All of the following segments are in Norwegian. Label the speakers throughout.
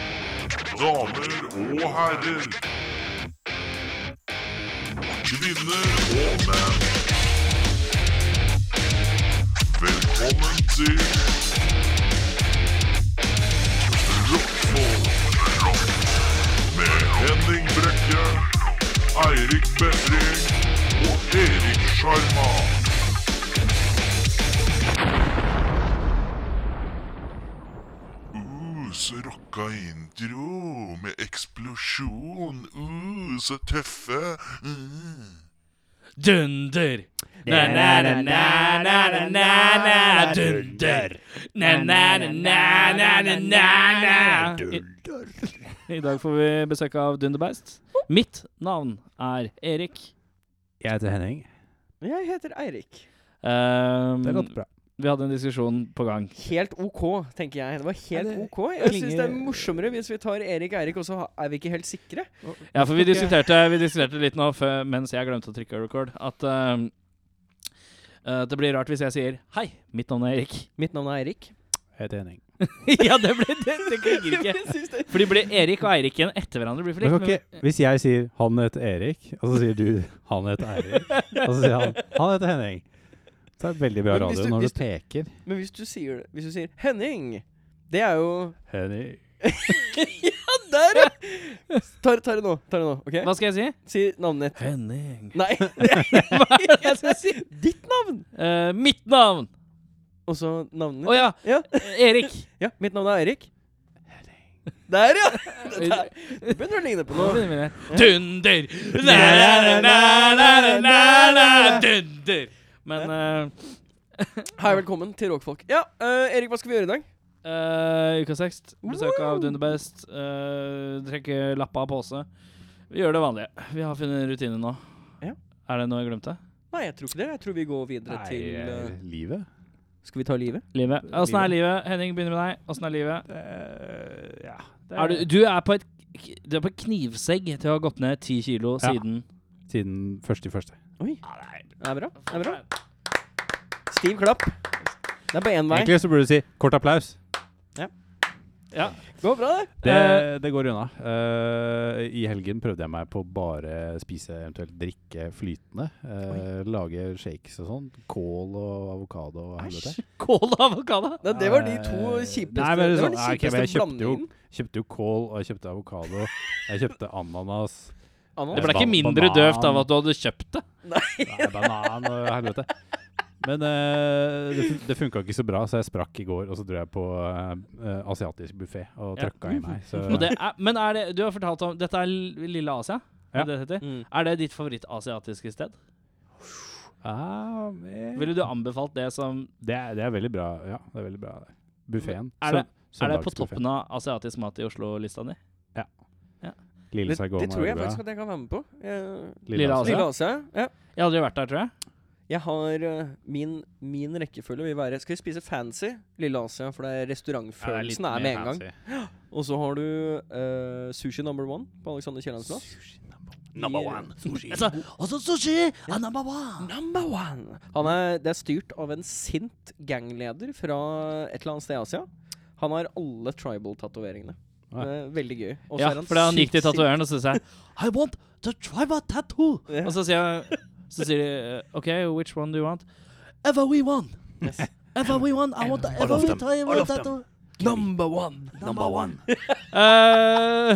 Speaker 1: Damer og herrer. Kvinner og menn. Velkommen til Rockfolk med Henning Brekke, Eirik Befring og Erik Sjarma. Uh, så rocka intro med eksplosjon. Uh, så tøffe. Mm.
Speaker 2: Dunder. Na-na-na-na-na-na-na-na. Dunder. Na-na-na-na-na-na-na. I dag får vi besøk av Dunderbeist. Mitt navn er Erik.
Speaker 3: Jeg heter Henning.
Speaker 4: Jeg heter Eirik.
Speaker 2: Um,
Speaker 3: Det
Speaker 4: Mm.
Speaker 3: låter bra.
Speaker 2: vi hadde en diskusjon på gang.
Speaker 4: Helt OK, tenker jeg. Det var helt
Speaker 3: Ja, det
Speaker 4: OK. Jeg syns
Speaker 3: klinger-
Speaker 4: det er morsommere hvis vi tar Erik og Eirik, og så ha- er vi ikke helt sikre.
Speaker 2: Ja, for vi
Speaker 4: Ok.
Speaker 2: diskuterte, vi diskuterte litt nå før, mens jeg glemte å trykke record, at um, eh, det blir rart hvis jeg sier 'Hei, mitt navn er Erik'.
Speaker 4: Mitt navn er Eirik.
Speaker 3: Jeg heter Henning.
Speaker 2: ja, det, blir, det, det klinger ikke.
Speaker 4: Jeg synes det-
Speaker 2: Fordi blir Erik og Eirik igjen etter hverandre blir for
Speaker 3: Men
Speaker 2: likt.
Speaker 3: kan ikke, hvis jeg sier 'han heter Erik', og så sier du 'han heter Eirik', og så sier han 'han heter Henning', så er det veldig bra
Speaker 4: Men hvis
Speaker 3: radio
Speaker 4: du-
Speaker 3: når du
Speaker 4: hvis du-
Speaker 3: peker.
Speaker 4: Men hvis du sier det Hvis du sier Henning, det er jo
Speaker 3: Henning.
Speaker 4: Ja, der, ja! Ta, ta det nå. Ta det nå,
Speaker 2: men-
Speaker 4: OK?
Speaker 2: Hva skal jeg si?
Speaker 4: Si navnet ditt.
Speaker 2: Henning.
Speaker 4: Nei, det er ikke jeg skal si ditt navn!
Speaker 2: Eh, mitt navn!
Speaker 4: Og så navnet
Speaker 2: Å
Speaker 4: ditt.
Speaker 2: ja,
Speaker 4: Ja.
Speaker 2: Erik.
Speaker 4: ja. Mitt navn er Eirik. Der, ja! Der. Det begynner å ligne på
Speaker 2: Nå
Speaker 4: noe.
Speaker 2: begynner vi der. Dunder! Na-na-na-na-na-na-na, Dunder! Men eh,
Speaker 4: Hei, velkommen til Rockfolk. Ja, eh, Erik, hva skal vi gjøre i dag?
Speaker 2: eh, eh, uka seks, besøk av Dunderbest. Uh, trekke lappa av pose. Vi gjør det vanlige. Vi har funnet rutinen nå.
Speaker 4: Ja.
Speaker 2: Er det noe jeg glemte?
Speaker 4: Nei, jeg tror ikke det. Jeg tror vi går videre
Speaker 3: Nei,
Speaker 4: til eh,
Speaker 3: eh, livet?
Speaker 4: Skal vi ta livet?
Speaker 2: Livet. Åssen er livet? Henning, begynner med deg. Åssen er livet?
Speaker 3: Eh, ja. Det
Speaker 2: Er du, du er på et du er på et knivsegg til å ha gått ned ti kilo
Speaker 3: Ja.
Speaker 2: siden
Speaker 3: Siden første i første.
Speaker 4: Oi. Det er bra. Det er bra. Stiv klapp. Det er på én vei.
Speaker 3: Egentlig så burde du si 'kort applaus'.
Speaker 2: Ja.
Speaker 4: Går bra, det.
Speaker 2: Eh,
Speaker 3: Det, det går unna. Eh, I helgen prøvde jeg meg på bare spise, eventuelt drikke flytende. Eh, lage shakes og sånn. Kål og avokado og helvete.
Speaker 2: Kål og avokado.
Speaker 4: Nei, det var de to
Speaker 3: Eh,
Speaker 4: kjipeste
Speaker 3: nei, men det er
Speaker 4: det var den
Speaker 3: sånn- nei, ok,
Speaker 4: kjipeste
Speaker 3: men jeg kjøpte jo-
Speaker 4: blandingen.
Speaker 3: Kjøpte jo kål, og jeg kjøpte avokado. Jeg kjøpte ananas.
Speaker 2: Det
Speaker 4: Ananas.
Speaker 2: ble
Speaker 3: Ban-
Speaker 2: ikke mindre
Speaker 3: banan.
Speaker 2: døvt av at du hadde kjøpt det.
Speaker 3: Nei, banan og helvete. Men eh, det, fun- det funka ikke så bra, så jeg sprakk i går. Og så dro jeg på eh, eh, asiatisk buffé og
Speaker 2: Ja.
Speaker 3: trøkka i meg. Så
Speaker 2: Og det er, men er det, du har fortalt om Dette er L- Lille Asia?
Speaker 3: Ja.
Speaker 2: Er det, det heter?
Speaker 4: Mm.
Speaker 2: er det ditt favorittasiatiske sted?
Speaker 3: ah, eh,
Speaker 2: Ville du anbefalt det som
Speaker 3: det, er, det er veldig bra. Ja, det er veldig bra. det. Buffeen.
Speaker 2: Er det- Er det på toppen av asiatisk mat i Oslo-lista di?
Speaker 3: Lille
Speaker 4: Det,
Speaker 3: Saigon
Speaker 4: det tror jeg
Speaker 3: er
Speaker 4: faktisk
Speaker 3: bra.
Speaker 4: at jeg kan være med på. Jeg,
Speaker 2: Lille
Speaker 3: Asia.
Speaker 2: Asia.
Speaker 4: Lille Asia. Ja.
Speaker 2: Jeg har aldri vært der, tror jeg.
Speaker 4: Jeg har eh, min, min rekkefølge vil være Skal vi spise fancy Lille Asia, for det er
Speaker 3: Ja, det er litt
Speaker 4: restaurantfølelsen er
Speaker 3: mer
Speaker 4: med en gang.
Speaker 3: fancy.
Speaker 4: Og så har du eh, Sushi Number One på Alexander Kiellands plass.
Speaker 3: Number
Speaker 4: I-
Speaker 3: one. Sushi.
Speaker 2: Altså,
Speaker 4: Number one! Han er, det er styrt av en sint gangleder fra et eller annet sted i Asia. Han har alle tribal-tatoveringene.
Speaker 3: Ah.
Speaker 4: Det er Veldig gøy. Og så
Speaker 2: Ja,
Speaker 4: er han
Speaker 2: for da han gikk til
Speaker 4: sykt sint.
Speaker 2: tatoveren og så sa jeg, I want to try my tattoo.
Speaker 4: Ja.
Speaker 2: Og så sier, jeg, så sier de OK, which one do you want? Ever we want.
Speaker 4: Yes.
Speaker 2: Ever we want. I want the ever we try my tattoo.
Speaker 4: Number one!
Speaker 2: Number one. Eh,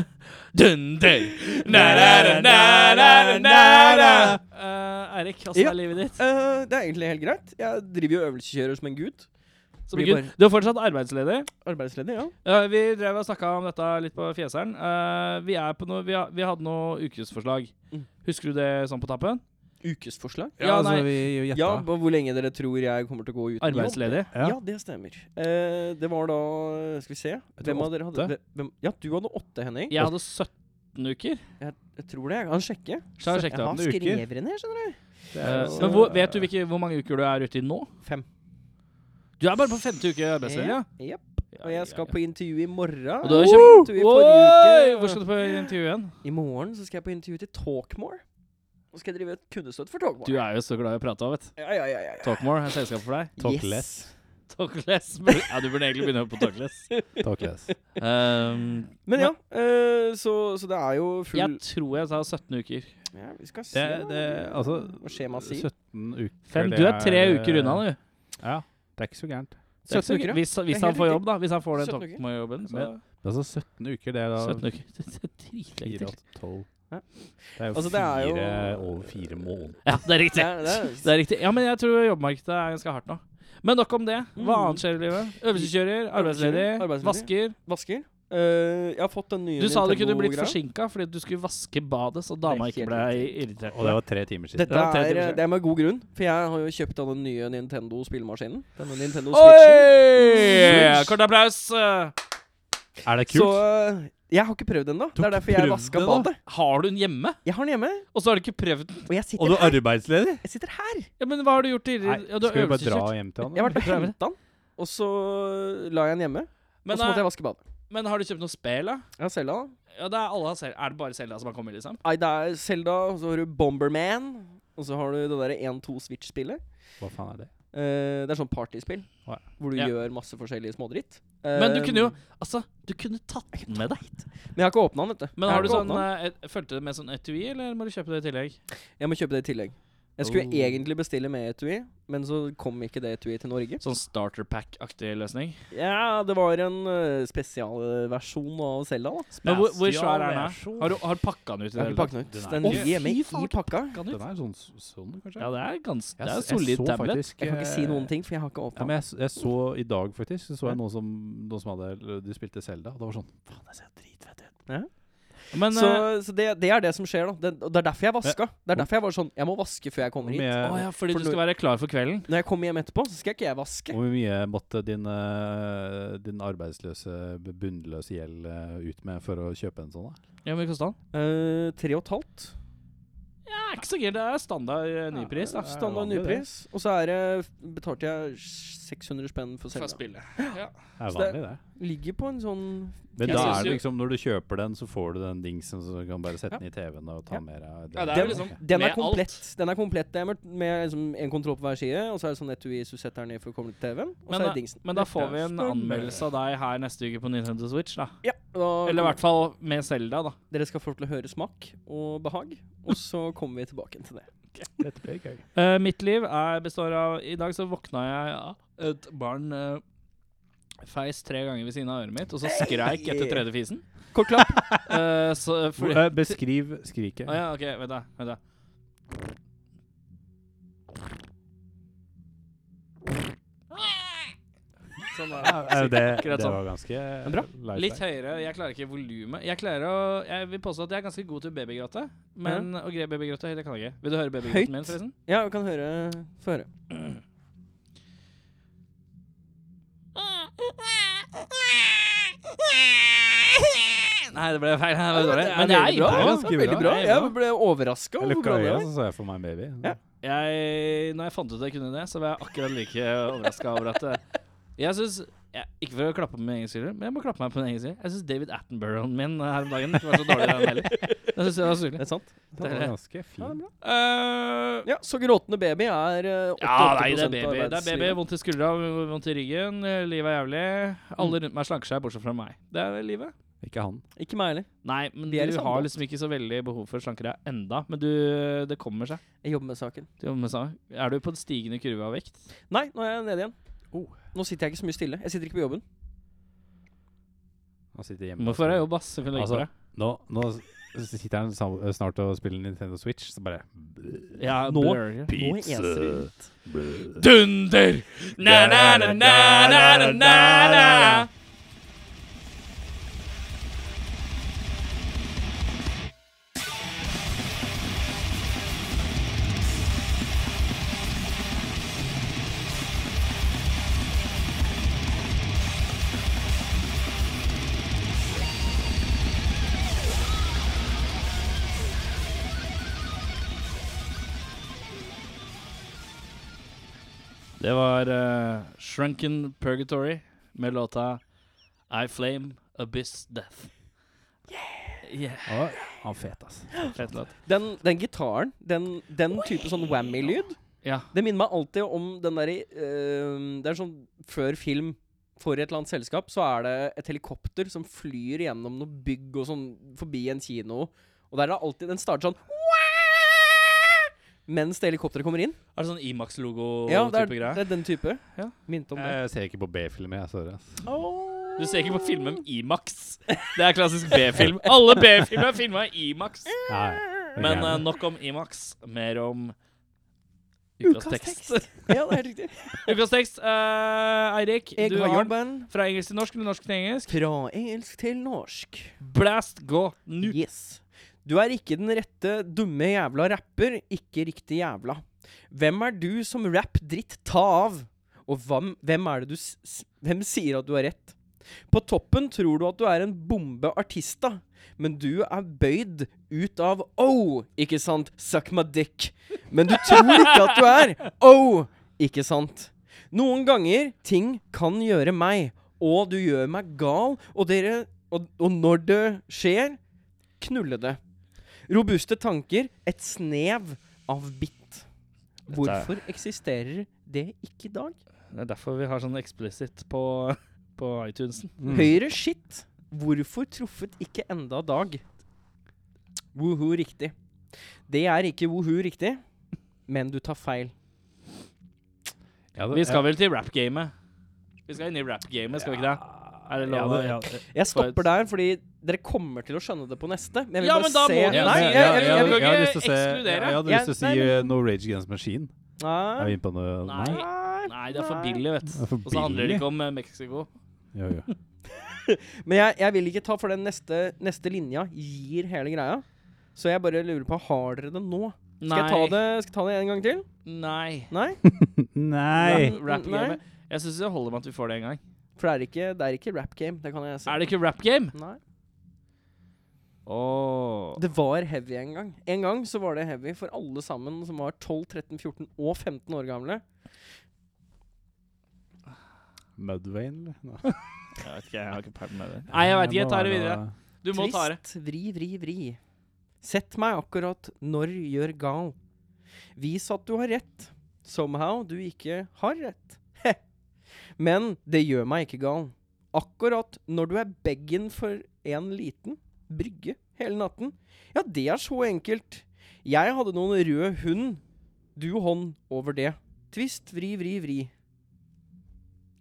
Speaker 2: Dunder. Na-na-na-na-na-na-na. Eh, Eirik, åssen
Speaker 4: Ja.
Speaker 2: er livet ditt?
Speaker 4: Eh, det er egentlig helt greit. Jeg driver jo øvelseskjører som en gud.
Speaker 2: Som
Speaker 4: Blir
Speaker 2: Gud, du er fortsatt arbeidsledig.
Speaker 4: Arbeidsledig, ja.
Speaker 2: Eh, vi drev og snakka om dette litt på Fjeseren. Eh, vi, er på noe, vi, har, vi hadde noe ukesforslag.
Speaker 4: Mm.
Speaker 2: Husker du det sånn på tappen?
Speaker 4: Ukesforslag.
Speaker 3: Ja,
Speaker 2: Ja,
Speaker 3: altså,
Speaker 2: nei.
Speaker 3: vi gjetta.
Speaker 4: Ja, på hvor lenge dere tror jeg kommer til å gå uten jobb?
Speaker 2: Arbeidsledig.
Speaker 3: Ja.
Speaker 4: Ja. det stemmer. Eh, det var da Skal vi se. Hvem av dere hadde
Speaker 3: åtte.
Speaker 4: hvem, Ja, du hadde åtte, Henning.
Speaker 2: Jeg hadde 17 uker.
Speaker 4: Jeg tror det. Jeg kan sjekke.
Speaker 2: Så jeg
Speaker 4: jeg
Speaker 2: sjekket
Speaker 4: har
Speaker 2: opp.
Speaker 3: noen uker.
Speaker 4: skrevet det ned, skjønner
Speaker 3: Det er
Speaker 2: Eh,
Speaker 3: jo-
Speaker 2: men hvor, vet du hvilke, hvor mange uker du er ute i nå?
Speaker 4: du. Fem.
Speaker 2: Du er bare på femte uke arbeidsledig. Ja.
Speaker 4: Yep. Og jeg skal på intervju i morgen.
Speaker 2: Og du har
Speaker 4: Jeg
Speaker 2: kjempe...
Speaker 4: intervju i forrige uke.
Speaker 2: Oi, Hvor skal du på intervju igjen?
Speaker 4: I morgen så skal jeg på intervju til Talkmore. Nå skal jeg drive et kundestøtt for Talkmore.
Speaker 2: Du er jo så glad i å prate, vet du.
Speaker 4: Ja, ja, ja, ja, ja.
Speaker 2: Talkmore er selskapet for deg.
Speaker 3: Talk
Speaker 4: Yes.
Speaker 3: less.
Speaker 2: Talkless. burde- Ja, du burde egentlig begynne på Talkless.
Speaker 3: Talkless.
Speaker 2: Um,
Speaker 4: Men ja, eh, så, så det er jo full
Speaker 2: jeg tror jeg sa 17 uker.
Speaker 4: Ja, vi skal se
Speaker 3: Det, det, altså,
Speaker 4: hva skjemaet sier.
Speaker 3: 17 uker
Speaker 2: Fem.
Speaker 3: det
Speaker 2: Du er tre uker unna, du.
Speaker 3: Ja, det er ikke så gærent.
Speaker 2: Det er ikke så
Speaker 4: 17 uker,
Speaker 2: gøy.
Speaker 4: ja.
Speaker 2: Hvis,
Speaker 4: Det
Speaker 2: hvis
Speaker 4: er
Speaker 2: han
Speaker 4: helt
Speaker 2: får
Speaker 4: riktig.
Speaker 2: jobb, da. Hvis han får den
Speaker 4: 17 uker.
Speaker 2: Tokmo-jobben. så-
Speaker 4: Men-
Speaker 3: Altså 17 uker, det er da
Speaker 2: 17 uker. Det er dritlenge
Speaker 3: 4
Speaker 2: til.
Speaker 3: og 12
Speaker 4: Ja.
Speaker 3: Det er jo
Speaker 4: Altså, det er jo-
Speaker 3: fire over fire måneder.
Speaker 2: Ja, det er riktig.
Speaker 4: Ja, det er-
Speaker 2: Det er riktig. Ja, men jeg tror jobbmarkedet er ganske hardt nå. Men nok om det. Hva
Speaker 4: Mm.
Speaker 2: annet skjer i livet? Øvelseskjører, arbeidsledig,
Speaker 4: Øvelseskjører, arbeidsledig.
Speaker 2: vasker.
Speaker 4: Vasker. Eh, jeg har fått den nye
Speaker 2: Du sa det kunne
Speaker 4: Nintendo-greia.
Speaker 2: blitt forsinka fordi du skulle vaske badet, så dama
Speaker 4: Det er
Speaker 2: ikke
Speaker 4: helt
Speaker 2: ble
Speaker 4: riktig.
Speaker 2: irritert.
Speaker 3: Og det var tre timer siden.
Speaker 4: Dette
Speaker 2: Ja, tre
Speaker 4: er,
Speaker 2: timer siden.
Speaker 4: det er med god grunn, for jeg har jo kjøpt av den nye Nintendo spillemaskinen. Denne Nintendo Switchen.
Speaker 2: Oi!
Speaker 4: Switchen.
Speaker 2: Kort applaus.
Speaker 3: Er det
Speaker 4: Så
Speaker 3: kult?
Speaker 4: eh, jeg har ikke prøvd den da Det er derfor jeg
Speaker 3: prøvd
Speaker 4: vaska
Speaker 3: det da?
Speaker 4: badet.
Speaker 2: Har du den hjemme?
Speaker 4: Jeg har den hjemme,
Speaker 2: Og så har du ikke prøvd den?
Speaker 4: og jeg
Speaker 3: og
Speaker 4: sitter
Speaker 3: du er
Speaker 4: her.
Speaker 3: arbeidsledig?
Speaker 4: Jeg sitter her.
Speaker 2: Ja, men hva har du gjort
Speaker 3: Nei,
Speaker 2: tidligere? Ja, du har
Speaker 3: skal vi bare dra
Speaker 2: øvelseskjørt.
Speaker 3: hjem til han?
Speaker 4: Jeg har vært og
Speaker 2: Prøver det.
Speaker 4: henta den, og så la jeg den hjemme. og
Speaker 2: Men,
Speaker 4: så måtte
Speaker 2: eh,
Speaker 4: jeg vaske badet.
Speaker 2: men har du kjøpt noe spill, da?
Speaker 4: Jeg har Selda. da.
Speaker 2: Ja, det er, alle har Zelda. er det bare Selda som har kommet, liksom?
Speaker 4: Nei, det er Selda, og så har du Bomberman. Og så har du det derre 1-2 Switch-spillet.
Speaker 3: da? Hva faen er det?
Speaker 4: Eh, det er sånn partyspill
Speaker 3: Ja.
Speaker 4: hvor du
Speaker 2: Ja.
Speaker 4: gjør masse forskjellige smådritt.
Speaker 2: Men du
Speaker 4: Eh,
Speaker 2: kunne jo Altså, du kunne tatt den med deg.
Speaker 4: Men jeg har ikke åpna den, vet du.
Speaker 2: Men
Speaker 4: Jeg
Speaker 2: har du
Speaker 4: ikke
Speaker 2: sånn
Speaker 4: åpnet
Speaker 2: eh,
Speaker 4: den.
Speaker 2: et- Fulgte det med sånn etui, eller må du kjøpe det i tillegg?
Speaker 4: Jeg må kjøpe det i tillegg. Jeg skulle
Speaker 2: Oh.
Speaker 4: egentlig bestille med etui, men så kom ikke det etui til Norge.
Speaker 2: Sånn starter pack-aktig løsning?
Speaker 4: Ja, det var en eh, spesialversjon av Selda, da.
Speaker 2: Men hvor, hvor svær er den?
Speaker 3: Spesialversjon.
Speaker 2: her? Har du har du pakka den ut? i
Speaker 4: Jeg har
Speaker 2: det
Speaker 4: ikke pakket den ut.
Speaker 3: Den er-
Speaker 4: Den
Speaker 2: Å,
Speaker 4: ligger hjemme
Speaker 2: fy
Speaker 4: i
Speaker 2: faen.
Speaker 4: pakka.
Speaker 2: hele
Speaker 3: Den
Speaker 2: tatt?
Speaker 3: er jo sånn, sånn kanskje?
Speaker 2: Ja, det er ganske Det
Speaker 3: Jeg
Speaker 2: er
Speaker 3: s- jeg
Speaker 2: solid
Speaker 3: så
Speaker 2: tablet.
Speaker 3: faktisk,
Speaker 4: Jeg kan ikke si
Speaker 3: eh,
Speaker 4: noen ting, for jeg har ikke
Speaker 3: Ja,
Speaker 4: åpna
Speaker 3: men
Speaker 4: den.
Speaker 3: jeg, s- jeg så i dag faktisk Så så jeg noen som, noen som hadde De spilte Zelda Og det var sånn Faen, det ser dritfett ut
Speaker 2: Men
Speaker 4: Så,
Speaker 2: eh,
Speaker 4: så det, det er det som skjer, da. Det, og det er derfor jeg vaska. Det er derfor jeg var sånn Jeg må vaske før jeg kommer
Speaker 3: Hvor
Speaker 4: hit.
Speaker 2: Å
Speaker 3: mye,
Speaker 2: ja, fordi
Speaker 4: for
Speaker 2: du
Speaker 4: når-
Speaker 2: skal være klar for kvelden?
Speaker 4: Når jeg kommer hjem etterpå, så skal ikke jeg vaske.
Speaker 3: hvor mye måtte din, eh, din arbeidsløse b- Bunnløse gjeld eh, ut med For å kjøpe en sånn da?
Speaker 2: Ja, hvor mye kosta den?
Speaker 4: Eh, tre og et halvt.
Speaker 2: Ja, ikke så gærent. Det er standard eh, ny pris, da.
Speaker 3: Ja, det er
Speaker 4: Standard
Speaker 3: vanlig, det.
Speaker 4: nypris. Og så er det betalte jeg 600 spenn for
Speaker 2: Fra
Speaker 4: Selda.
Speaker 2: spillet.
Speaker 3: Det er
Speaker 4: Så det-
Speaker 3: vanlig det
Speaker 4: Ligger på en sånn
Speaker 3: Men
Speaker 2: Jeg
Speaker 3: da
Speaker 2: synes
Speaker 3: er det
Speaker 2: jo-
Speaker 3: liksom Når du kjøper den så får du den dingsen Så du kan bare sette
Speaker 4: Ja.
Speaker 3: den i TV-en Og
Speaker 4: Ja.
Speaker 3: ta med deg
Speaker 2: Ja, det er
Speaker 4: Den,
Speaker 2: jo liksom
Speaker 4: den
Speaker 2: med
Speaker 4: er komplett. Den er komplett det er med, med liksom en kontroll på hver side, og så er det sånn etui du setter den ned for å komme til TV-en, og så
Speaker 2: Men
Speaker 4: er
Speaker 2: da,
Speaker 4: det dingsen.
Speaker 2: men da får vi en
Speaker 3: Spennende.
Speaker 2: anmeldelse av deg her neste uke på Nintendo Switch, da.
Speaker 4: Ja, da
Speaker 2: Eller i hvert fall med Selda, da.
Speaker 4: Dere skal få lov til å høre smak og behag, og så kommer vi tilbake til det.
Speaker 3: Dette blir gøy
Speaker 2: Eh, mitt liv er, består av I dag så våkna jeg av et barn eh, feis tre ganger ved siden av øret mitt, og så skreik etter tredje fisen.
Speaker 4: Kort klapp.
Speaker 2: Eh, så, fordi,
Speaker 3: Eh, Beskriv skriket
Speaker 2: Å ja, OK, vent da. Vent da. Sånn da.
Speaker 3: Eh, det,
Speaker 2: Akkurat
Speaker 3: det
Speaker 2: sånn.
Speaker 3: var ganske
Speaker 4: bra.
Speaker 3: life
Speaker 2: Litt
Speaker 3: hack.
Speaker 2: høyere. Jeg klarer ikke volumet. Jeg klarer å Jeg vil påstå at jeg er ganske god til babygråte, men å greie babygråte det kan jeg ikke. Vil du høre
Speaker 4: Høyt.
Speaker 2: babygråten min, forresten?
Speaker 4: Ja, vi kan høre Få høre.
Speaker 2: Nei, det ble feil. Det var dårlig.
Speaker 4: Det er
Speaker 2: Men jeg
Speaker 4: veldig bra.
Speaker 2: er
Speaker 4: ja.
Speaker 2: ganske
Speaker 4: Det er veldig bra.
Speaker 2: Jeg er
Speaker 4: Jeg ble
Speaker 2: Oh,
Speaker 4: overraska over hvor
Speaker 3: Jeg altså. lukka
Speaker 4: bra det
Speaker 3: øya,
Speaker 4: var.
Speaker 3: så sa jeg for meg en baby
Speaker 4: Ja.
Speaker 2: Jeg, når jeg fant ut at jeg kunne det, så var jeg akkurat like overraska over at eh, Jeg syns Ikke for å klappe på min egen side, men jeg må klappe meg på min egen side. Jeg syns David Attenborough-en min eh, her om dagen ikke var så dårlig, den heller. Jeg synes jeg var
Speaker 4: Det
Speaker 2: sykelig.
Speaker 4: er sant.
Speaker 3: Det var ganske fint
Speaker 2: Eh,
Speaker 4: Ja, så gråtende baby er eh, 88
Speaker 2: ja, nei, det er baby. Det er baby,
Speaker 4: arbeidslivet.
Speaker 2: Vondt i skuldra, vondt i ryggen, eh, livet er jævlig. Alle rundt meg slanker seg, bortsett fra meg. Det er vel livet.
Speaker 3: Ikke han
Speaker 4: Ikke meg heller.
Speaker 2: Nei, men
Speaker 4: Vi er i
Speaker 2: du
Speaker 4: samme
Speaker 2: har
Speaker 4: båt.
Speaker 2: liksom ikke så veldig behov for å slanke deg enda. Men du, det kommer seg.
Speaker 4: Jeg jobber med saken.
Speaker 2: Du jobber med saken. Er du på en stigende kurve av vekt?
Speaker 4: Nei, nå er jeg nede igjen.
Speaker 3: Oh.
Speaker 4: Nå sitter jeg ikke så mye stille. Jeg sitter ikke på jobben.
Speaker 3: Han sitter
Speaker 2: Du
Speaker 3: hjemme
Speaker 2: må få deg jobb, ass. Hun legger
Speaker 3: Altså,
Speaker 2: på deg.
Speaker 3: Nå, nå s- sitter han sam- snart og spiller Nintendo Switch, så bare
Speaker 2: Ja,
Speaker 3: Nå-
Speaker 2: blur.
Speaker 4: Nå eser det ut.
Speaker 2: Dunder! Na, na, na, na, na, na, na, na. Det var eh, Shrunken Purgatory med låta I Flame Abyss Death. Yeah.
Speaker 3: Å, Han fet, ass.
Speaker 2: Fett låt.
Speaker 4: Den, den gitaren, den, den type sånn whammy-lyd,
Speaker 2: Ja.
Speaker 4: det minner meg alltid om den derre eh, Det er sånn før film for et eller annet selskap, så er det et helikopter som flyr gjennom noe bygg og sånn forbi en kino, og der er det alltid Den starter sånn mens det helikopteret kommer inn.
Speaker 2: Er det sånn Imax-logo-type
Speaker 4: Ja, det er,
Speaker 2: greier?
Speaker 4: det er den type.
Speaker 2: Ja. Eh,
Speaker 4: Minte om det.
Speaker 3: Jeg ser ikke på B-filmer, jeg. Sorry, ass.
Speaker 2: Du ser ikke på filmer med Imax. Det er klassisk B-film. Alle B-filmer er filma i Imax.
Speaker 3: Nei, det er
Speaker 2: Men
Speaker 3: gærent.
Speaker 2: eh, nok om Imax, mer om Ukas tekst.
Speaker 4: ja, det er helt riktig.
Speaker 2: Ukas tekst. eh, Eirik,
Speaker 4: Jeg
Speaker 2: du har
Speaker 4: har
Speaker 2: gjort
Speaker 4: band
Speaker 2: fra engelsk til norsk eller norsk til engelsk.
Speaker 4: fra engelsk til norsk.
Speaker 2: Blast, gå nå.
Speaker 4: Yes. Du er ikke den rette dumme jævla rapper, ikke riktig jævla. Hvem er du som rapp-dritt ta av? Og hvem, hvem er det du s s- Hvem sier at du har rett? På toppen tror du at du er en bombe artista, men du er bøyd ut av oh, ikke sant, suck my dick. Men du tror ikke at du er oh, ikke sant. Noen ganger ting kan gjøre meg, og du gjør meg gal, og dere Og, og når det skjer, knulle det. Robuste tanker, et snev av bitt. Hvorfor eksisterer det ikke i dag?
Speaker 2: Det er derfor vi har sånn explicit på, på iTunesen.
Speaker 4: Høyre shit. Hvorfor truffet ikke enda dag? Woho riktig. Det er ikke woho riktig, men du tar feil.
Speaker 3: Jeg hadde-
Speaker 2: eh, Vi skal vel til rap-gamet. Vi skal inn i rap-gamet, skal vi ikke det? Er det
Speaker 3: jeg
Speaker 2: lov?
Speaker 3: hadde-
Speaker 2: å-
Speaker 3: jeg hadde-
Speaker 4: Jeg stopper der, fordi dere kommer til å skjønne det på neste. Men jeg vil
Speaker 2: Ja,
Speaker 4: bare
Speaker 2: men da
Speaker 4: se
Speaker 2: må du
Speaker 3: Ja,
Speaker 4: Nei,
Speaker 2: si-
Speaker 4: jeg, jeg,
Speaker 2: ja, ja,
Speaker 4: jeg, jeg,
Speaker 2: ja.
Speaker 3: jeg hadde lyst til å se-
Speaker 2: ekskludere.
Speaker 3: Jeg hadde lyst til å si
Speaker 4: Jeg- nei,
Speaker 3: eh, No Rage Against Machine. Jeg
Speaker 4: Nei.
Speaker 3: vil inn på noe
Speaker 2: Nei.
Speaker 3: Nei.
Speaker 2: Nei, det er for billig, vet
Speaker 3: er
Speaker 2: du.
Speaker 3: for
Speaker 2: Og så handler det
Speaker 3: billig.
Speaker 2: ikke om eh, Mexico.
Speaker 3: Jo, jo.
Speaker 4: Men jeg, jeg vil ikke ta, for den neste, neste linja gir hele greia. Så jeg bare lurer på, har dere det nå? Skal jeg ta det, skal jeg ta det en gang til?
Speaker 2: Nei.
Speaker 4: Nei?
Speaker 3: Nei!
Speaker 4: Nei.
Speaker 2: Rap-gamet. Jeg syns det holder med at vi får det en gang.
Speaker 4: For det er ikke, det er ikke rap game. Det kan jeg si.
Speaker 2: Er det ikke rap-game?
Speaker 4: Nei.
Speaker 2: Åh
Speaker 4: Det var heavy en gang. En gang så var det heavy for alle sammen som var 12, 13, 14 og 15 år gamle.
Speaker 3: Mudvayne, eller?
Speaker 2: Jeg vet ikke, jeg har ikke peiling med det. Nei, jeg vet ikke. Jeg tar det videre. Du må ta det.
Speaker 4: Trist, vri, vri, vri. Sett meg akkurat når gjør gal. Vis at du har rett. Somehow du ikke har rett. Heh. Men det gjør meg ikke gal. Akkurat når du er beggen for en liten brygge hele natten. Ja, det er så enkelt. Jeg hadde noen rød hund. Du hånd over det. Tvist, vri, vri, vri.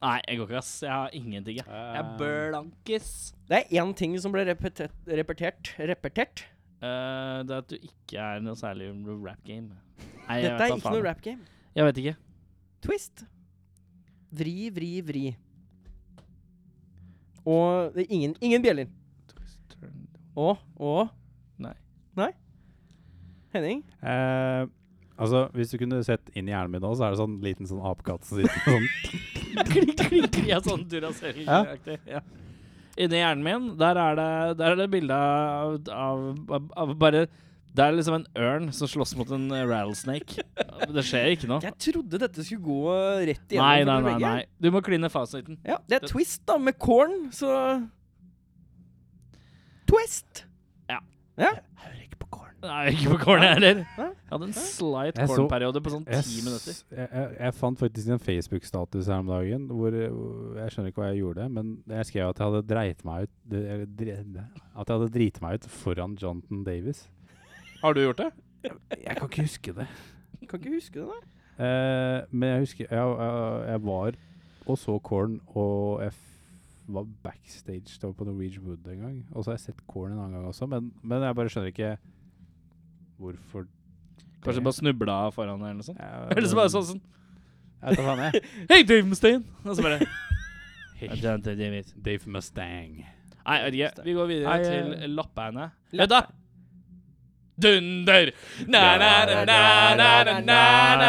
Speaker 2: Nei, jeg går ikke, ass. Jeg har ingenting, jeg. Jeg er blankis.
Speaker 4: Det er én ting som ble repetet, repetert. Repetert.
Speaker 2: Eh, det er at du ikke er noe særlig rap-game. Nei, jeg
Speaker 4: Dette
Speaker 2: vet
Speaker 4: er
Speaker 2: da
Speaker 4: ikke
Speaker 2: faen.
Speaker 4: noe rap game.
Speaker 2: Jeg vet ikke.
Speaker 4: Twist. Vri, vri, vri. Og det er ingen, ingen bjeller. Og, og
Speaker 2: Nei.
Speaker 4: Nei? Henning?
Speaker 3: Eh, altså, hvis du kunne sett inn i hjernen min nå, så er det sånn liten sånn apekatt som sitter sånn
Speaker 2: Klikk, klikk, klikk. Ja, sånn Duracell-aktig. Ja. Inni hjernen min, der er det, der er det bilde av, av, av, av bare Det er liksom en ørn som slåss mot en eh, rattlesnake. Det skjer ikke noe.
Speaker 4: Jeg trodde dette skulle gå rett igjennom.
Speaker 2: Nei,
Speaker 4: for
Speaker 2: nei,
Speaker 4: dere
Speaker 2: nei.
Speaker 4: begge.
Speaker 2: nei. Du må kline fasiten.
Speaker 4: Ja, det er twist, da, med corn, så Twist!
Speaker 3: Hører ikke på corn.
Speaker 2: Nei, ikke på cornet heller.
Speaker 4: Nei.
Speaker 2: Jeg hadde en slight
Speaker 3: Jeg så-
Speaker 2: cornperiode på sånn
Speaker 3: Jeg,
Speaker 2: ti minutter.
Speaker 3: s- jeg, jeg, jeg fant faktisk en Facebook-status her om dagen hvor eh, hvor- Jeg skjønner ikke hva jeg gjorde, men jeg skrev at jeg hadde dreit meg ut det- eller dre- At jeg hadde driti meg ut foran Jonathan Davis.
Speaker 2: Har du gjort det?
Speaker 3: Jeg kan ikke huske det.
Speaker 4: Kan ikke huske det, nei.
Speaker 3: Eh, men jeg husker jeg, jeg, jeg var og så Korn, og jeg f var backstage da på Norwegian Wood en gang. Og så har jeg sett Korn en annen gang også, men, men jeg bare skjønner ikke hvorfor
Speaker 2: Kanskje bare snubla foran deg eller noe sånt?
Speaker 3: jeg,
Speaker 2: Eller så bare sånn sånn
Speaker 3: Jeg tar faen, jeg.
Speaker 2: Hei, Davenstein! Og så bare Nei, jeg vet
Speaker 3: Dave Mustang.
Speaker 2: ikke. Vi går videre
Speaker 3: Nei, eh,
Speaker 2: til lappeeierne. Vet du Dunder! Na-na-na-na-na-na!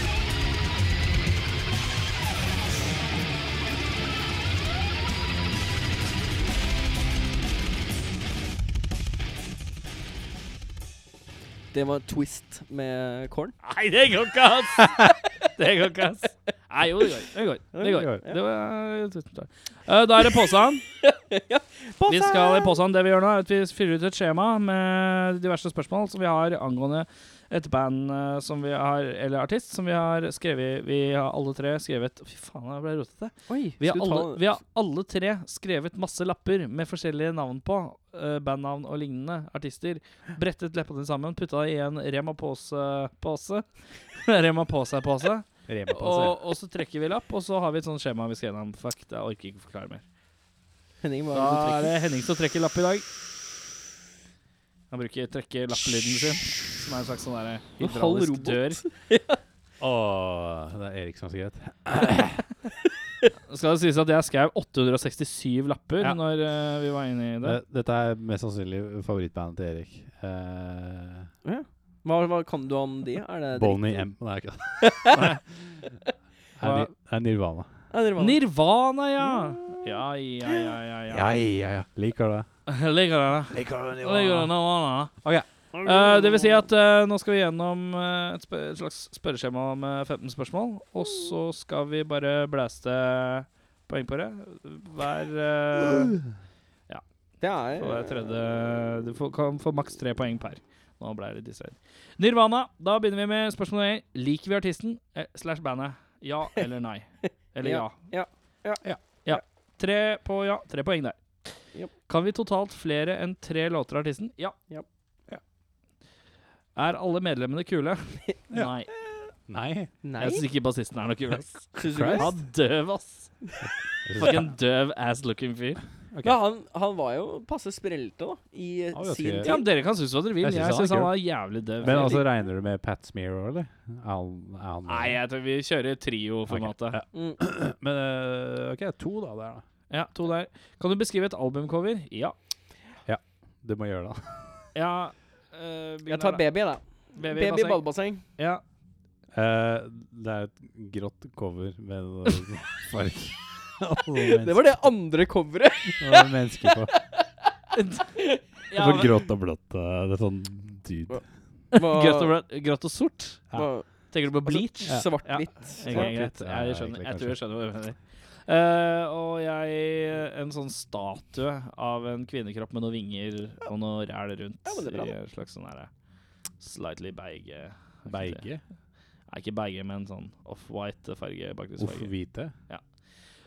Speaker 4: Det var twist med corn.
Speaker 2: Nei, det går ikke, ass! Det går ikke, ass. Nei, jo, det går. Det går. Det går.
Speaker 3: Ja, det
Speaker 2: Det var, tusen takk. Eh, da er det påsan. Vi skal i påsan. Det vi gjør nå, er at vi fyller ut et skjema med diverse spørsmål som vi har angående et band eh, som vi har, eller artist som vi har skrevet Vi har alle tre skrevet Fy faen, jeg ble rotete.
Speaker 4: Oi,
Speaker 2: Vi har,
Speaker 4: skal du ta-
Speaker 2: alle, vi har alle tre skrevet masse lapper med forskjellige navn på. eh, bandnavn og lignende artister. Brettet leppene sammen, putta det i en Rema Pose-pose. Rema Pose-pose.
Speaker 3: Rema på seg.
Speaker 2: Og, og så trekker vi lapp, og så har vi et sånt skjema vi skal gjennom. Fuck, det orker jeg ikke forklare mer.
Speaker 4: Henning, hva
Speaker 2: Da
Speaker 4: er
Speaker 2: er
Speaker 4: det
Speaker 2: det Henning som trekker lapp i dag. Han bruker trekke-lapp-lyden sin, som er en slags sånn der
Speaker 4: En halv
Speaker 2: hydraulisk
Speaker 4: robot.
Speaker 2: dør.
Speaker 3: Åh, det er Eriksson sikkert.
Speaker 2: Skal det sies at jeg skrev 867 lapper
Speaker 3: Ja.
Speaker 2: når eh, vi var inne i det.
Speaker 3: Eh, Dette er mest sannsynlig favorittbandet til Erik.
Speaker 4: du
Speaker 3: Eh,
Speaker 4: trekker? Ja. Hva, hva kan du om de? Er det
Speaker 3: Bonnie M. Nei, ikke det. Det er
Speaker 2: Hva-
Speaker 3: Ni- det er Nirvana.
Speaker 4: Ja, dere var-
Speaker 2: Nirvana, ja! Mm. Ja, ja, ja, ja. ja.
Speaker 3: ja, ja. Liker det.
Speaker 2: Ligger det der?
Speaker 3: Liker det,
Speaker 2: Ligger det Nirvana?
Speaker 3: Ok.
Speaker 2: Eh, det vil si at eh, nå skal vi gjennom eh, et, sp et slags spørreskjema med 15 spørsmål. Og så skal vi bare blæste poeng på det. Hver eh,
Speaker 4: Det er
Speaker 2: på
Speaker 3: Eh.
Speaker 2: hver tredje Du får, kan få maks tre poeng per. Nå ble jeg litt distrahert. Nirvana. Da begynner vi med spørsmål 1. Liker vi artisten eh, slash bandet? Ja eller nei? Eller ja.
Speaker 4: Ja, ja, ja.
Speaker 2: ja. ja. Tre på ja. Tre poeng der.
Speaker 4: Japp.
Speaker 2: Kan vi totalt flere enn tre låter av artisten? Ja.
Speaker 4: Japp.
Speaker 3: Ja.
Speaker 2: Er alle medlemmene kule? Nei.
Speaker 3: Nei.
Speaker 4: Nei?
Speaker 2: Jeg syns ikke bassisten er noe kul. ass.
Speaker 4: Syns du
Speaker 3: Christ.
Speaker 4: det?
Speaker 2: Han døv, ass.
Speaker 3: Jeg synes-
Speaker 2: Fucking døv ass looking fyr.
Speaker 3: Ok.
Speaker 4: Men han, han var jo passe sprellete, da, i eh,
Speaker 3: Han var
Speaker 4: sin
Speaker 3: ganske-
Speaker 4: tid.
Speaker 2: Ja, men Dere kan synes hva dere vil.
Speaker 3: Jeg
Speaker 2: Jeg
Speaker 3: synes
Speaker 2: syns
Speaker 3: han
Speaker 2: han,
Speaker 3: er kul.
Speaker 2: var jævlig døv.
Speaker 3: Men altså, regner du med Pat Smear også, eller? Er han- er han-
Speaker 2: Nei, jeg tror vi kjører trio-formatet.
Speaker 3: Ok,
Speaker 4: Mm.
Speaker 3: ja. Men eh, OK, to da, der, da.
Speaker 2: Ja, to der. Kan du beskrive et albumcover? Ja.
Speaker 3: Du må gjøre det.
Speaker 2: ja eh, begynner
Speaker 4: Jeg tar
Speaker 2: der.
Speaker 4: baby, da.
Speaker 2: Baby,
Speaker 4: Baby
Speaker 2: basseng.
Speaker 4: badebasseng.
Speaker 2: Ja.
Speaker 3: Eh, det er et grått cover med eh, farg.
Speaker 4: Det var det andre coveret.
Speaker 3: mennesker på.
Speaker 2: Ja,
Speaker 3: for
Speaker 2: men-
Speaker 3: grått og blått. eh, det er sånn dude.
Speaker 2: Grått og, blå- grått og sort? Tenker du på bleach?
Speaker 3: Ja.
Speaker 4: Svart-hvitt.
Speaker 2: Ok, Altså,
Speaker 3: Svart-hvitt.
Speaker 2: greit. Jeg,
Speaker 3: Ja, egentlig,
Speaker 2: skjønner. jeg
Speaker 3: kanskje.
Speaker 2: tror jeg skjønner hva du mener. Eh, og jeg En sånn statue av en kvinnekropp med noen vinger og noe ræl rundt.
Speaker 4: Ja, men det er bra,
Speaker 2: I
Speaker 4: da.
Speaker 2: en slags sånn her slightly beige
Speaker 3: Beige.
Speaker 2: Nei, ikke beige, men sånn off-white farge.
Speaker 3: Uff,
Speaker 2: bakgrunnsfarge.
Speaker 3: hvite.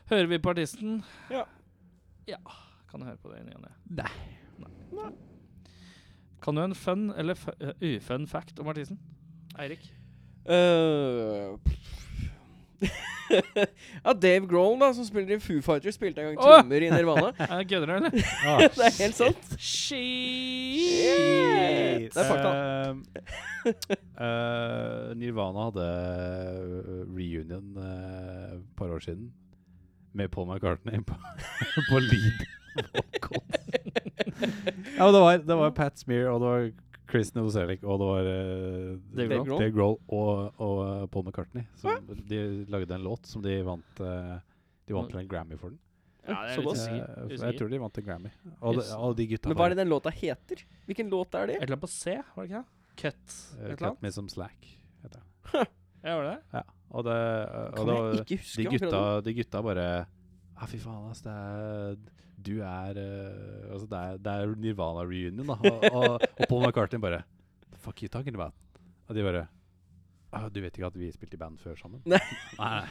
Speaker 2: Hører vi på artisten?
Speaker 4: Ja.
Speaker 2: Ja, Kan du høre på det i ny og ne? Nei. Kan du en fun eller fu- uh, ufun fact om artisten? Eirik?
Speaker 4: Øh, ja, Dave Grohl, da, som spiller i Foo Fighters, spilte en gang
Speaker 2: Åh!
Speaker 4: trommer i Nirvana.
Speaker 2: Eh, Kødder du, eller?
Speaker 3: Ah,
Speaker 4: det er helt sant.
Speaker 2: Shit!
Speaker 4: Det er fakta.
Speaker 3: Eh, eh, Nirvana hadde eh, reunion eh, et par år siden med Paul McCartney på, på lead vocal. ja, men det var, det var Pat Smear, og det var Chris Novoselic, og det var eh,
Speaker 2: Dave
Speaker 4: Grohl.
Speaker 3: Dave Grohl og, og eh, Paul McCartney. Som de lagde en låt som de vant eh, De vant vel en Grammy for den.
Speaker 2: Ja, det er litt
Speaker 4: Såpass.
Speaker 2: usikker.
Speaker 3: Eh,
Speaker 2: usikker.
Speaker 3: jeg tror de vant en Grammy. Og de,
Speaker 2: Yes.
Speaker 3: og de gutta
Speaker 4: Men hva er det den låta heter? Hvilken låt er
Speaker 2: Et
Speaker 4: det?
Speaker 2: eller annet på C, var det ikke Eh. det? Cut. Et
Speaker 3: Eh,
Speaker 2: eller
Speaker 3: Cut
Speaker 2: annet?
Speaker 3: Me Some Slack. Heter den.
Speaker 2: Ja, var det det?
Speaker 3: Ja, og det, eh, og
Speaker 4: Kan
Speaker 3: det
Speaker 4: jeg
Speaker 3: var,
Speaker 4: ikke huske
Speaker 3: de, gutta,
Speaker 4: akkurat
Speaker 3: de gutta bare Ja, fy faen, ass. Det er, du er eh, Altså, det er, det er Nirvana reunion, da. Og, og, og Paul McCartney bare The fuck you talking about? Og de bare «Ah, Du vet ikke at vi spilte i band før sammen?
Speaker 4: Nei.
Speaker 3: nei,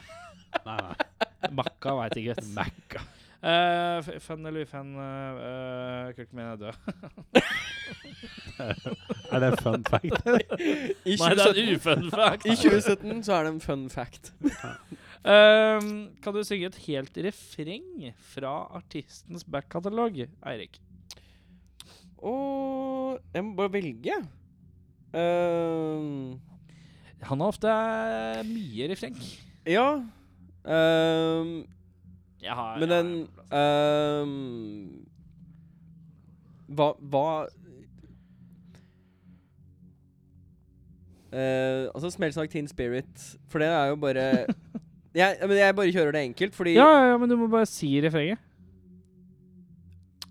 Speaker 3: nei, nei.
Speaker 2: Makka veit ikke, vet du.
Speaker 3: Macca.
Speaker 2: Eh, f- fun eller ufun uh, Kirken min er død.
Speaker 3: Er det fun fact?
Speaker 4: I
Speaker 2: Nei, det er
Speaker 4: 2017
Speaker 2: en ufun fact.
Speaker 4: I 2017 så er det en fun fact.
Speaker 2: Ehm, kan du synge et helt refreng fra artistens backkatalog, Eirik?
Speaker 4: Og jeg må bare velge. Ehm, Øhm,
Speaker 2: Han har ofte eh, mye refreng.
Speaker 4: ja Øhm,
Speaker 2: Jeg har, jeg
Speaker 4: Men
Speaker 2: har
Speaker 4: den
Speaker 2: på plass.
Speaker 4: ehm, Hva Hva Eh, Altså Smells Like Teen Spirit. For det er jo bare jeg, men jeg bare kjører det enkelt, fordi
Speaker 2: ja, ja, ja, men du må bare si refrenget.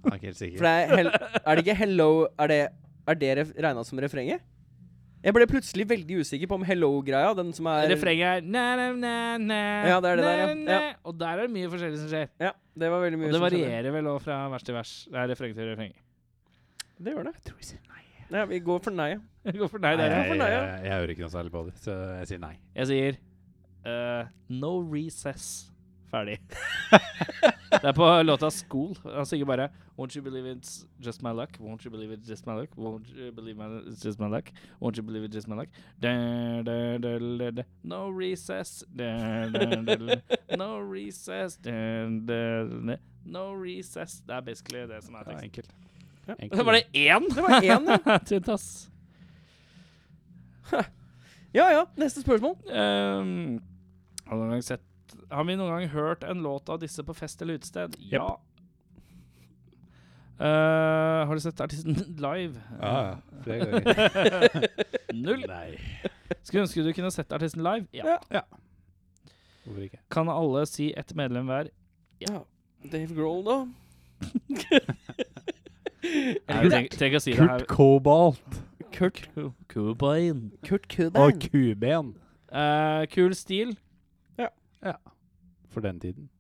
Speaker 3: Jeg er ikke helt
Speaker 4: For
Speaker 3: sikker.
Speaker 4: det er, hel, er det ikke Hello Er det, er det ref, regna som refrenget? Jeg ble plutselig veldig usikker på om Hello-greia, den som er
Speaker 2: Refrenget er na, na, na, na,
Speaker 4: Ja, det er det der, ja. Ja.
Speaker 2: Og der er det mye forskjellig som skjer.
Speaker 4: Ja, det var veldig mye
Speaker 2: Og det
Speaker 4: som skjedde.
Speaker 2: varierer vel òg fra vers til vers. Det er refreng til refreng.
Speaker 4: Det gjør det. Ja, vi går for nei.
Speaker 2: Hvorfor nei,
Speaker 3: jeg,
Speaker 2: dere?
Speaker 4: for
Speaker 3: jeg,
Speaker 4: nøye.
Speaker 3: jeg, hører ikke noe særlig på det, så jeg sier nei.
Speaker 2: Jeg sier eh, No recess. Ferdig. det er på låta School. Han synger bare Won't you believe it's just my luck? Won't you believe it's just my luck? Won't you believe my, it's just my luck? Won't you believe it's just my luck? Da, da, da, da, da. No recess. Da, da, da, da. No recess. Da, da, da. No recess. Det er basically det som er
Speaker 3: Det er
Speaker 2: teksten.
Speaker 3: enkelt.
Speaker 2: Så var det én!
Speaker 4: Det var én, ja.
Speaker 2: Tynt, ass.
Speaker 4: Ja ja, neste spørsmål.
Speaker 2: Ehm, har, du noen gang sett, har vi noen gang hørt en låt av disse på fest eller utested? Ja. Eh, har du sett artisten live?
Speaker 3: Ja, ja. Flere ganger.
Speaker 2: Null.
Speaker 3: Nei.
Speaker 2: Skulle ønske du kunne sett artisten live. Ja.
Speaker 4: Ja.
Speaker 3: Hvorfor ikke?
Speaker 2: Kan alle si ett medlem hver?
Speaker 4: Ja. Dave Grohl, da?
Speaker 2: Nei, Tenk tenk å si det her.
Speaker 3: Kurt Cobalt
Speaker 4: Kurt
Speaker 2: Kubain.
Speaker 4: Kurt
Speaker 3: og
Speaker 4: Cobain.
Speaker 3: Kuben
Speaker 2: Eh, kul stil.
Speaker 3: for den tiden.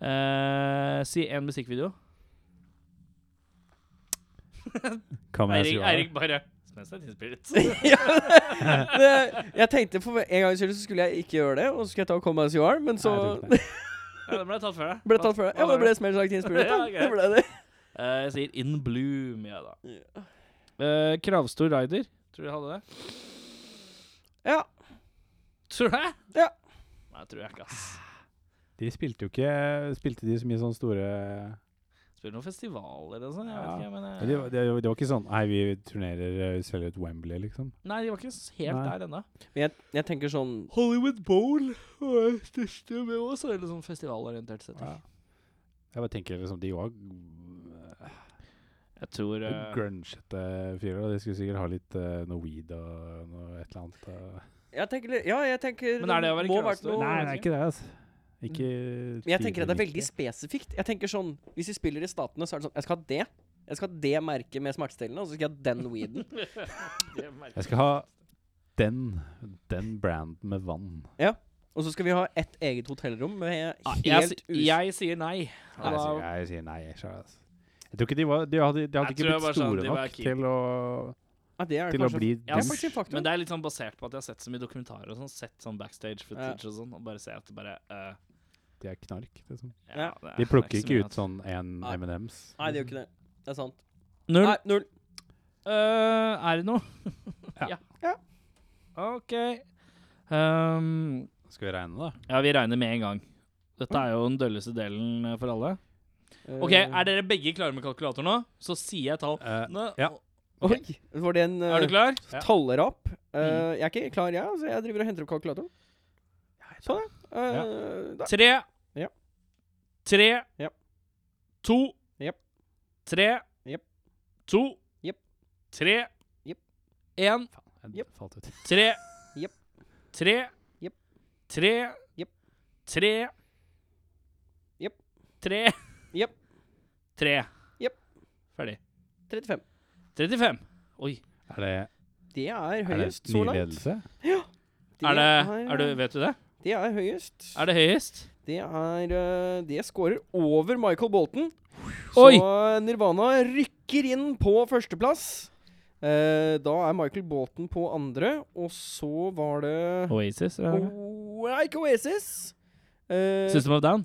Speaker 2: Eh, si én musikkvideo.
Speaker 3: Kan jeg si
Speaker 2: Eirik,
Speaker 3: hva?
Speaker 2: Eirik bare Mens det er innspilt.
Speaker 4: ja, det, jeg tenkte for en gangs skyld så skulle jeg ikke gjøre det, og så skulle jeg ta Come As You Are, men så
Speaker 3: Nei, jeg tok
Speaker 2: Ja, det ble tatt før deg.
Speaker 4: ble det tatt for det.
Speaker 2: Hva-
Speaker 4: Ja,
Speaker 2: hva
Speaker 4: det
Speaker 2: var
Speaker 4: ble Smells Like Teen Spirit, da.
Speaker 2: Ja, greit.
Speaker 4: Det ble det.
Speaker 2: Eh, jeg sier In Bloom, ja da. Eh, kravstor rider. Tror du jeg hadde det?
Speaker 4: Ja.
Speaker 2: Tror du det?
Speaker 4: Ja.
Speaker 2: Nei, tror jeg ikke, ass.
Speaker 3: De spilte jo ikke Spilte de så mye sånne store
Speaker 2: Spiller noen festivaler og sånn, jeg vet
Speaker 3: Ja.
Speaker 2: ikke, men eh,
Speaker 3: Men det, var- det, var- det var ikke sånn Nei, vi turnerer eh, selger ut Wembley, liksom.
Speaker 2: Nei, de var ikke s- helt
Speaker 3: Nei.
Speaker 2: der ennå.
Speaker 4: Men jeg, jeg tenker sånn
Speaker 2: Hollywood Bowl var største med oss, eller sånn festivalorientert sett.
Speaker 3: Ja. Jeg bare tenker liksom De var
Speaker 2: Jeg tror eh,
Speaker 3: grungete fyrer, og de skulle sikkert ha litt eh, noe weed og noe et eller annet. eh.
Speaker 4: jeg tenker, litt- Ja, jeg tenker
Speaker 2: Men er det å være
Speaker 4: må vært
Speaker 2: kravstor?
Speaker 4: noe-
Speaker 3: Nei, det er ikke det, altså. Ikke
Speaker 4: Men jeg tenker at det er veldig
Speaker 3: tidlig
Speaker 4: spesifikt. Jeg tenker sånn Hvis vi spiller i Statene, så er det sånn Jeg skal ha det. Jeg skal ha det merket med smertestillende, og så skal jeg ha den weeden.
Speaker 2: det
Speaker 3: nitti.
Speaker 2: merker
Speaker 3: Jeg skal ha den, den branden med vann.
Speaker 4: Og så skal vi ha ett eget hotellrom med
Speaker 2: Ah, jeg,
Speaker 4: helt
Speaker 2: si-
Speaker 4: us...
Speaker 2: jeg sier nei.
Speaker 3: Nei, jeg, sier,
Speaker 2: Da-
Speaker 3: jeg sier nei. Jeg, skjønner det, altså. jeg tror ikke de var De hadde, de hadde
Speaker 2: Jeg
Speaker 3: ikke
Speaker 2: tror jeg
Speaker 3: blitt
Speaker 2: bare sånn,
Speaker 3: store
Speaker 2: de var
Speaker 3: nok
Speaker 2: keen.
Speaker 3: til å,
Speaker 4: Ja, det er
Speaker 3: til å
Speaker 4: kanskje-
Speaker 3: bli
Speaker 4: Ja, det
Speaker 3: den
Speaker 4: er faktisk en faktor.
Speaker 2: Men det er litt sånn basert på at jeg har sett så mye dokumentarer og sånn. Sett sånn backstage footage
Speaker 4: Ja.
Speaker 2: og sånn, og bare ser at det bare eh,
Speaker 3: De er knark, liksom.
Speaker 4: Ja.
Speaker 2: det er-
Speaker 3: De plukker
Speaker 2: det er så
Speaker 3: ikke
Speaker 2: mye
Speaker 3: ut sånn en
Speaker 4: Nei.
Speaker 3: M&M's.
Speaker 4: Nei, det gjør ikke det. Det er sant.
Speaker 2: annet. Null.
Speaker 4: Nei, null.
Speaker 2: Eh, er det noe?
Speaker 3: Ja.
Speaker 4: Ja.
Speaker 2: OK. Ehm,
Speaker 3: Skal vi regne, da?
Speaker 2: ja, vi regner med en gang. Dette er jo den dølleste delen eh, for alle. OK,
Speaker 4: Eh,
Speaker 2: er dere begge klare med kalkulator nå? Så sier jeg tall. Nå-
Speaker 3: ja.
Speaker 4: Eh, Oi! Var det en eh,
Speaker 2: Er du klar?
Speaker 3: Ja.
Speaker 4: tollerapp?
Speaker 2: Mm.
Speaker 4: Eh, jeg er ikke klar, jeg. Altså, jeg driver og henter opp kalkulatoren. Sånn, ja. Eh, da.
Speaker 2: Tre.
Speaker 4: Ja.
Speaker 2: Tre.
Speaker 4: Ja.
Speaker 2: To.
Speaker 4: Jep.
Speaker 2: Tre.
Speaker 4: Jep.
Speaker 2: To.
Speaker 4: Jep.
Speaker 2: Tre.
Speaker 4: Jep.
Speaker 2: En.
Speaker 3: Jeg
Speaker 4: Jep.
Speaker 3: falt ut.
Speaker 2: Tre.
Speaker 4: Jep.
Speaker 2: Tre.
Speaker 4: Jep.
Speaker 2: Tre.
Speaker 4: Jep.
Speaker 2: Tre.
Speaker 4: Jep.
Speaker 2: Tre.
Speaker 4: Jep.
Speaker 2: Tre.
Speaker 4: Jep.
Speaker 2: Ferdig.
Speaker 4: 35.
Speaker 2: 35. Oi.
Speaker 3: Er det,
Speaker 4: Det er
Speaker 3: er det
Speaker 4: høyest
Speaker 3: ny
Speaker 4: så langt.
Speaker 3: ledelse?
Speaker 2: Er det, er du, vet du det?
Speaker 4: Det er høyest.
Speaker 2: Er det høyest?
Speaker 4: Det er eh, Det scorer over Michael Bolton.
Speaker 2: Oi!
Speaker 4: Så Nirvana rykker inn på førsteplass. Eh, da er Michael Bolton på andre, og så var det
Speaker 2: Oasis? er det det?
Speaker 4: oh, nei, Ikke Oasis. Eh,
Speaker 2: System of Down?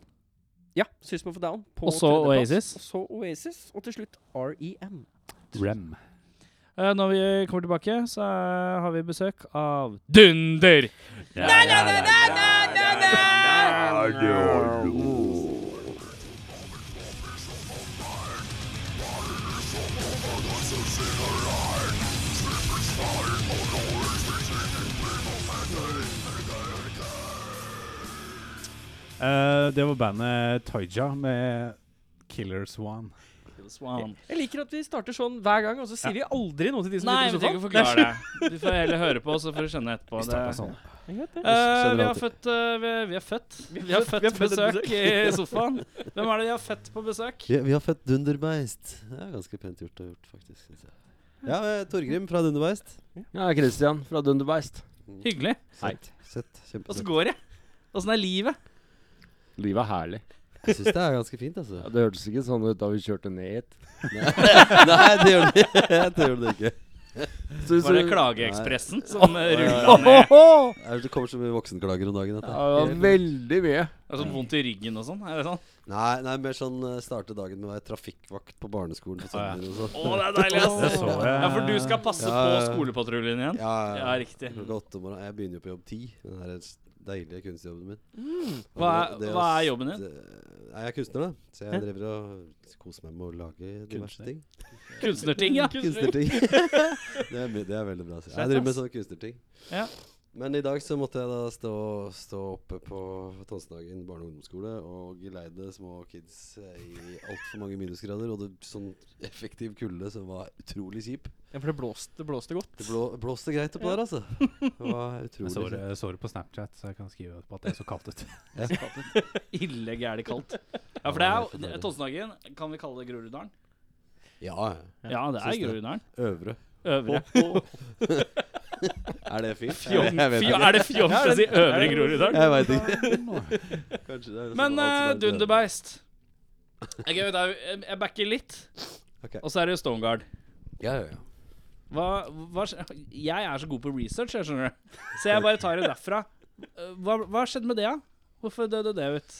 Speaker 4: ja, System of a Down. På
Speaker 2: Og så
Speaker 4: tredjeplass.
Speaker 2: Oasis.
Speaker 4: Og så Oasis. Og til slutt E REM.
Speaker 3: Rem.
Speaker 2: Eh, når vi kommer tilbake, så eh, har vi besøk av Dunder!
Speaker 3: Eh, det var bandet Taija med Killer Swan.
Speaker 2: Swan.
Speaker 4: Jeg liker at vi starter sånn hver gang, og så sier vi aldri noe til de som
Speaker 2: Nei, vi trenger
Speaker 4: sitter i
Speaker 2: ikke å
Speaker 4: sofaen.
Speaker 2: forklare det. Du får heller høre på, så får du skjønne etterpå. Det-
Speaker 4: Jeg vet det.
Speaker 2: Eh, vi, har
Speaker 3: Generelt.
Speaker 2: født, eh, vi, vi har født Vi har
Speaker 4: har
Speaker 2: født
Speaker 4: født- vi har født et
Speaker 2: besøk
Speaker 4: besøk.
Speaker 2: i sofaen. Hvem er det vi har født på besøk?
Speaker 5: Vi, vi har født dunderbeist. Det er ganske pent gjort og gjort, faktisk. Synes jeg. Ja, eh, Torgrim fra Dunderbeist.
Speaker 6: Ja, Christian fra Dunderbeist.
Speaker 2: Hyggelig.
Speaker 6: Sett.
Speaker 5: Sett.
Speaker 2: Åssen
Speaker 5: Kjempefint.
Speaker 2: går det? Åssen er livet?
Speaker 6: Livet er herlig.
Speaker 5: Jeg syns det er ganske fint, altså.
Speaker 6: Ja, det hørtes ikke sånn ut da vi kjørte ned hit.
Speaker 5: Nei, det gjør det, det, gjør det ikke.
Speaker 6: Så-
Speaker 2: Var det
Speaker 6: så-
Speaker 2: Klageekspressen som eh, rulla ned?
Speaker 6: Ohoho!
Speaker 5: Er det det kommer så mye voksenklager om dagen?
Speaker 6: Ja,
Speaker 5: Dette?
Speaker 6: det var veldig mye.
Speaker 2: Det er sånn vondt i ryggen og sånn? Er det sånn?
Speaker 5: Nei, nei, mer sånn eh, starte dagen med å være trafikkvakt på barneskolen. På
Speaker 3: Ah, ja.
Speaker 5: søndager og sånn.
Speaker 2: Å, det er deilig, ass!
Speaker 3: Det så jeg.
Speaker 2: Ja, for du skal passe
Speaker 5: Ja,
Speaker 2: på
Speaker 5: ja.
Speaker 2: skolepatruljen igjen?
Speaker 5: Ja,
Speaker 2: Ja, riktig.
Speaker 5: Klokka åtte om morgenen. Jeg begynner jo på jobb ti. Den her s- deilige kunstjobben min. Og
Speaker 2: Mm. Hva er-
Speaker 5: det å
Speaker 2: hva er
Speaker 5: s-
Speaker 2: jobben din?
Speaker 5: det- Nei, jeg er kunstner, da. Så jeg driver og koser meg med å lage diverse
Speaker 3: Kunstner.
Speaker 5: ting.
Speaker 2: Kunstnerting, ja.
Speaker 5: Kunstnerting. det, er, my- det er veldig bra. Så. Jeg
Speaker 2: Fett,
Speaker 5: driver med
Speaker 2: ass.
Speaker 5: sånne kunstnerting.
Speaker 2: Ja.
Speaker 5: Men i dag så måtte jeg da stå, stå oppe på Tonsenhagen barne- og ungdomsskole og geleide små kids eh, i altfor mange minusgrader. Og det sånn effektiv kulde som var utrolig kjip.
Speaker 4: Ja, for det blåste, det blåste godt.
Speaker 5: Det blå, blåste greit oppå der, altså. Det var
Speaker 3: Jeg
Speaker 5: utrolig
Speaker 3: så
Speaker 5: kjipt.
Speaker 3: det, så det på Snapchat, så jeg kan skrive på at det er så kaldt ut.
Speaker 2: Ille gærent kaldt. Ja, for det er jo Tonsenhagen. Kan vi kalle det Groruddalen?
Speaker 5: Ja,
Speaker 2: Ja, det er
Speaker 5: Syns det.
Speaker 2: Groruddalen.
Speaker 5: øvre.
Speaker 2: Øvre.
Speaker 5: Er det fint?
Speaker 2: Fjong,
Speaker 5: Jeg vet
Speaker 2: fjo,
Speaker 5: ikke.
Speaker 2: er det fjomt å si Øvre Groruddalen?
Speaker 5: Jeg veit ikke. Kanskje det er
Speaker 2: Men eh,
Speaker 5: sånn alt som er et øvre.
Speaker 2: Dunderbeist Jeg, jeg, jeg backer litt,
Speaker 5: Ok.
Speaker 2: og så er det Stoneguard.
Speaker 5: Ja, ja, ja.
Speaker 2: Hva, hva, skj- jeg er så god på research, jeg skjønner du. Så jeg bare tar det derfra. Eh, Hva, hva skjedde med det, da? Hvorfor døde det ut?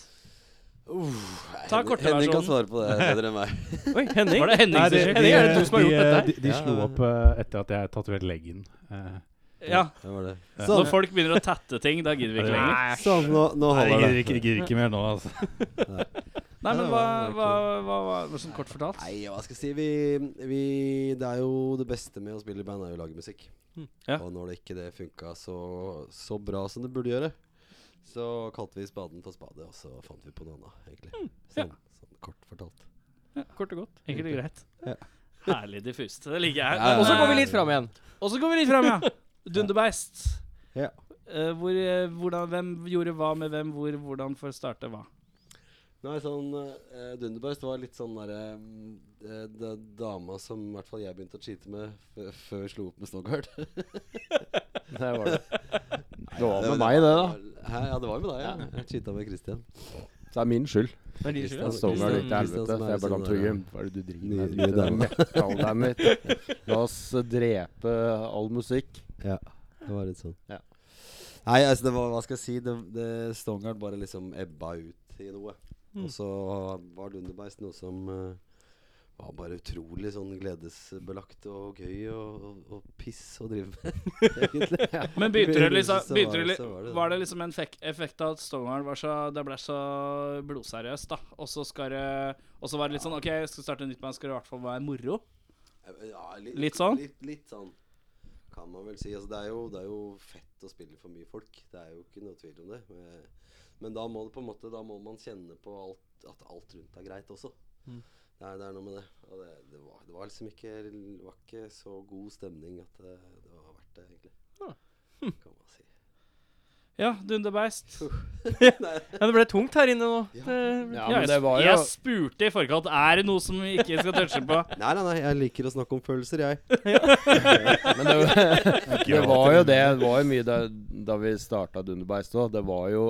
Speaker 5: Uff,
Speaker 2: Ta
Speaker 5: Henning-
Speaker 2: korte
Speaker 5: Henning kan
Speaker 2: versjonen.
Speaker 5: svare på det bedre enn meg.
Speaker 4: Oi, Henning.
Speaker 2: Var det Henning
Speaker 3: de,
Speaker 2: sin skyld?
Speaker 4: Henning, er det du som har gjort dette her?
Speaker 3: de, de, de
Speaker 5: Ja,
Speaker 3: slo
Speaker 5: ja.
Speaker 3: opp eh, etter at jeg tatoverte leggen. Eh,
Speaker 2: Ja.
Speaker 5: Det var det.
Speaker 2: Når folk begynner å tatte ting, da gidder vi ikke lenger.
Speaker 5: Sånn, nå, nå
Speaker 3: Nei, jeg
Speaker 5: holder
Speaker 3: gidder
Speaker 5: det.
Speaker 3: ikke, jeg gidder ikke mer nå, altså.
Speaker 2: Nei, men
Speaker 5: Ja,
Speaker 2: hva,
Speaker 5: det
Speaker 2: hva,
Speaker 5: var
Speaker 2: hva, hva, hva sånn kort fortalt?
Speaker 5: Nei, hva skal jeg si? Vi, vi, det er jo det beste med å spille i band, er jo å lage musikk.
Speaker 2: Ja.
Speaker 5: Og når det ikke det funka så, så bra som det burde gjøre, så kalte vi spaden for spade, og så fant vi på noe annet, egentlig.
Speaker 2: ja.
Speaker 5: Sånn, sånn kort fortalt.
Speaker 4: Kort og godt.
Speaker 2: Enkelt og greit.
Speaker 5: Ja.
Speaker 2: Herlig diffust. Det liker jeg.
Speaker 5: Ja, ja, ja.
Speaker 4: Og så går vi litt fram igjen.
Speaker 2: Og så går vi litt fram, ja. Dunderbeist.
Speaker 5: Ja.
Speaker 2: Eh, hvor, eh, hvordan, hvem gjorde hva med hvem, hvor, hvordan for å starte hva?
Speaker 5: Nei, sånn eh, Dunderbeist var litt sånn derre mm, eh, det er Dama som i hvert fall jeg begynte å cheate med f før vi slo opp med Snoggard.
Speaker 6: Det var det. Det var med meg, det, da.
Speaker 5: Hæ, ja, det var jo med deg. Ja. Jeg cheata med Christian.
Speaker 6: Så det er min skyld.
Speaker 4: Men de
Speaker 5: Kristian
Speaker 6: Den
Speaker 4: skylder.
Speaker 6: Stoneguard gikk til
Speaker 5: Kristian
Speaker 6: helvete.
Speaker 5: som er
Speaker 6: Så jeg bare
Speaker 5: sånn
Speaker 6: sånn
Speaker 5: der,
Speaker 6: Torgrim, hva er det du driver med?
Speaker 5: Nye- nye
Speaker 6: Det er
Speaker 5: dame.
Speaker 6: metal, damn it. La oss drepe all musikk.
Speaker 5: Ja, det var litt sånn.
Speaker 6: Ja.
Speaker 5: Nei, altså, det var, hva skal jeg si? Det, det Stongard bare liksom ebba ut i noe. Og så var Dunderbeist noe som eh, var bare utrolig sånn gledesbelagt og gøy og, og, og piss å drive med, egentlig.
Speaker 2: Men begynte det
Speaker 5: Begynte
Speaker 2: liksom
Speaker 5: så
Speaker 2: begynte
Speaker 5: var-
Speaker 2: det,
Speaker 5: så var
Speaker 2: li-
Speaker 5: det det.
Speaker 2: Var det liksom en fek effekt av at Stonehard var så Det ble så blodseriøst, da. Og så skal det Og så var det litt sånn OK, jeg skal starte nytt band, skal det i hvert fall være moro?
Speaker 5: Ja,
Speaker 2: Litt sånn?
Speaker 5: Litt, litt sånn, kan man vel si. Altså, det, er jo, det er jo fett å spille for mye folk. Det er jo ikke noe tvil om det. Men- Men da må, det på en måte, da må man kjenne på alt, at alt rundt er greit også.
Speaker 2: Mm.
Speaker 5: Det, er, det er noe med det. Og det, det, var, det var liksom ikke, det var ikke så god stemning at det, det var verdt det, egentlig.
Speaker 2: Ah.
Speaker 5: Kan man si.
Speaker 2: Ja, Dunderbeist.
Speaker 4: Ja, det ble tungt her inne nå.
Speaker 6: Ja,
Speaker 2: Ja,
Speaker 6: men det
Speaker 2: jeg,
Speaker 6: var jo
Speaker 2: jeg spurte i forkant Er det noe som vi ikke skal touche på.
Speaker 5: Nei, nei, nei, jeg liker å snakke om følelser, jeg.
Speaker 6: Men det, det var jo det. Det var jo mye da, da vi starta Dunderbeist òg. Det var jo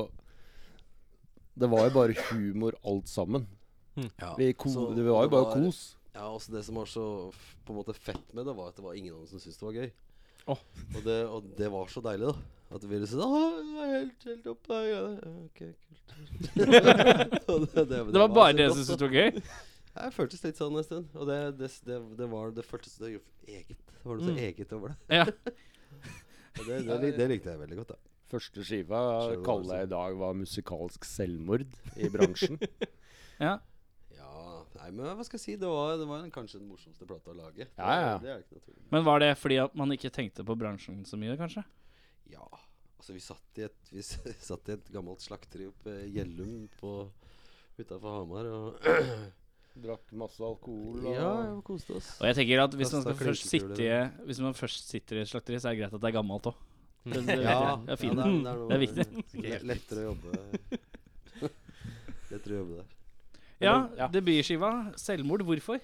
Speaker 6: Det var jo bare humor alt sammen. Vi, ko,
Speaker 5: Så
Speaker 6: det var jo bare
Speaker 5: var-
Speaker 6: kos.
Speaker 5: Ja, også det som var så f- på en måte fett med det, var at det var ingen av dem som syntes det var gøy.
Speaker 4: Åh.
Speaker 5: Og, det, og det var så deilig, da. At vi ville si Åh, det var helt, helt opp der. Ja, ok, kult. Og det,
Speaker 2: Det var bare
Speaker 5: så
Speaker 2: det jeg
Speaker 5: godt,
Speaker 2: syntes
Speaker 5: da.
Speaker 2: det var gøy.
Speaker 5: Jeg føltes litt sånn en stund. Og det, det, s- det, det, var, det føltes så eget. Det var noe så eget over det.
Speaker 2: Mm. Ja.
Speaker 5: Og det, det, lik- det likte jeg veldig godt, da.
Speaker 6: Første skiva
Speaker 5: Skjønner
Speaker 6: kaller jeg i dag var musikalsk selvmord i bransjen.
Speaker 2: Ja.
Speaker 5: Ja, nei, men hva skal jeg si? Det var, det var en, kanskje den morsomste plata å lage. Det,
Speaker 6: Ja, ja.
Speaker 5: det er det ikke noe tvil om.
Speaker 2: Men var det fordi at man ikke tenkte på bransjen så mye, kanskje?
Speaker 5: Ja. Altså, vi satt i et, vi s- satt i et gammelt slakteri oppe i Gjellum på utafor Hamar og
Speaker 6: Drakk masse alkohol og
Speaker 5: Ja, ja, vi koste oss.
Speaker 2: Og jeg tenker at hvis man,
Speaker 5: Kasta
Speaker 2: skal først
Speaker 5: klinkekuler.
Speaker 2: sitte, i- hvis man først sitter i et slakteri, så er det greit at det er gammelt òg. Det, det,
Speaker 5: Ja,
Speaker 2: det er
Speaker 5: ja,
Speaker 2: fint.
Speaker 5: det, er, det, er noe,
Speaker 2: Det er viktig.
Speaker 5: le- Lettere å jobbe Lettere å jobbe der.
Speaker 2: Ja,
Speaker 6: Ja.
Speaker 2: debutskiva 'Selvmord'. Hvorfor?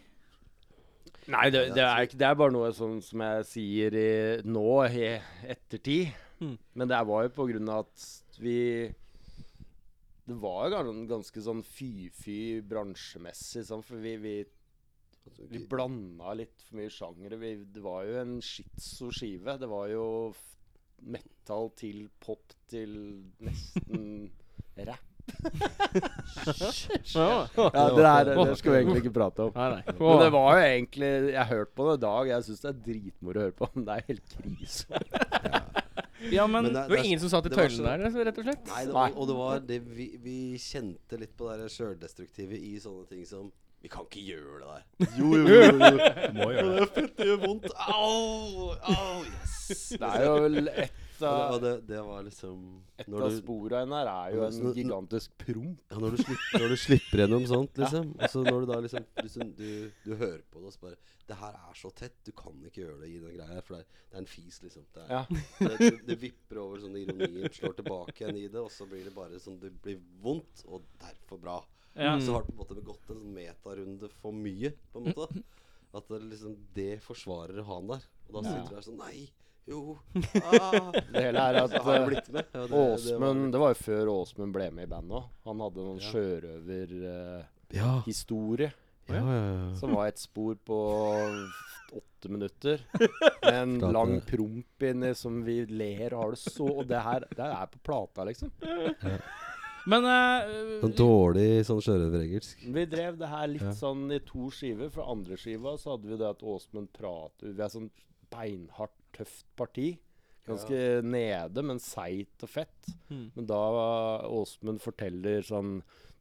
Speaker 6: Nei, det, det, er, ikke, det er bare noe sånn som jeg sier i, nå, i ettertid.
Speaker 4: Mm.
Speaker 6: Men det var jo på grunn av at vi Det var jo ganske, ganske sånn fy-fy bransjemessig, sånn, for vi, vi,
Speaker 5: Altså,
Speaker 6: vi blanda litt for mye sjangere. Vi, det var jo en schizo skive. Det var jo f- metal til pop til nesten rap. Ja, det, der, det skal vi egentlig ikke prate om. Men det var jo egentlig Jeg hørte på det i dag. Jeg syns det er dritmoro å høre på, men det er helt krise.
Speaker 2: Ja, men, det,
Speaker 5: Men det-
Speaker 4: Det var ingen som satt i
Speaker 5: det var
Speaker 4: tøylene der, altså, rett og slett?
Speaker 5: Nei, det var, og det var det vi, vi kjente litt på det der sjøldestruktive i sånne ting som Vi kan ikke gjøre det der. Jo, jo, jo.
Speaker 3: Må gjøre det.
Speaker 5: Det er fett, det gjør vondt. Au! Au! Yes!
Speaker 6: Det er jo vel et
Speaker 5: Og
Speaker 6: av
Speaker 5: det, og det, det var liksom
Speaker 6: et
Speaker 5: når
Speaker 6: av
Speaker 5: du,
Speaker 6: spora henne her er jo
Speaker 5: når-
Speaker 6: en
Speaker 5: når-
Speaker 6: gigantisk promp.
Speaker 5: ja, når, du slipper, når du slipper gjennom sånt, liksom. Og så når du da liksom liksom, du, du hører på det og så bare Det her er så tett. Du kan ikke gjøre det i den greia her, for det er, det er en fis, liksom. Det, er,
Speaker 6: Ja.
Speaker 5: det, det, det vipper over sånn ironien, slår tilbake igjen i det, og så blir det bare sånn Det blir vondt, og derfor bra.
Speaker 2: ja.
Speaker 5: Så har det på en måte gått en sånn metarunde for mye, på en måte. At det liksom Det forsvarer han der. Og da sitter du der sånn Nei! Jo! Ah,
Speaker 6: Det hele er at
Speaker 5: så har jeg
Speaker 6: eh,
Speaker 5: blitt med. Ja, det- det var-
Speaker 6: Åsmund Det var jo før Åsmund ble med i bandet òg. Han hadde noen
Speaker 5: Ja.
Speaker 6: sjørøverhistorie
Speaker 5: Ja. ja, ja, ja.
Speaker 6: som var et spor på åtte minutter. Med en
Speaker 5: Plate.
Speaker 6: lang promp inni som vi ler og har det så Og det her det er på plata, liksom.
Speaker 2: men eh,
Speaker 5: Sånn dårlig sånn sjørøverengelsk.
Speaker 6: Vi drev det her litt sånn i to skiver. For andre skiva så hadde vi det at Åsmund prater Vi er sånn beinhardt, tøft parti. Ganske nede, men seigt og fett.
Speaker 4: Mm.
Speaker 6: Men da Åsmund forteller sånn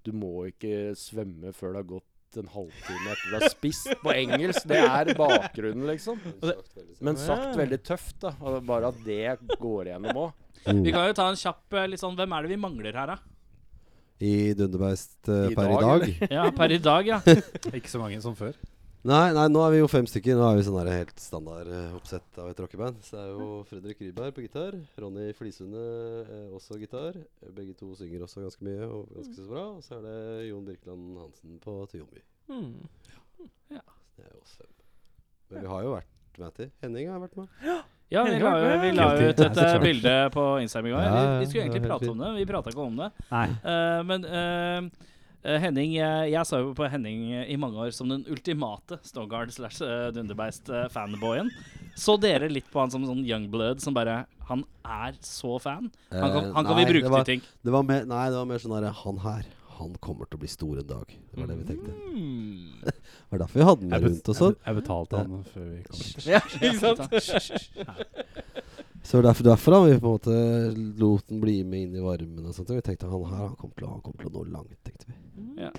Speaker 6: Du må ikke svømme før det har gått en halvtime etter du har spist, på engelsk. Det er bakgrunnen, liksom. Men sagt veldig tøft, da. Og Bare at det går igjennom òg.
Speaker 2: Mm. vi kan jo ta en kjapp eh, litt sånn Hvem er det vi mangler her, da?
Speaker 5: I Dunderbeist eh,
Speaker 6: I
Speaker 5: per i
Speaker 6: dag,
Speaker 5: dag?
Speaker 6: eller?
Speaker 2: Ja, per i dag, ja.
Speaker 3: Ikke så mange som før.
Speaker 5: Nei, nei, nå er vi jo fem stykker. Nå er vi sånn der helt standard eh, oppsett av et rockeband. Så det er jo Fredrik Ryberg på gitar. Ronny Flisunde eh, også gitar. Eh, Begge to synger også ganske mye og ganske så bra. Og så er det Jon Birkeland Hansen på Tyomi.
Speaker 4: Mm.
Speaker 5: Det er jo oss fem. Men vi har jo vært med til. Henning har vært med.
Speaker 2: Ja, vi la, jo, vi la jo ut dette bildet på Instagram i går. Vi, vi skulle egentlig prate om det, men vi prata ikke om det.
Speaker 3: Nei.
Speaker 2: Eh, men eh, eh, Henning eh, Jeg sa jo på Henning eh, i mange år som den ultimate Stogard slash eh, Dunderbeist-fanboyen. så dere litt på han som sånn youngblood som bare Han er så fan. Han kan,
Speaker 5: Eh,
Speaker 2: han kan
Speaker 5: nei,
Speaker 2: vi bruke
Speaker 5: det var-
Speaker 2: til ting.
Speaker 5: Det var mer, nei, det var mer sånn derre Han her, han kommer til å bli stor en dag. Det var det vi tenkte. Det var derfor vi hadde den med rundt og sånn.
Speaker 3: Mm. jeg betalte han før vi kom.
Speaker 4: Ikke sant?
Speaker 5: Så det var derfor, derfor da, vi på en måte lot den bli med inn i varmen og sånt. Og vi tenkte han her, han kommer til, å- han kommer til å nå langt, tenkte vi.
Speaker 2: Ja.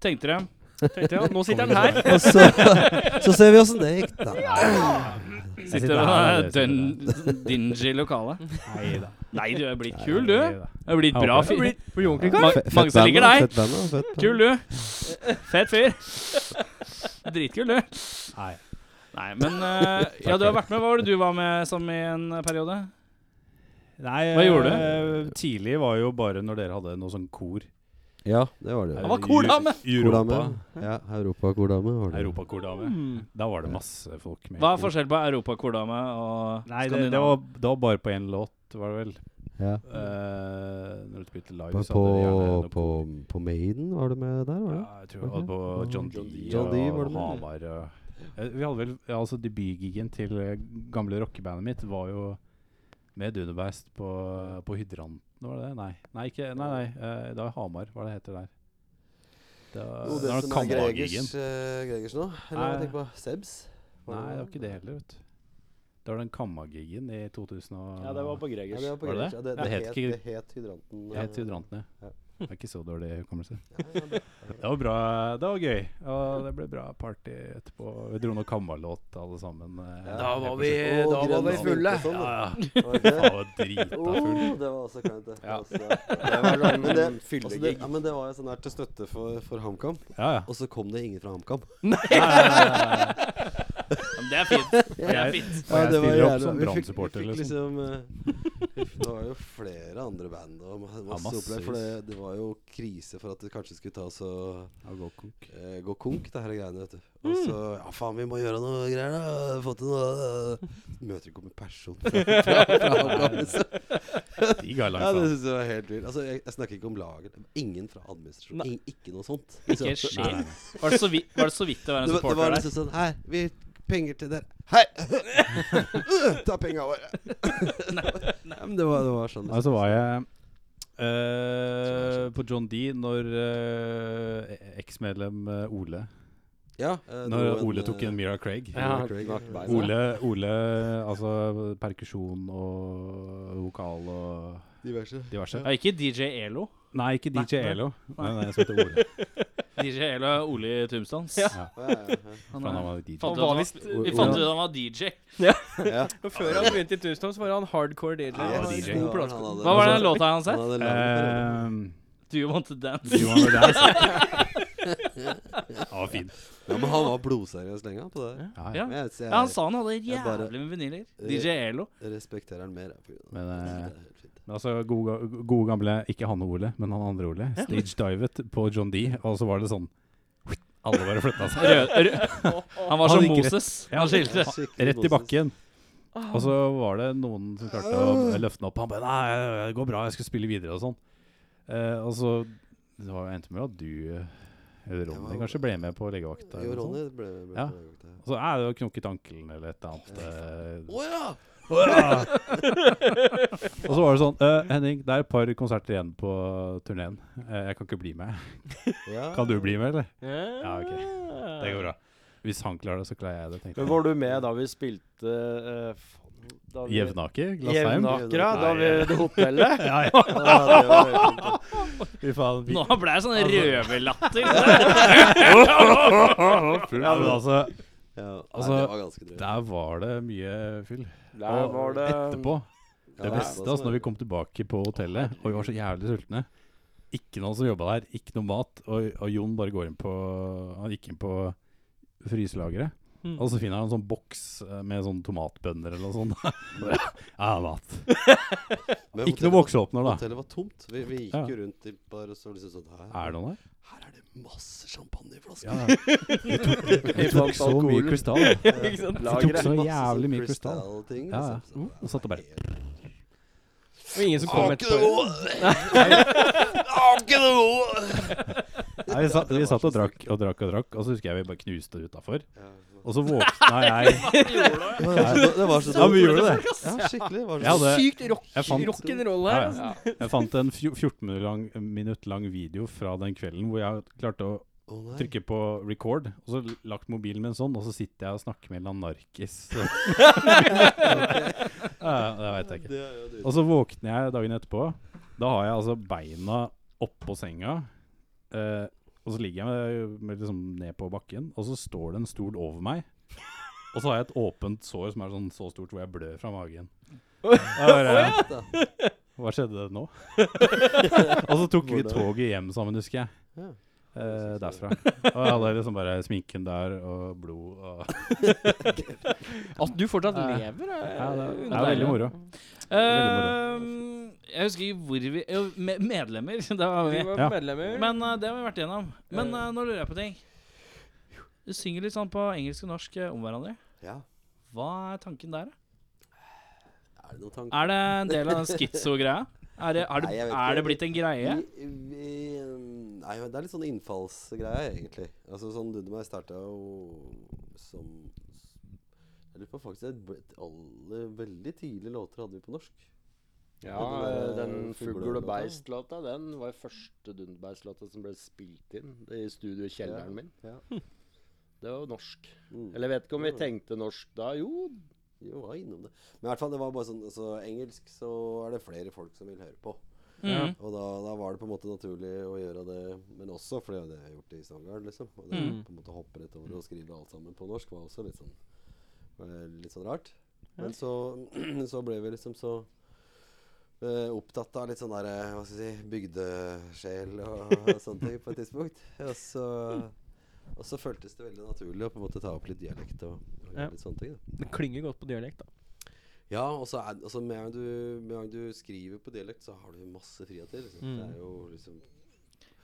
Speaker 2: Tenkte dere?
Speaker 4: Tenkte jeg, nå sitter han her.
Speaker 5: Og så, så ser vi åssen det gikk. Da.
Speaker 2: Sitter du og er dingy i lokalet?
Speaker 3: Nei da.
Speaker 2: Nei, du er blitt kul, du. Du er blitt
Speaker 3: Jeg
Speaker 2: bra
Speaker 3: håper
Speaker 2: fyr.
Speaker 4: Blir ordentlig
Speaker 2: Ma- Mange som liker deg.
Speaker 5: Fett band, da, fett band.
Speaker 2: Kul, du. Fet fyr. Dritkul, du.
Speaker 3: Nei.
Speaker 2: Nei, men eh, Ja, du har vært med. Hva var det du var med som i en periode?
Speaker 3: Nei
Speaker 2: Hva
Speaker 3: eh,
Speaker 2: gjorde
Speaker 3: Tidlig var jo bare når dere hadde noe sånn kor.
Speaker 5: Ja, det var det.
Speaker 2: Han var kordame!
Speaker 3: Ju-
Speaker 5: Kordame.
Speaker 3: Europa.
Speaker 5: Ja, Europakordame var det.
Speaker 3: Europakordame. Da var det masse folk med.
Speaker 2: Mm. Hva er
Speaker 3: i kor.
Speaker 2: forskjellen på europakordame og
Speaker 3: Nei, det, det, var, det var bare på én låt, var det vel.
Speaker 5: Ja.
Speaker 3: Eh, når du spilte live,
Speaker 5: På,
Speaker 3: så hadde de gjerne noe
Speaker 5: på,
Speaker 3: kor.
Speaker 5: på Maiden var du med der, var det?
Speaker 3: Ja, jeg tror det var på John D.
Speaker 5: John D var
Speaker 3: og
Speaker 5: det med.
Speaker 3: Hamar. og- Eh, Vi hadde vel ja, altså debutgigen til eh, gamle rockebandet mitt var jo med Dunebeist på, på Hydranten, var det det? Nei, nei, ikke, nei, nei eh, det var Hamar, hva det heter der. Det var,
Speaker 5: Jo,
Speaker 3: eh, det var
Speaker 5: som er
Speaker 3: Kammargigen.
Speaker 5: Gregers, eh, Gregers nå? Eller hva
Speaker 3: Nei.
Speaker 5: tenker du på? Sebs?
Speaker 3: Nei, det var ikke det heller, vet du. Det var den Kammargigen i 2000 og
Speaker 6: Ja, det var på
Speaker 5: Ja,
Speaker 6: Gregers.
Speaker 5: det var på
Speaker 3: Var det det?
Speaker 5: Gregers. Ja, det,
Speaker 3: Ja,
Speaker 5: det,
Speaker 3: het
Speaker 5: het,
Speaker 3: ikke-
Speaker 5: det het Hydranten.
Speaker 3: Det het Hydranten, ja.
Speaker 5: Ja.
Speaker 3: Det er ikke så dårlig hukommelse.
Speaker 5: ja, det-
Speaker 3: Det var bra, det var gøy. Og det ble bra party etterpå. Vi dro noe Kammarlåt alle sammen. eh,
Speaker 5: Ja.
Speaker 6: Da var vi,
Speaker 5: Og
Speaker 6: da var
Speaker 5: grønn
Speaker 6: vi
Speaker 5: sminke
Speaker 6: fulle.
Speaker 5: og sånn, da.
Speaker 3: Ja, ja.
Speaker 5: Var det ikke det?
Speaker 3: Faen, var drita full.
Speaker 5: Oh, det var også kleint, det.
Speaker 6: Ja.
Speaker 5: Altså,
Speaker 6: Det var sånn
Speaker 5: Men det- altså, det,
Speaker 6: fyllegig.
Speaker 5: ja, men det var jo sånn her til støtte for, for HamKam,
Speaker 3: Ja, ja.
Speaker 5: og så kom det ingen fra HamKam.
Speaker 2: Men det er fint. Det er fint.
Speaker 3: Og jeg
Speaker 5: det var
Speaker 3: stiller opp
Speaker 5: jævla-
Speaker 3: som
Speaker 5: vi fikk-
Speaker 3: brannsupporter,
Speaker 5: vi fikk
Speaker 3: liksom.
Speaker 5: liksom, eh, Det var jo flere andre band. Og ma- masse opplegg, for det, det var jo krise for at det kanskje skulle ta så eh, gå konk, det her greiene. vet du Og
Speaker 3: Mm.
Speaker 5: så Ja, faen, vi må gjøre noe greier, da. Få til noe eh. Møter ikke opp en person. Fra, fra, fra, oppgave, så-
Speaker 3: De ga
Speaker 5: ja, det
Speaker 3: langt, da.
Speaker 5: syns jeg var helt vilt. Altså, jeg, jeg snakker ikke om lager. Ingen fra administrasjonen.
Speaker 4: Nei.
Speaker 5: Ing- ikke noe sånt.
Speaker 2: Ikke en sjel. Var det så vidt, var det, så vidt å være en
Speaker 5: Det var, det var
Speaker 2: supporter der?
Speaker 5: liksom sånn Her, vi penger til dere. Hei! Ta penga våre. Nei, men det var, det var sånn.
Speaker 3: Nei, så var jeg eh, på John D når eh, eksmedlem eh, Ole
Speaker 5: Ja, eh,
Speaker 3: Når
Speaker 5: noen,
Speaker 3: Ole tok
Speaker 5: eh,
Speaker 3: en Mira Craig. eh,
Speaker 4: Ja,
Speaker 5: Ole Craig,
Speaker 6: knakk beina.
Speaker 3: Ole, Ole Altså perkusjon og vokal og
Speaker 5: diverse.
Speaker 3: diverse.
Speaker 2: Ja, ikke DJ Elo.
Speaker 3: Nei, ikke DJ
Speaker 2: Nei.
Speaker 3: Elo. Nei, nei, jeg heter Ole.
Speaker 2: DJ Elo er Ole Tumstans.
Speaker 4: Ja.
Speaker 3: Ja,
Speaker 5: Ja, ja, ja.
Speaker 3: for han var DJ.
Speaker 2: Fant
Speaker 4: Han
Speaker 2: ut at
Speaker 4: var
Speaker 2: han-
Speaker 4: visst
Speaker 2: Vi fant ut at han var DJ.
Speaker 4: Og Før han begynte i Tusentom, så var han hardcore DJ.
Speaker 5: Ja,
Speaker 4: Han var
Speaker 3: DJ.
Speaker 5: det
Speaker 4: god
Speaker 5: var-
Speaker 4: plass.
Speaker 5: han
Speaker 2: Hva
Speaker 5: hadde-
Speaker 2: var
Speaker 5: han
Speaker 2: den
Speaker 3: Altså,
Speaker 5: hadde-
Speaker 2: låta hans
Speaker 5: Han
Speaker 2: her? Eh,
Speaker 5: hadde lang-
Speaker 3: Um,
Speaker 2: Do you want to dance?
Speaker 3: do you wanna dance? Ja, fin.
Speaker 5: ja, men han var blodseriøs lenge han, på det. der.
Speaker 3: Ja,
Speaker 2: Ja.
Speaker 3: ja.
Speaker 5: Men jeg, så jeg
Speaker 2: Ja, han sa han hadde
Speaker 5: Jeg bare-
Speaker 2: jævlig med vinyler.
Speaker 5: Eh,
Speaker 2: DJ Elo.
Speaker 5: respekterer han mer. på grunn av
Speaker 3: Men,
Speaker 5: det.
Speaker 3: eh,
Speaker 5: Det er helt fint.
Speaker 3: Men Altså, gode, gode gamle Ikke han Ole, men han andre Ole. Stagedivet på John D, og så var det sånn Alle bare flytta seg.
Speaker 2: Rød, rød. Han var
Speaker 3: Han
Speaker 2: som
Speaker 3: gikk rett-
Speaker 2: Moses. Han skilte.
Speaker 5: Skikkelig
Speaker 3: Rett i
Speaker 5: Moses.
Speaker 3: bakken. Og så var det noen som klarte å løfte den opp. Han bare 'Nei, det går bra, jeg skal spille videre' og sånn. Eh, og så det var jo endte med at du, eh, Ronny,
Speaker 5: Jeg var-
Speaker 3: kanskje ble med på legevakt. der
Speaker 5: Jo,
Speaker 3: og sånn.
Speaker 5: Ronny ble med
Speaker 3: Ja.
Speaker 5: på det.
Speaker 3: Og så er det jo knokket ankelen eller et eller annet. eh.
Speaker 5: Å ja!
Speaker 3: Og så var det sånn eh, 'Henning, det er et par konserter igjen på turneen. Eh, jeg kan ikke bli med.
Speaker 5: Ja.
Speaker 3: Kan du bli med, eller?'
Speaker 4: Ja,
Speaker 3: ok. Det går bra. Hvis han klarer det, så klarer jeg det. tenkte
Speaker 6: Men
Speaker 3: jeg.
Speaker 6: var du med da vi spilte eh, faen, da vi-
Speaker 3: Jevnaker? Glassheim?
Speaker 6: Jevnakra, da vi det hotellet?
Speaker 3: Ja, ja.
Speaker 5: Ja, det var helt fint.
Speaker 3: Fy faen. Vi,
Speaker 2: Nå ble det sånn røverlatter.
Speaker 3: ja, men altså,
Speaker 5: Ja, nei,
Speaker 3: Altså,
Speaker 5: det var ganske drøyt.
Speaker 3: der var det mye fyll.
Speaker 6: Der var det
Speaker 3: Etterpå.
Speaker 5: Ja,
Speaker 3: Det beste
Speaker 5: sånn-
Speaker 3: altså, når vi kom tilbake på hotellet, og vi var så jævlig sultne. Ikke noen som jobba der, ikke noe mat. Og, og Jon bare går inn på Han gikk inn på fryselageret,
Speaker 4: Mm.
Speaker 3: og så finner han en sånn boks eh, med sånn tomatbønner eller noe sånt. Bare, ja, mat.
Speaker 5: Men
Speaker 3: Ikke noe
Speaker 5: hotellet-
Speaker 3: boksåpner, da.
Speaker 5: Hotellet var tomt. Vi, vi gikk
Speaker 3: Ja.
Speaker 5: jo rundt i bar og så liksom sånn her,
Speaker 3: Er det noen der?
Speaker 5: her er det masse champagneflasker.
Speaker 3: Ja. Vi tok, vi tok så mye krystall.
Speaker 4: Ikke sant?
Speaker 3: Vi tok
Speaker 6: lageret.
Speaker 3: så
Speaker 5: Masse
Speaker 3: jævlig
Speaker 5: sånn
Speaker 3: mye krystall.
Speaker 5: krystallting,
Speaker 3: Ja, ja.
Speaker 5: liksom. Så
Speaker 3: Og satt og bare
Speaker 4: Og ingen som kom
Speaker 5: det
Speaker 4: etterpå.
Speaker 3: Nei, vi, satt, vi satt og drakk og drakk og drakk, og så husker jeg vi bare knuste utafor.
Speaker 5: Ja, det var-
Speaker 3: Og så våkna jeg
Speaker 5: Det var så- det var så
Speaker 3: Ja, vi
Speaker 5: dumt.
Speaker 3: gjorde det.
Speaker 5: Ja, skikkelig. det Var
Speaker 3: Jeg hadde-
Speaker 4: Sykt rock,
Speaker 3: Jeg fant-
Speaker 4: rock'n'roll
Speaker 3: Ja,
Speaker 4: her. altså.
Speaker 3: ja. Jeg fant en fjo- 14 minutt lang, minutt lang video fra den kvelden hvor jeg klarte å
Speaker 5: Å, nei.
Speaker 3: trykke på record, og så lagt mobilen min sånn, og så sitter jeg og snakker med en eller annen narkis. ja, ja, det veit jeg ikke.
Speaker 5: Det er jo dritt.
Speaker 3: Og så våkner jeg dagen etterpå. Da har jeg altså beina oppå senga. Eh, og så ligger jeg med, med liksom ned på bakken, og så står det en stol over meg. Og så har jeg et åpent sår som er sånn så stort hvor jeg blør fra magen. Jeg bare, Hva skjedde nå? og så tok vi toget hjem sammen, husker jeg.
Speaker 5: Ja.
Speaker 3: Eh, derfra. Og jeg hadde liksom bare sminken der og blod og
Speaker 4: At Altså, du fortsatt
Speaker 3: Ja.
Speaker 4: lever, eh, er,
Speaker 3: Ja, det er, det er
Speaker 4: underlig.
Speaker 3: veldig moro.
Speaker 2: Ehm, jeg husker ikke hvor vi jo, me- Medlemmer, da var vi.
Speaker 4: Vi var
Speaker 3: Ja.
Speaker 4: medlemmer.
Speaker 2: Men eh, det har vi vært igjennom. Men eh, nå lurer jeg på ting. Du synger litt sånn på engelsk og norsk eh, om hverandre.
Speaker 5: Ja.
Speaker 2: Hva er tanken der, da?
Speaker 5: Er det noen tanker?
Speaker 2: Er det en del av den skizzo-greia? Er, det- har det-
Speaker 5: Nei, jeg vet ikke.
Speaker 2: er det blitt en greie?
Speaker 5: Vi, vi, um, nei, det er litt sånn innfallsgreie, egentlig. Altså sånn Dunderberg starta jo som Jeg lurer på faktisk det ble- alle veldig tidlige låter hadde vi på norsk.
Speaker 6: Ja, eh,
Speaker 5: Den der
Speaker 6: den Fugl og
Speaker 5: fuglelåta.
Speaker 6: beist-låta, den var første Dunderbeist-låta som ble spilt inn i studio i kjelleren min.
Speaker 5: Ja.
Speaker 6: Det var jo norsk.
Speaker 5: Mm.
Speaker 6: Eller jeg vet ikke om vi tenkte norsk da. Jo,
Speaker 5: Jo, var innom det. Men i hvert fall, det var bare sånn altså, Engelsk så er det flere folk som vil høre på.
Speaker 2: Mhm.
Speaker 5: Og da, da var det på en måte naturlig å gjøre det, men også fordi det har jeg gjort i Sandgarden, liksom. Og det
Speaker 4: Mm.
Speaker 5: på en måte hoppe rett over og skrive alt sammen på norsk var også litt sånn, eh, litt sånn rart. Men så, så ble vi liksom så eh, opptatt av litt sånn der, eh, hva skal jeg si, bygdesjel og, sånne ting på et tidspunkt. Og så, og så føltes det veldig naturlig å på en måte ta opp litt dialekt og, og og
Speaker 4: Ja.
Speaker 5: litt sånne ting. Da.
Speaker 4: Det klinger godt på dialekt, da.
Speaker 5: Ja, og så er altså, med, en gang du, med en gang du skriver på dialekt, så har du masse friheter. Liksom.
Speaker 3: Mm.
Speaker 5: Det er jo liksom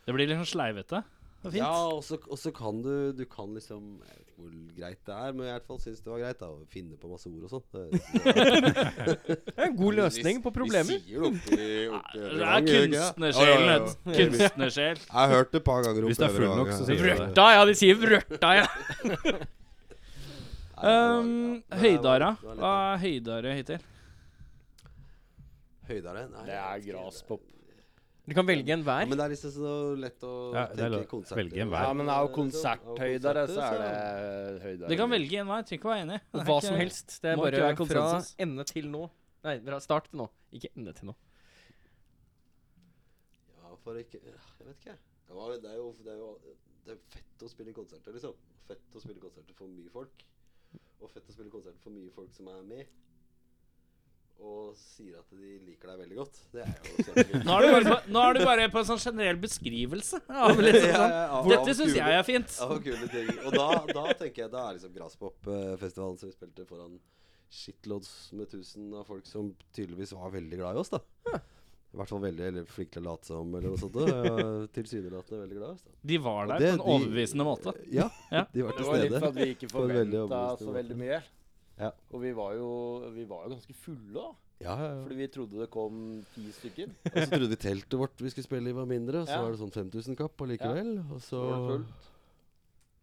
Speaker 2: Det blir litt sånn sleivete. Det er fint.
Speaker 5: Ja, og så, og så kan du Du kan liksom Jeg vet ikke hvor greit det er, men i hvert fall syns det var greit da å finne på masse ord og sånn. Det- det-
Speaker 4: Det er en god løsning på problemer.
Speaker 5: Vi sier det ordentlig. ordentlig
Speaker 2: Det
Speaker 5: gang,
Speaker 2: er
Speaker 5: gjør vi ikke det?
Speaker 2: kunstnersjelen,
Speaker 5: Ja, ja, ja.
Speaker 2: vet du. Kunstnersjel.
Speaker 5: Jeg har hørt det et par ganger.
Speaker 3: Hvis det er
Speaker 5: oppover
Speaker 3: full
Speaker 5: i
Speaker 3: nok,
Speaker 5: gangen.
Speaker 3: så sier vi det.
Speaker 4: Vrørta, ja. De sier vrørta, ja.
Speaker 5: Nei, det var-
Speaker 2: Um,
Speaker 5: ja.
Speaker 2: høydara.
Speaker 5: Det var litt-
Speaker 2: Hva er høydare hittil?
Speaker 5: Høydare? Nei,
Speaker 6: Det er
Speaker 5: jeg vet ikke.
Speaker 6: graspop.
Speaker 4: Du kan velge en
Speaker 5: Ja,
Speaker 4: hver.
Speaker 5: men det er liksom så lett å
Speaker 3: Ja, det er lov-
Speaker 5: tenke konserter.
Speaker 3: velge en hver.
Speaker 6: Ja, men er jo
Speaker 5: sånn- konserter,
Speaker 6: konserthøydere, så er det høydere.
Speaker 2: Du kan velge en vei. Trenger ikke være enig. Det er
Speaker 4: Hva
Speaker 2: ikke-
Speaker 4: som helst. Det er
Speaker 2: må ikke være
Speaker 4: bare fra
Speaker 2: konsensus.
Speaker 4: ende til nå. Nei, fra start til nå. Ikke ende til nå.
Speaker 5: Ja, for ikke øh, Jeg vet ikke. jeg. Det, var, det, er jo, det er jo det er fett å spille konserter, liksom. Fett å spille konserter for mye folk. Og fett å spille konserter for mye folk som er med. Og sier at de liker deg veldig godt. Det er jo
Speaker 2: Nå er, du bare på, nå er du bare på en sånn generell beskrivelse. Av liksom sånn. Dette syns jeg er fint.
Speaker 5: Av kule ting. Og da, da tenker jeg Da er liksom Graspop-festivalen som vi spilte foran shitloads med tusen av folk som tydeligvis var veldig glad i oss, da. I hvert fall veldig eller flinke til å late som, eller noe sånt. da. Tilsynelatende veldig glad i oss, da.
Speaker 2: De var der
Speaker 5: Og det-
Speaker 2: på en overbevisende måte.
Speaker 5: Ja,
Speaker 2: Ja.
Speaker 5: de var
Speaker 6: Det
Speaker 5: til
Speaker 6: var litt
Speaker 5: stede.
Speaker 6: for at vi ikke
Speaker 5: På en veldig
Speaker 6: forventa
Speaker 5: overbevisende
Speaker 6: så
Speaker 5: måte.
Speaker 6: veldig mye.
Speaker 5: Ja.
Speaker 6: Og vi var, jo, vi var jo ganske fulle òg,
Speaker 5: Ja, ja, ja.
Speaker 6: fordi vi trodde det kom ti stykker.
Speaker 5: Og så trodde vi teltet vårt vi skulle spille i var mindre, og så
Speaker 6: Ja.
Speaker 5: var det sånn 5000 kapp allikevel. Og så
Speaker 6: Var det fullt?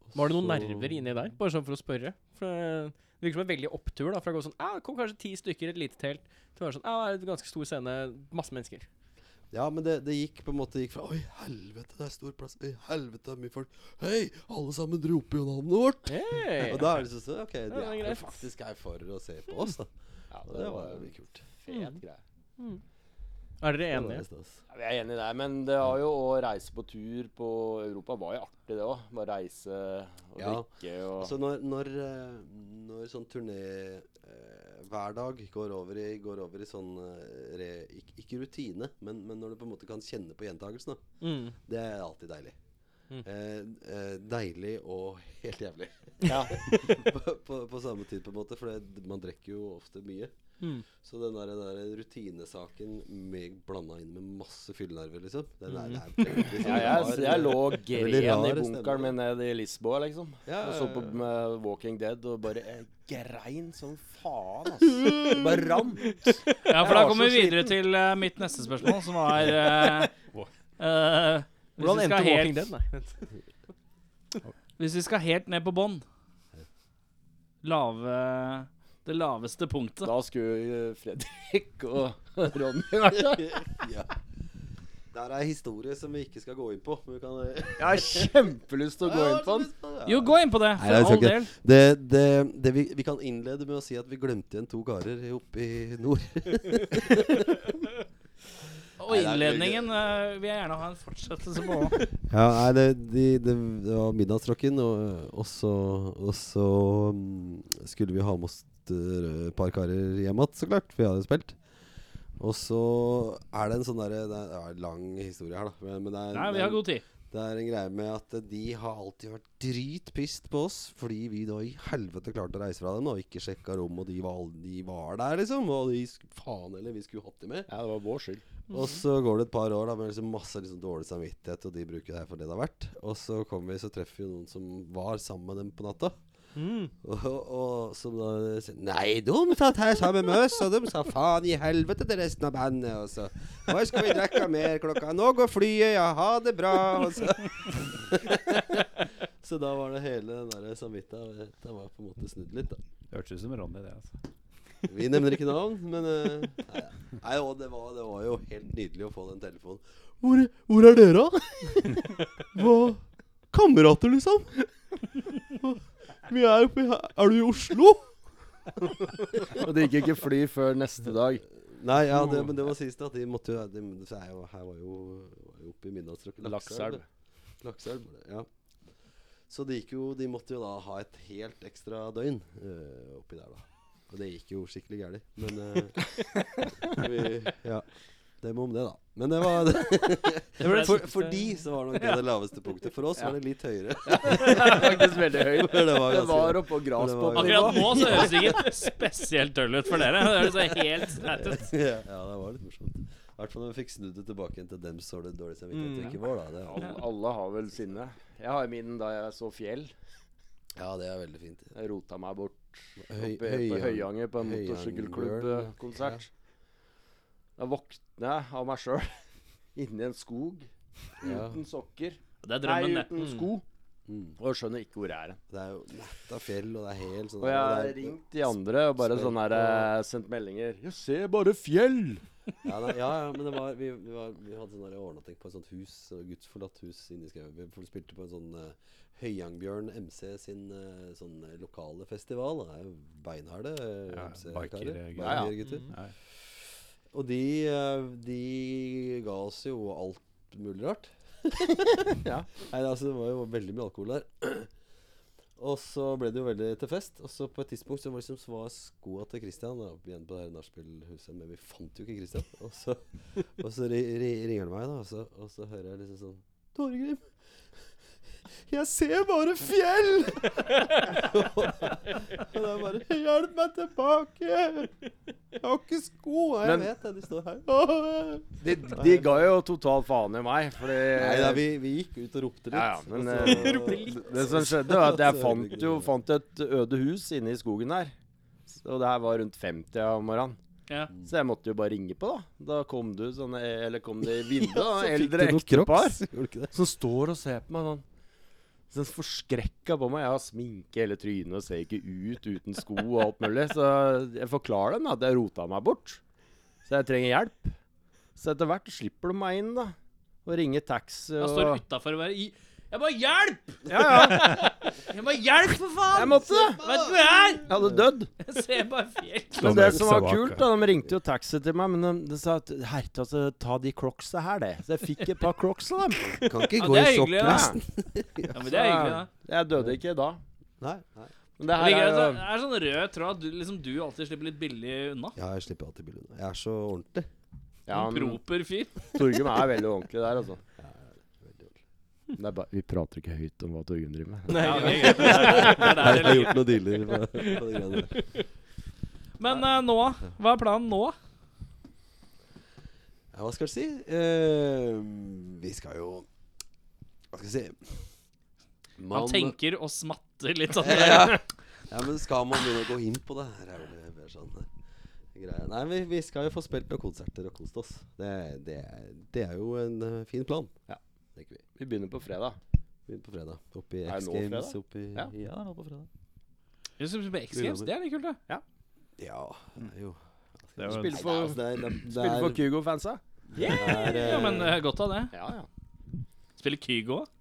Speaker 5: og
Speaker 4: Var det noen
Speaker 5: så-
Speaker 4: nerver inni der? Bare sånn for å spørre. For eh, Det virker som en veldig opptur da fra å gå sånn ah, Det kom kanskje ti stykker, et lite telt, til å være sånn ah, det er en ganske stor scene, masse mennesker.
Speaker 5: Ja, men det, det gikk på en måte gikk fra Oi, helvete, det er stor plass. Oi, helvete, det er mye folk. Hei, alle sammen roper jo navnet vårt.
Speaker 4: Hey.
Speaker 5: Og da er det sånn så, OK, de
Speaker 4: det er
Speaker 5: er,
Speaker 4: greit.
Speaker 5: jo faktisk her for å se på oss, da.
Speaker 6: Ja,
Speaker 5: Og det var jo litt kult.
Speaker 6: fet greie.
Speaker 4: Er dere
Speaker 5: Det var
Speaker 4: enige?
Speaker 5: litt stas.
Speaker 6: Ja, vi er enige der, men det har jo å reise på tur på Europa var jo artig, det òg. Bare reise og
Speaker 5: Ja.
Speaker 6: drikke og
Speaker 5: Altså når, når, eh, når sånn turné eh, hver dag går over i, går over i sånn eh, re, ikke, ikke rutine, men, men når du på en måte kan kjenne på gjentakelsen, da.
Speaker 4: Mm.
Speaker 5: Det er alltid deilig. Eh, eh, deilig og helt jævlig.
Speaker 6: Ja.
Speaker 5: på, på, på samme tid, på en måte. For det, man drikker jo ofte mye.
Speaker 4: Mm.
Speaker 5: Så den der, den der rutinesaken med- blanda inn med masse fyllenerver, liksom den er, det er veldig sånn
Speaker 6: Ja, jeg,
Speaker 5: rar-
Speaker 6: jeg lå og
Speaker 5: veldig
Speaker 6: gren i
Speaker 5: rar
Speaker 6: bunkeren
Speaker 5: stemning.
Speaker 6: min nede i Lisboa, liksom.
Speaker 5: Ja,
Speaker 6: Og så
Speaker 5: ja,
Speaker 6: på
Speaker 5: ja.
Speaker 6: eh, Walking Dead og bare eh, grein som faen, ass. Bare rant.
Speaker 2: Ja, for da kommer vi videre til eh, mitt neste spørsmål, som var eh, eh, hvis,
Speaker 4: Hvordan
Speaker 2: vi
Speaker 4: endte
Speaker 2: skal
Speaker 4: Walking
Speaker 2: helt,
Speaker 4: Dead? Nei. vent.
Speaker 2: hvis vi skal helt ned på bånn Lave Det laveste punktet.
Speaker 6: Da skulle eh, Fredrik og Ronny vært der.
Speaker 5: ja. Der er historie som vi ikke skal gå inn på. Men vi kan eh,
Speaker 6: Jeg har kjempelyst til å gå inn på den.
Speaker 2: Jo, gå inn på det,
Speaker 5: Nei, det er
Speaker 2: for all
Speaker 5: ikke-
Speaker 2: del.
Speaker 5: Det, det, det vi, vi kan innlede med å si at vi glemte igjen to karer oppe i nord.
Speaker 2: Og
Speaker 5: Nei, det er
Speaker 2: innledningen eh, vil jeg gjerne ha en fortsettelse på.
Speaker 5: Ja, nei, det, de, det, det var middagsrocken, og, og så, og så mm, skulle vi ha med oss et eh, par karer hjem igjen, så klart, for vi hadde spilt. Og så er det en sånn derre Det er en lang historie her, da. Men, men det, er,
Speaker 2: Nei, vi har god tid.
Speaker 5: det er en greie med at eh, de har alltid vært dritpist på oss fordi vi da i helvete klarte å reise fra dem og ikke sjekka rom, og de var, al- de var der, liksom. Og de sk- faen heller, vi skulle hatt dem med.
Speaker 6: Ja, det var vår skyld.
Speaker 5: Og så går det et par år da med liksom masse liksom dårlig samvittighet, og de bruker det her for det det har vært. Og så kommer vi, så treffer vi noen som var sammen med dem på natta. Og, og som da sier Nei, de satt her sammen med oss, og de sa faen i helvete til resten av bandet. Og så Hva skal vi drikke mer klokka? Nå går flyet, ja, ha det bra. Og så Så da var det hele den der samvittigheten eh, var på en måte snudd litt, da.
Speaker 3: Det hørtes ut som Ronny, det. altså
Speaker 5: Vi nevner ikke navn, men eh, nei, nei, og det, var, det var jo helt nydelig å få den telefonen. Hvor, hvor er dere, da? Hva Kamerater, liksom? Vi er oppe her Er du i Oslo?
Speaker 6: Og det gikk ikke fly før neste dag.
Speaker 5: Nei, ja, det, men det var sist, da. De måtte jo de, så er jo, Her var jo, var jo oppe i Midnattstrøkken.
Speaker 6: Lakselv.
Speaker 5: Lakselv, var det, ja. Så de, gikk jo, de måtte jo da ha et helt ekstra døgn eh, oppi der, da. Og det gikk jo skikkelig gærent. Men eh, vi, ja. Det, Dem om det, da. Men det var for, For de så var nok det det laveste punktet. For oss var det litt høyere.
Speaker 6: Faktisk veldig høy.
Speaker 5: For det var
Speaker 6: Det
Speaker 5: ganske-
Speaker 6: var oppå grasbåten.
Speaker 2: Akkurat nå så høres det ikke spesielt døll ut for dere. Det høres så helt slætt ut.
Speaker 5: ja, det var litt morsomt. I hvert fall når vi fikk snudd det tilbake igjen til dem så det dårlig samvittighet. Ikke vår, da. Det
Speaker 6: Alle,
Speaker 5: var,
Speaker 6: alle har vel sine. Jeg har min da jeg så fjell.
Speaker 5: ja, det er veldig fint.
Speaker 6: Jeg rota meg bort
Speaker 5: Høy,
Speaker 6: oppe på
Speaker 5: Høyang-
Speaker 6: Høyanger på en
Speaker 5: Høyanger-
Speaker 6: motorsykkelklubbkonsert. Da våkner jeg av meg sjøl inni en skog
Speaker 5: Ja.
Speaker 6: uten sokker.
Speaker 2: Det er
Speaker 6: Nei,
Speaker 2: drømmen, det.
Speaker 6: uten sko.
Speaker 5: Mm.
Speaker 6: Og jeg skjønner ikke hvor jeg er hen.
Speaker 5: Det er jo natt av fjell, og det er helt sånn
Speaker 6: Og jeg har
Speaker 5: det er-
Speaker 6: ringt de andre og bare
Speaker 5: Spør
Speaker 6: sånn her
Speaker 5: på-
Speaker 6: eh, sendt meldinger 'Jeg ser bare fjell!'
Speaker 5: Ja, nei, ja, ja, men det var Vi, vi, var, vi hadde sånn der overnatting på et sånt hus, så gudsforlatt hus inne i skauen. Vi for- spilte på en sånn eh, Høyangbjørn MC sin eh, sånn eh, lokale festival. Det er jo beinharde eh,
Speaker 3: Ja,
Speaker 5: MC-karer.
Speaker 3: biker, eh, gutter.
Speaker 6: Ja, ja.
Speaker 5: gutter.
Speaker 3: Nei.
Speaker 5: Og de, eh, de ga oss jo alt mulig rart.
Speaker 6: Ja.
Speaker 5: Nei, altså, det var jo veldig mye alkohol der. Og så ble det jo veldig til fest. Og så på et tidspunkt så var liksom så var skoa til Christian da, igjen på det her nachspielhuset, men vi fant jo ikke Christian. Og så, og så ri, ri, ringer han meg, da, og så, og så hører jeg liksom sånn Torgrim, jeg ser bare fjell! og det er bare Hjelp meg tilbake! Jeg har ikke sko! Og jeg
Speaker 6: Men-
Speaker 5: vet det, de står her.
Speaker 6: De, de ga jo total faen i meg, fordi
Speaker 5: Nei da, vi, vi gikk ut og ropte litt.
Speaker 6: Eh, Ja, ja, men
Speaker 5: og
Speaker 6: eh,
Speaker 5: så-
Speaker 6: det, det som skjedde, var at jeg
Speaker 5: Så
Speaker 6: fant
Speaker 5: ødelegger
Speaker 6: jo
Speaker 5: det.
Speaker 6: fant et øde hus inne i skogen der. Og det her var rundt 50 om morgenen.
Speaker 2: Ja.
Speaker 6: Så jeg måtte jo bare ringe på, da. Da kom du sånn Eller kom det ville da,
Speaker 5: så fikk du
Speaker 6: eldre
Speaker 5: noen
Speaker 6: ektepar
Speaker 5: crocs, Gjorde du ikke det?
Speaker 6: som står og ser på meg sånn. Sånn forskrekka på meg. Jeg har sminke i hele trynet og ser ikke ut uten sko og alt mulig. Så jeg forklarer dem at jeg rota meg bort. Så jeg trenger hjelp. Så etter hvert slipper de meg inn, da. Og ringer taxi
Speaker 2: Han
Speaker 6: og
Speaker 2: står utafor og bare i- Jeg må ha hjelp!
Speaker 6: Ja, ja.
Speaker 2: Jeg må ha hjelp, for faen!
Speaker 6: Jeg måtte det.
Speaker 2: Vet du hvor jeg er?
Speaker 6: Jeg hadde dødd.
Speaker 2: Jeg ser bare fjell.
Speaker 6: Men det
Speaker 3: Stomach-
Speaker 6: som var
Speaker 3: stomach,
Speaker 6: kult, da, de ringte jo taxi til meg, men de, de sa at herre, altså, ta de crocsa her, det. Så jeg fikk et par crocs av dem.
Speaker 5: Kan ikke
Speaker 2: Ja,
Speaker 5: gå
Speaker 2: det er
Speaker 5: i
Speaker 2: hyggelig,
Speaker 5: sokker.
Speaker 2: da. Ja, men det er hyggelig, da.
Speaker 6: Jeg døde ikke da.
Speaker 5: Nei, nei.
Speaker 6: Men det
Speaker 2: Det
Speaker 6: her
Speaker 2: ligger,
Speaker 6: er
Speaker 2: det
Speaker 6: jo
Speaker 2: er- det er sånn rød tråd. Du, liksom, du alltid slipper litt billig unna.
Speaker 5: Ja, jeg slipper alltid billig unna. Jeg er så ordentlig.
Speaker 6: ja,
Speaker 2: En
Speaker 6: men
Speaker 2: Proper fyr.
Speaker 6: Torgrim er veldig ordentlig der, altså.
Speaker 5: Veldig ordentlig.
Speaker 6: Det er bare, vi prater ikke høyt om hva Torgrim driver med.
Speaker 2: Ja, det er greit. Det er der det
Speaker 5: Jeg har
Speaker 2: ligger.
Speaker 5: gjort noen dealer på, på de greiene der.
Speaker 2: Men eh, nå, hva er planen nå?
Speaker 5: Ja, hva skal jeg si? Eh, vi skal jo Hva skal jeg si?
Speaker 2: Han
Speaker 5: Man-
Speaker 2: tenker og smatter litt sånn.
Speaker 5: Ja, men skal man begynne å gå inn på det? Her er det mer sånn eh, greie. Nei, vi, vi skal jo få spilt noen konserter og kost oss. Det, det, er- det er jo en eh, fin plan.
Speaker 6: Ja.
Speaker 5: Tenker vi.
Speaker 6: Vi begynner på fredag.
Speaker 5: Begynner på fredag. Oppi
Speaker 6: Er det
Speaker 5: X
Speaker 6: nå
Speaker 5: Games.
Speaker 6: fredag?
Speaker 5: Oppi, ja.
Speaker 6: Ja.
Speaker 5: det er nå på fredag.
Speaker 2: Jeg synes på X Games, Det er litt kult, det.
Speaker 5: Ja, det er jo altså,
Speaker 3: Det var-
Speaker 6: Spiller
Speaker 5: det
Speaker 6: for,
Speaker 5: er, det er, det
Speaker 6: spiller
Speaker 5: er,
Speaker 6: for Kygo-fansa.
Speaker 5: det er,
Speaker 2: Ja, men eh, godt av det.
Speaker 6: Ja, ja.
Speaker 2: Spiller Kygo òg?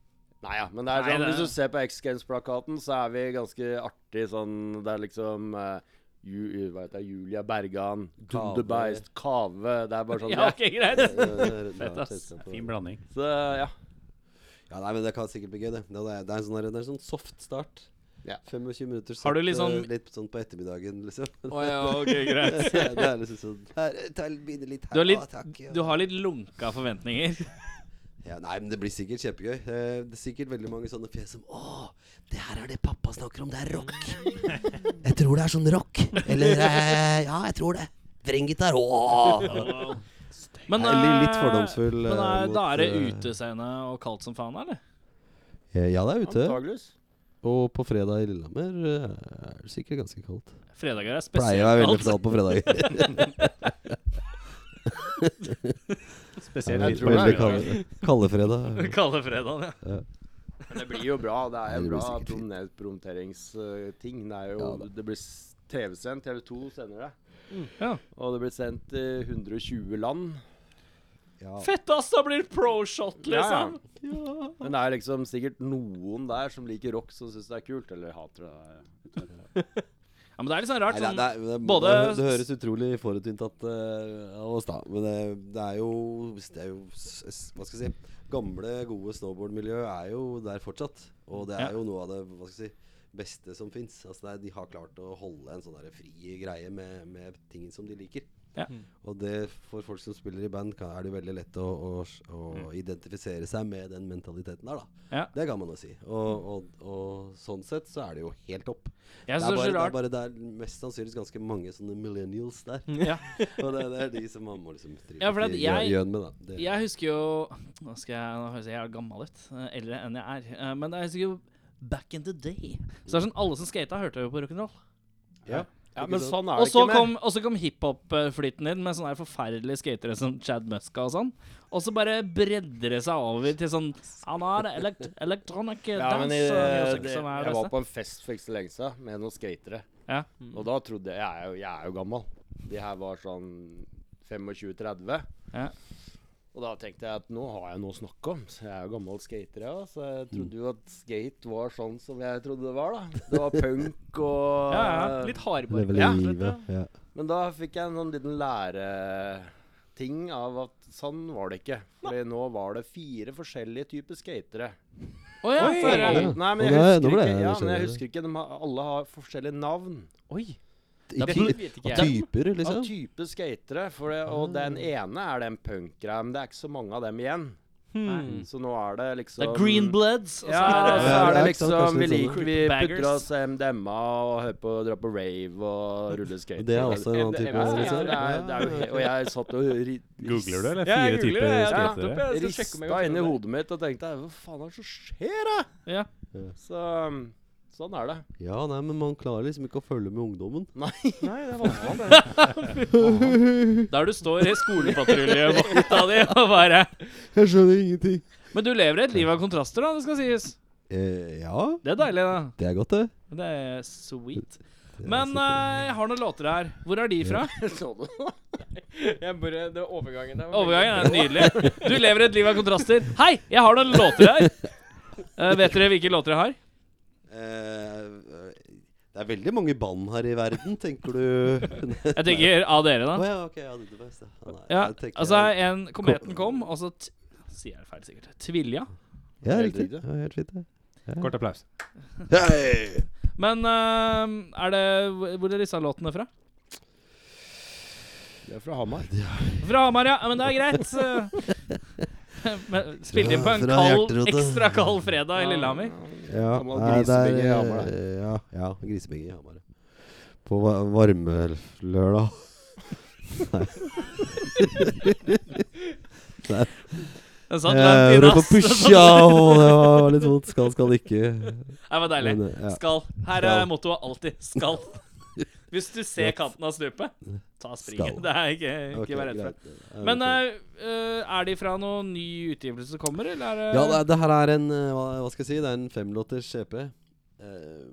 Speaker 6: Nei ja, men det er
Speaker 2: Nei,
Speaker 6: sånn,
Speaker 2: det-
Speaker 6: hvis du ser på X Games-plakaten, så er vi ganske artig sånn Det er liksom eh, Ju, hva heter det, Julia Bergan,
Speaker 5: Kave.
Speaker 6: Dunderbeist, Kave Det er bare sånn
Speaker 2: Ja, ok, greit.
Speaker 5: Fett,
Speaker 2: ass.
Speaker 3: Fin blanding.
Speaker 6: Så ja.
Speaker 5: Ja, nei, men Det kan sikkert bli gøy. Det Det er, det er, en, sånn, der- det er en sånn soft start.
Speaker 6: Ja.
Speaker 5: 25 minutter sett,
Speaker 2: Har du litt
Speaker 5: eh,
Speaker 2: sånn-
Speaker 5: litt sånn på ettermiddagen, liksom.
Speaker 2: Å ja, ok, greit.
Speaker 5: det er liksom sånn her, ta, Begynner litt her,
Speaker 2: Du har
Speaker 5: ah,
Speaker 2: litt,
Speaker 5: takk. ja.
Speaker 2: du har litt lunka forventninger.
Speaker 5: Ja, nei, men Det blir sikkert kjempegøy. Eh, Det er sikkert veldig mange sånne fjes som Å, det her er det pappa snakker om. Det er rock. Jeg tror det er sånn rock. Eller eh, Ja, jeg tror det. Vrenggitar. Åh!
Speaker 2: Men,
Speaker 5: Jeg er litt- litt
Speaker 2: eh,
Speaker 5: fordomsfull,
Speaker 2: Men
Speaker 5: eh,
Speaker 2: eh, da
Speaker 5: mot,
Speaker 2: er det
Speaker 5: eh,
Speaker 2: utescene og kaldt som faen, eller?
Speaker 5: Eh, Ja, det er ute.
Speaker 6: Antageligvis.
Speaker 5: Og på fredag i Lillehammer eh, er det sikkert ganske kaldt.
Speaker 2: Fredager er
Speaker 5: Pleier å være
Speaker 2: spesielt
Speaker 5: veldig
Speaker 2: kaldt.
Speaker 5: kaldt på fredager.
Speaker 3: Spesielt
Speaker 6: Jeg
Speaker 3: litt
Speaker 6: tror
Speaker 3: på
Speaker 6: det er
Speaker 3: Helge
Speaker 6: det.
Speaker 3: Kalle.
Speaker 5: Kaldefredag.
Speaker 2: Kalde fredagen, ja.
Speaker 6: Men det blir jo bra. Det er
Speaker 5: Nei,
Speaker 6: jo
Speaker 5: det blir
Speaker 6: bra
Speaker 5: sikkert fint.
Speaker 6: promoteringsting. Det er jo
Speaker 5: Ja da.
Speaker 6: Det blir s- TV-sendt. TV2 sender det.
Speaker 2: Ja.
Speaker 6: Og det blir sendt i 120 land.
Speaker 2: Fett, ass! Da blir det pro shot,
Speaker 6: Ja,
Speaker 2: liksom.
Speaker 6: Men det er liksom sikkert noen der som liker rock, som syns det er kult, eller hater det.
Speaker 2: Ja, men det er litt sånn rart.
Speaker 5: Nei,
Speaker 2: Sånn,
Speaker 5: det, er- det, er- det,
Speaker 2: både-
Speaker 5: hø- det høres utrolig forutinntatt eh, av oss, da. Men det, det er jo, det er jo s- s- Hva skal jeg si Gamle, gode snowboardmiljø er jo der fortsatt. Og det er
Speaker 2: Ja.
Speaker 5: jo noe av det hva skal jeg si, beste som fins. Altså, det er- de har klart å holde en sånn der fri greie med, med ting som de liker.
Speaker 2: Ja.
Speaker 5: Og det for folk som spiller i band, kan, er det veldig lett å, å, å identifisere seg med den mentaliteten der, da.
Speaker 2: Mm. Ja.
Speaker 5: Det kan man jo si. Og, og, og sånn sett så er det jo helt topp.
Speaker 2: Jeg
Speaker 5: det,
Speaker 2: synes det er
Speaker 5: er bare,
Speaker 2: så
Speaker 5: det er
Speaker 2: rart.
Speaker 5: bare det er mest sannsynligvis ganske mange sånne millennials der.
Speaker 2: Ja.
Speaker 5: og det, det er de som man må liksom
Speaker 2: Mm.
Speaker 5: drive
Speaker 2: Ja, for at
Speaker 5: gjø-
Speaker 2: jeg-
Speaker 5: gjøn med, da. Det,
Speaker 2: Jeg husker jo Nå skal jeg nå høres jeg jævlig gammel ut, eh, eldre enn jeg er. eh, Men jeg husker jo back in the day. Så det er sånn alle som skata, hørte jo på rock'n'roll.
Speaker 5: ja.
Speaker 6: Ja, men sånn er
Speaker 2: Og
Speaker 6: det ikke
Speaker 2: så kom, og så kom hiphop-flyten inn med sånne her forferdelige skatere som Chad Muska og sånn. Og så bare bredder det seg over til sånn Han har elekt electronic
Speaker 6: Ja, men
Speaker 2: dance
Speaker 6: i, eh,
Speaker 2: music
Speaker 6: det,
Speaker 2: som er
Speaker 6: jeg
Speaker 2: det
Speaker 6: var
Speaker 2: beste. Mm.
Speaker 6: på en fest for ikke så lenge siden med noen skatere.
Speaker 2: Ja.
Speaker 6: Og da trodde jeg Jeg er jo, jeg er jo gammel. De her var sånn 25-30.
Speaker 2: Ja.
Speaker 6: Og da tenkte jeg at nå har jeg noe å snakke om. Så jeg er jo gammel skater, jeg òg. Så jeg trodde jo at skate var sånn som jeg trodde det var, da. Det var punk og eh,
Speaker 2: Ja, ja. Litt hardbarka.
Speaker 6: Ja.
Speaker 5: livet. Ja.
Speaker 6: Men da fikk jeg en sånn liten læreting av at sånn var det ikke. Fordi nå var det fire forskjellige typer skatere.
Speaker 2: Å ja,
Speaker 4: Oi!
Speaker 2: for,
Speaker 6: Alle- Nei, men jeg
Speaker 5: Å, nei,
Speaker 6: husker
Speaker 5: nå ble
Speaker 6: ikke.
Speaker 5: jeg sånn-
Speaker 6: Ja, men jeg
Speaker 5: nysgjerrig.
Speaker 6: husker ikke. De har, alle har forskjellige navn.
Speaker 4: Oi.
Speaker 5: Ikke-
Speaker 4: vet
Speaker 5: av typer,
Speaker 6: Av
Speaker 5: liksom.
Speaker 6: type skatere. For det, og
Speaker 5: Ah.
Speaker 6: den ene er den punkgreia, men det er ikke så mange av dem igjen.
Speaker 4: Hmm.
Speaker 6: Så nå er det liksom
Speaker 2: det er Green Bloods. Og så
Speaker 6: Ja,
Speaker 2: er
Speaker 6: så
Speaker 2: det
Speaker 6: er det
Speaker 5: Ja, ikke sant,
Speaker 6: liksom
Speaker 5: kanskje
Speaker 6: Vi
Speaker 5: litt sånn.
Speaker 6: liker Vi putter
Speaker 2: Baggers.
Speaker 6: oss MDMA og hører på drar på rave og ruller skate.
Speaker 5: Det er også en annen type,
Speaker 6: Ja, ja,
Speaker 5: liksom.
Speaker 6: det er, det er, jo he- og jeg satt og ri-
Speaker 3: Googler du,
Speaker 4: Ja,
Speaker 3: eller?
Speaker 4: jeg
Speaker 3: Fire
Speaker 4: googler
Speaker 3: typer
Speaker 4: det, jeg har nettopp,
Speaker 3: skatere?
Speaker 4: jeg. skal sjekke om jeg
Speaker 6: rista
Speaker 4: kan
Speaker 6: inn i
Speaker 4: finne
Speaker 6: hodet mitt og tenkte hva faen er det som skjer, da?
Speaker 2: Ja.
Speaker 6: Så um, sånn er det.
Speaker 5: Ja, nei, men man klarer liksom ikke å følge med ungdommen.
Speaker 4: Nei, det er vanskelig. det.
Speaker 2: Der du står i skolepatruljevakta di og bare
Speaker 5: Jeg skjønner ingenting.
Speaker 2: Men du lever et liv av kontraster, da, det skal sies.
Speaker 5: Eh, ja,
Speaker 2: Det er deilig, da.
Speaker 5: det er godt, det.
Speaker 2: Det er sweet. Men eh, jeg har noen låter her. Hvor er de fra?
Speaker 6: Så du?
Speaker 4: Jeg bare, det var overgangen der. var
Speaker 2: Overgangen er nydelig. Du lever et liv av kontraster. Hei, jeg har noen låter her. Eh, vet dere hvilke låter jeg har?
Speaker 5: Eh, det er veldig mange band her i verden, tenker du?
Speaker 2: Jeg tenker av dere,
Speaker 5: Å
Speaker 2: da.
Speaker 5: ja, ok. Ja, det er det beste. Ja, nei,
Speaker 2: Ja,
Speaker 5: jeg tenker-
Speaker 2: altså, en, kometen kom, og så t Sier jeg det feil, sikkert. Tvilja.
Speaker 5: ja,
Speaker 6: Helt
Speaker 5: riktig.
Speaker 6: riktig.
Speaker 5: Ja, helt fint, det.
Speaker 3: Kort applaus.
Speaker 5: Hei!
Speaker 2: Men eh, er det Hvor er disse låtene fra?
Speaker 6: Det er fra Hamar.
Speaker 2: Fra Hamar, ja. Ja, Men det er greit. så- Men Spilt inn på en
Speaker 5: Fra
Speaker 2: kald,
Speaker 5: hjerterota.
Speaker 2: ekstra kald fredag i Lillehammer.
Speaker 5: Ja,
Speaker 6: Gammel
Speaker 5: nei, det er,
Speaker 6: grisebinge i Hamar, det.
Speaker 5: eh, Ja, ja grisebinge i Hamar. På va- varmelørdag. Nei.
Speaker 2: Den satt langt
Speaker 5: Jeg
Speaker 2: inne, altså.
Speaker 5: ropte
Speaker 2: ass. Den satt-
Speaker 5: pusja, og det var litt vondt. Skal, skal ikke.
Speaker 2: Det var deilig.
Speaker 5: Men, eh, ja.
Speaker 2: Skal. Her er
Speaker 5: Skal.
Speaker 2: mottoet alltid. Skal. Hvis du ser kanten av stupet, ta springet.
Speaker 5: Skal.
Speaker 2: Det er ikke, ikke
Speaker 5: Ok,
Speaker 2: vær redd for.
Speaker 5: greit. Ja,
Speaker 2: Men
Speaker 5: ok.
Speaker 2: eh, eh, er de fra noen ny utgivelse som kommer, eller er det
Speaker 5: Ja, det, det her er en eh, hva, hva skal jeg si? Det er en femlåters EP. Eh,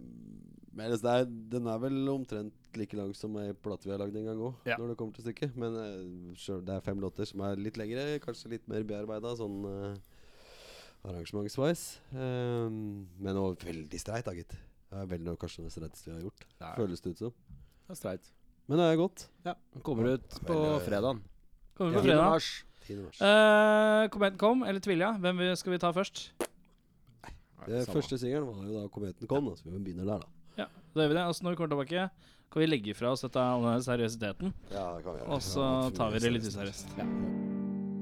Speaker 5: men ellers det er, den er vel omtrent like lang som ei plate vi har lagd en gang òg,
Speaker 6: Ja.
Speaker 5: når det kommer til stykket. Men eh, sjøl- det er fem låter som er litt lengre, kanskje litt mer bearbeida sånn eh, arrangementsveis. Eh, men òg veldig streit, da, gitt. Det er vel noe kanskje det streiteste vi har gjort,
Speaker 6: Ja.
Speaker 5: føles det ut som.
Speaker 6: Det er streit.
Speaker 5: Men det er godt.
Speaker 6: Ja. Kommer ut på
Speaker 5: Veldig-
Speaker 6: fredagen.
Speaker 2: kommer på
Speaker 6: 10.
Speaker 2: fredag?
Speaker 6: mars.
Speaker 5: 10. mars.
Speaker 2: Uh, Kometen kom, eller Tvilja? Hvem vi- skal vi ta først?
Speaker 5: det første singelen var jo da kometen kom, da, så vi begynner der, da.
Speaker 2: Ja, da gjør vi det. Og så når vi kommer tilbake, kan vi legge fra oss dette all denne seriøsiteten,
Speaker 5: Ja, det kan vi gjøre.
Speaker 2: og så
Speaker 5: Ja,
Speaker 2: tar vi det litt
Speaker 5: seriøst.
Speaker 2: useriøst.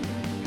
Speaker 7: Thank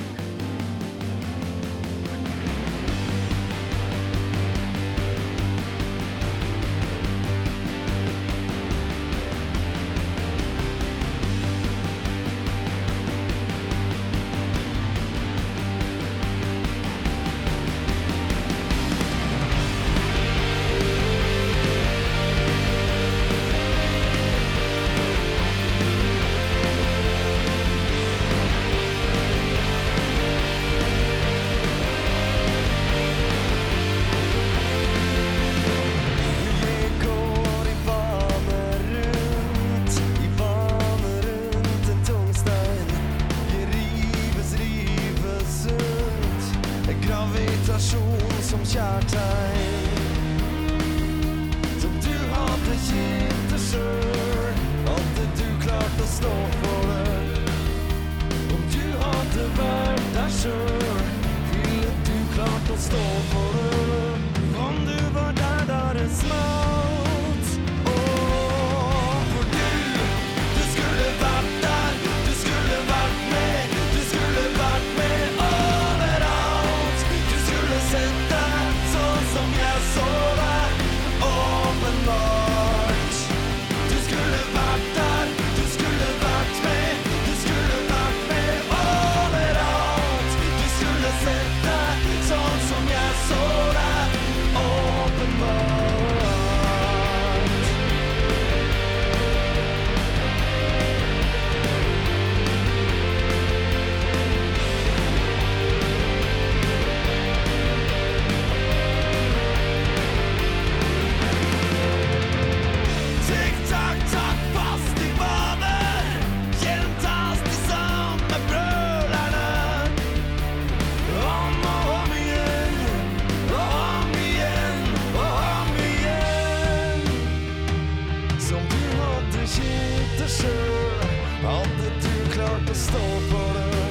Speaker 7: stasjon som kjærtegn. Som du hadde gitt deg sjøl, hadde du klart å stå for det. Om du hadde vært deg sjøl, ville du klart å stå for det. Om du var der da det smalt. Åh, for du du skulle vært der, du skulle vært med, du skulle vært med overalt. Du skulle sett deg sånn som jeg så deg, åpenbart. Du skulle vært der, du skulle vært med, du skulle vært med overalt. Du skulle sett deg sånn som jeg så deg, åpenbart. Tikk takk takk, fast i vaner Gjentas de samme brølerne Om og om igjen Og om igjen Og om igjen Som du hadde kjipt deg sjøl Hadde du klart å stå for det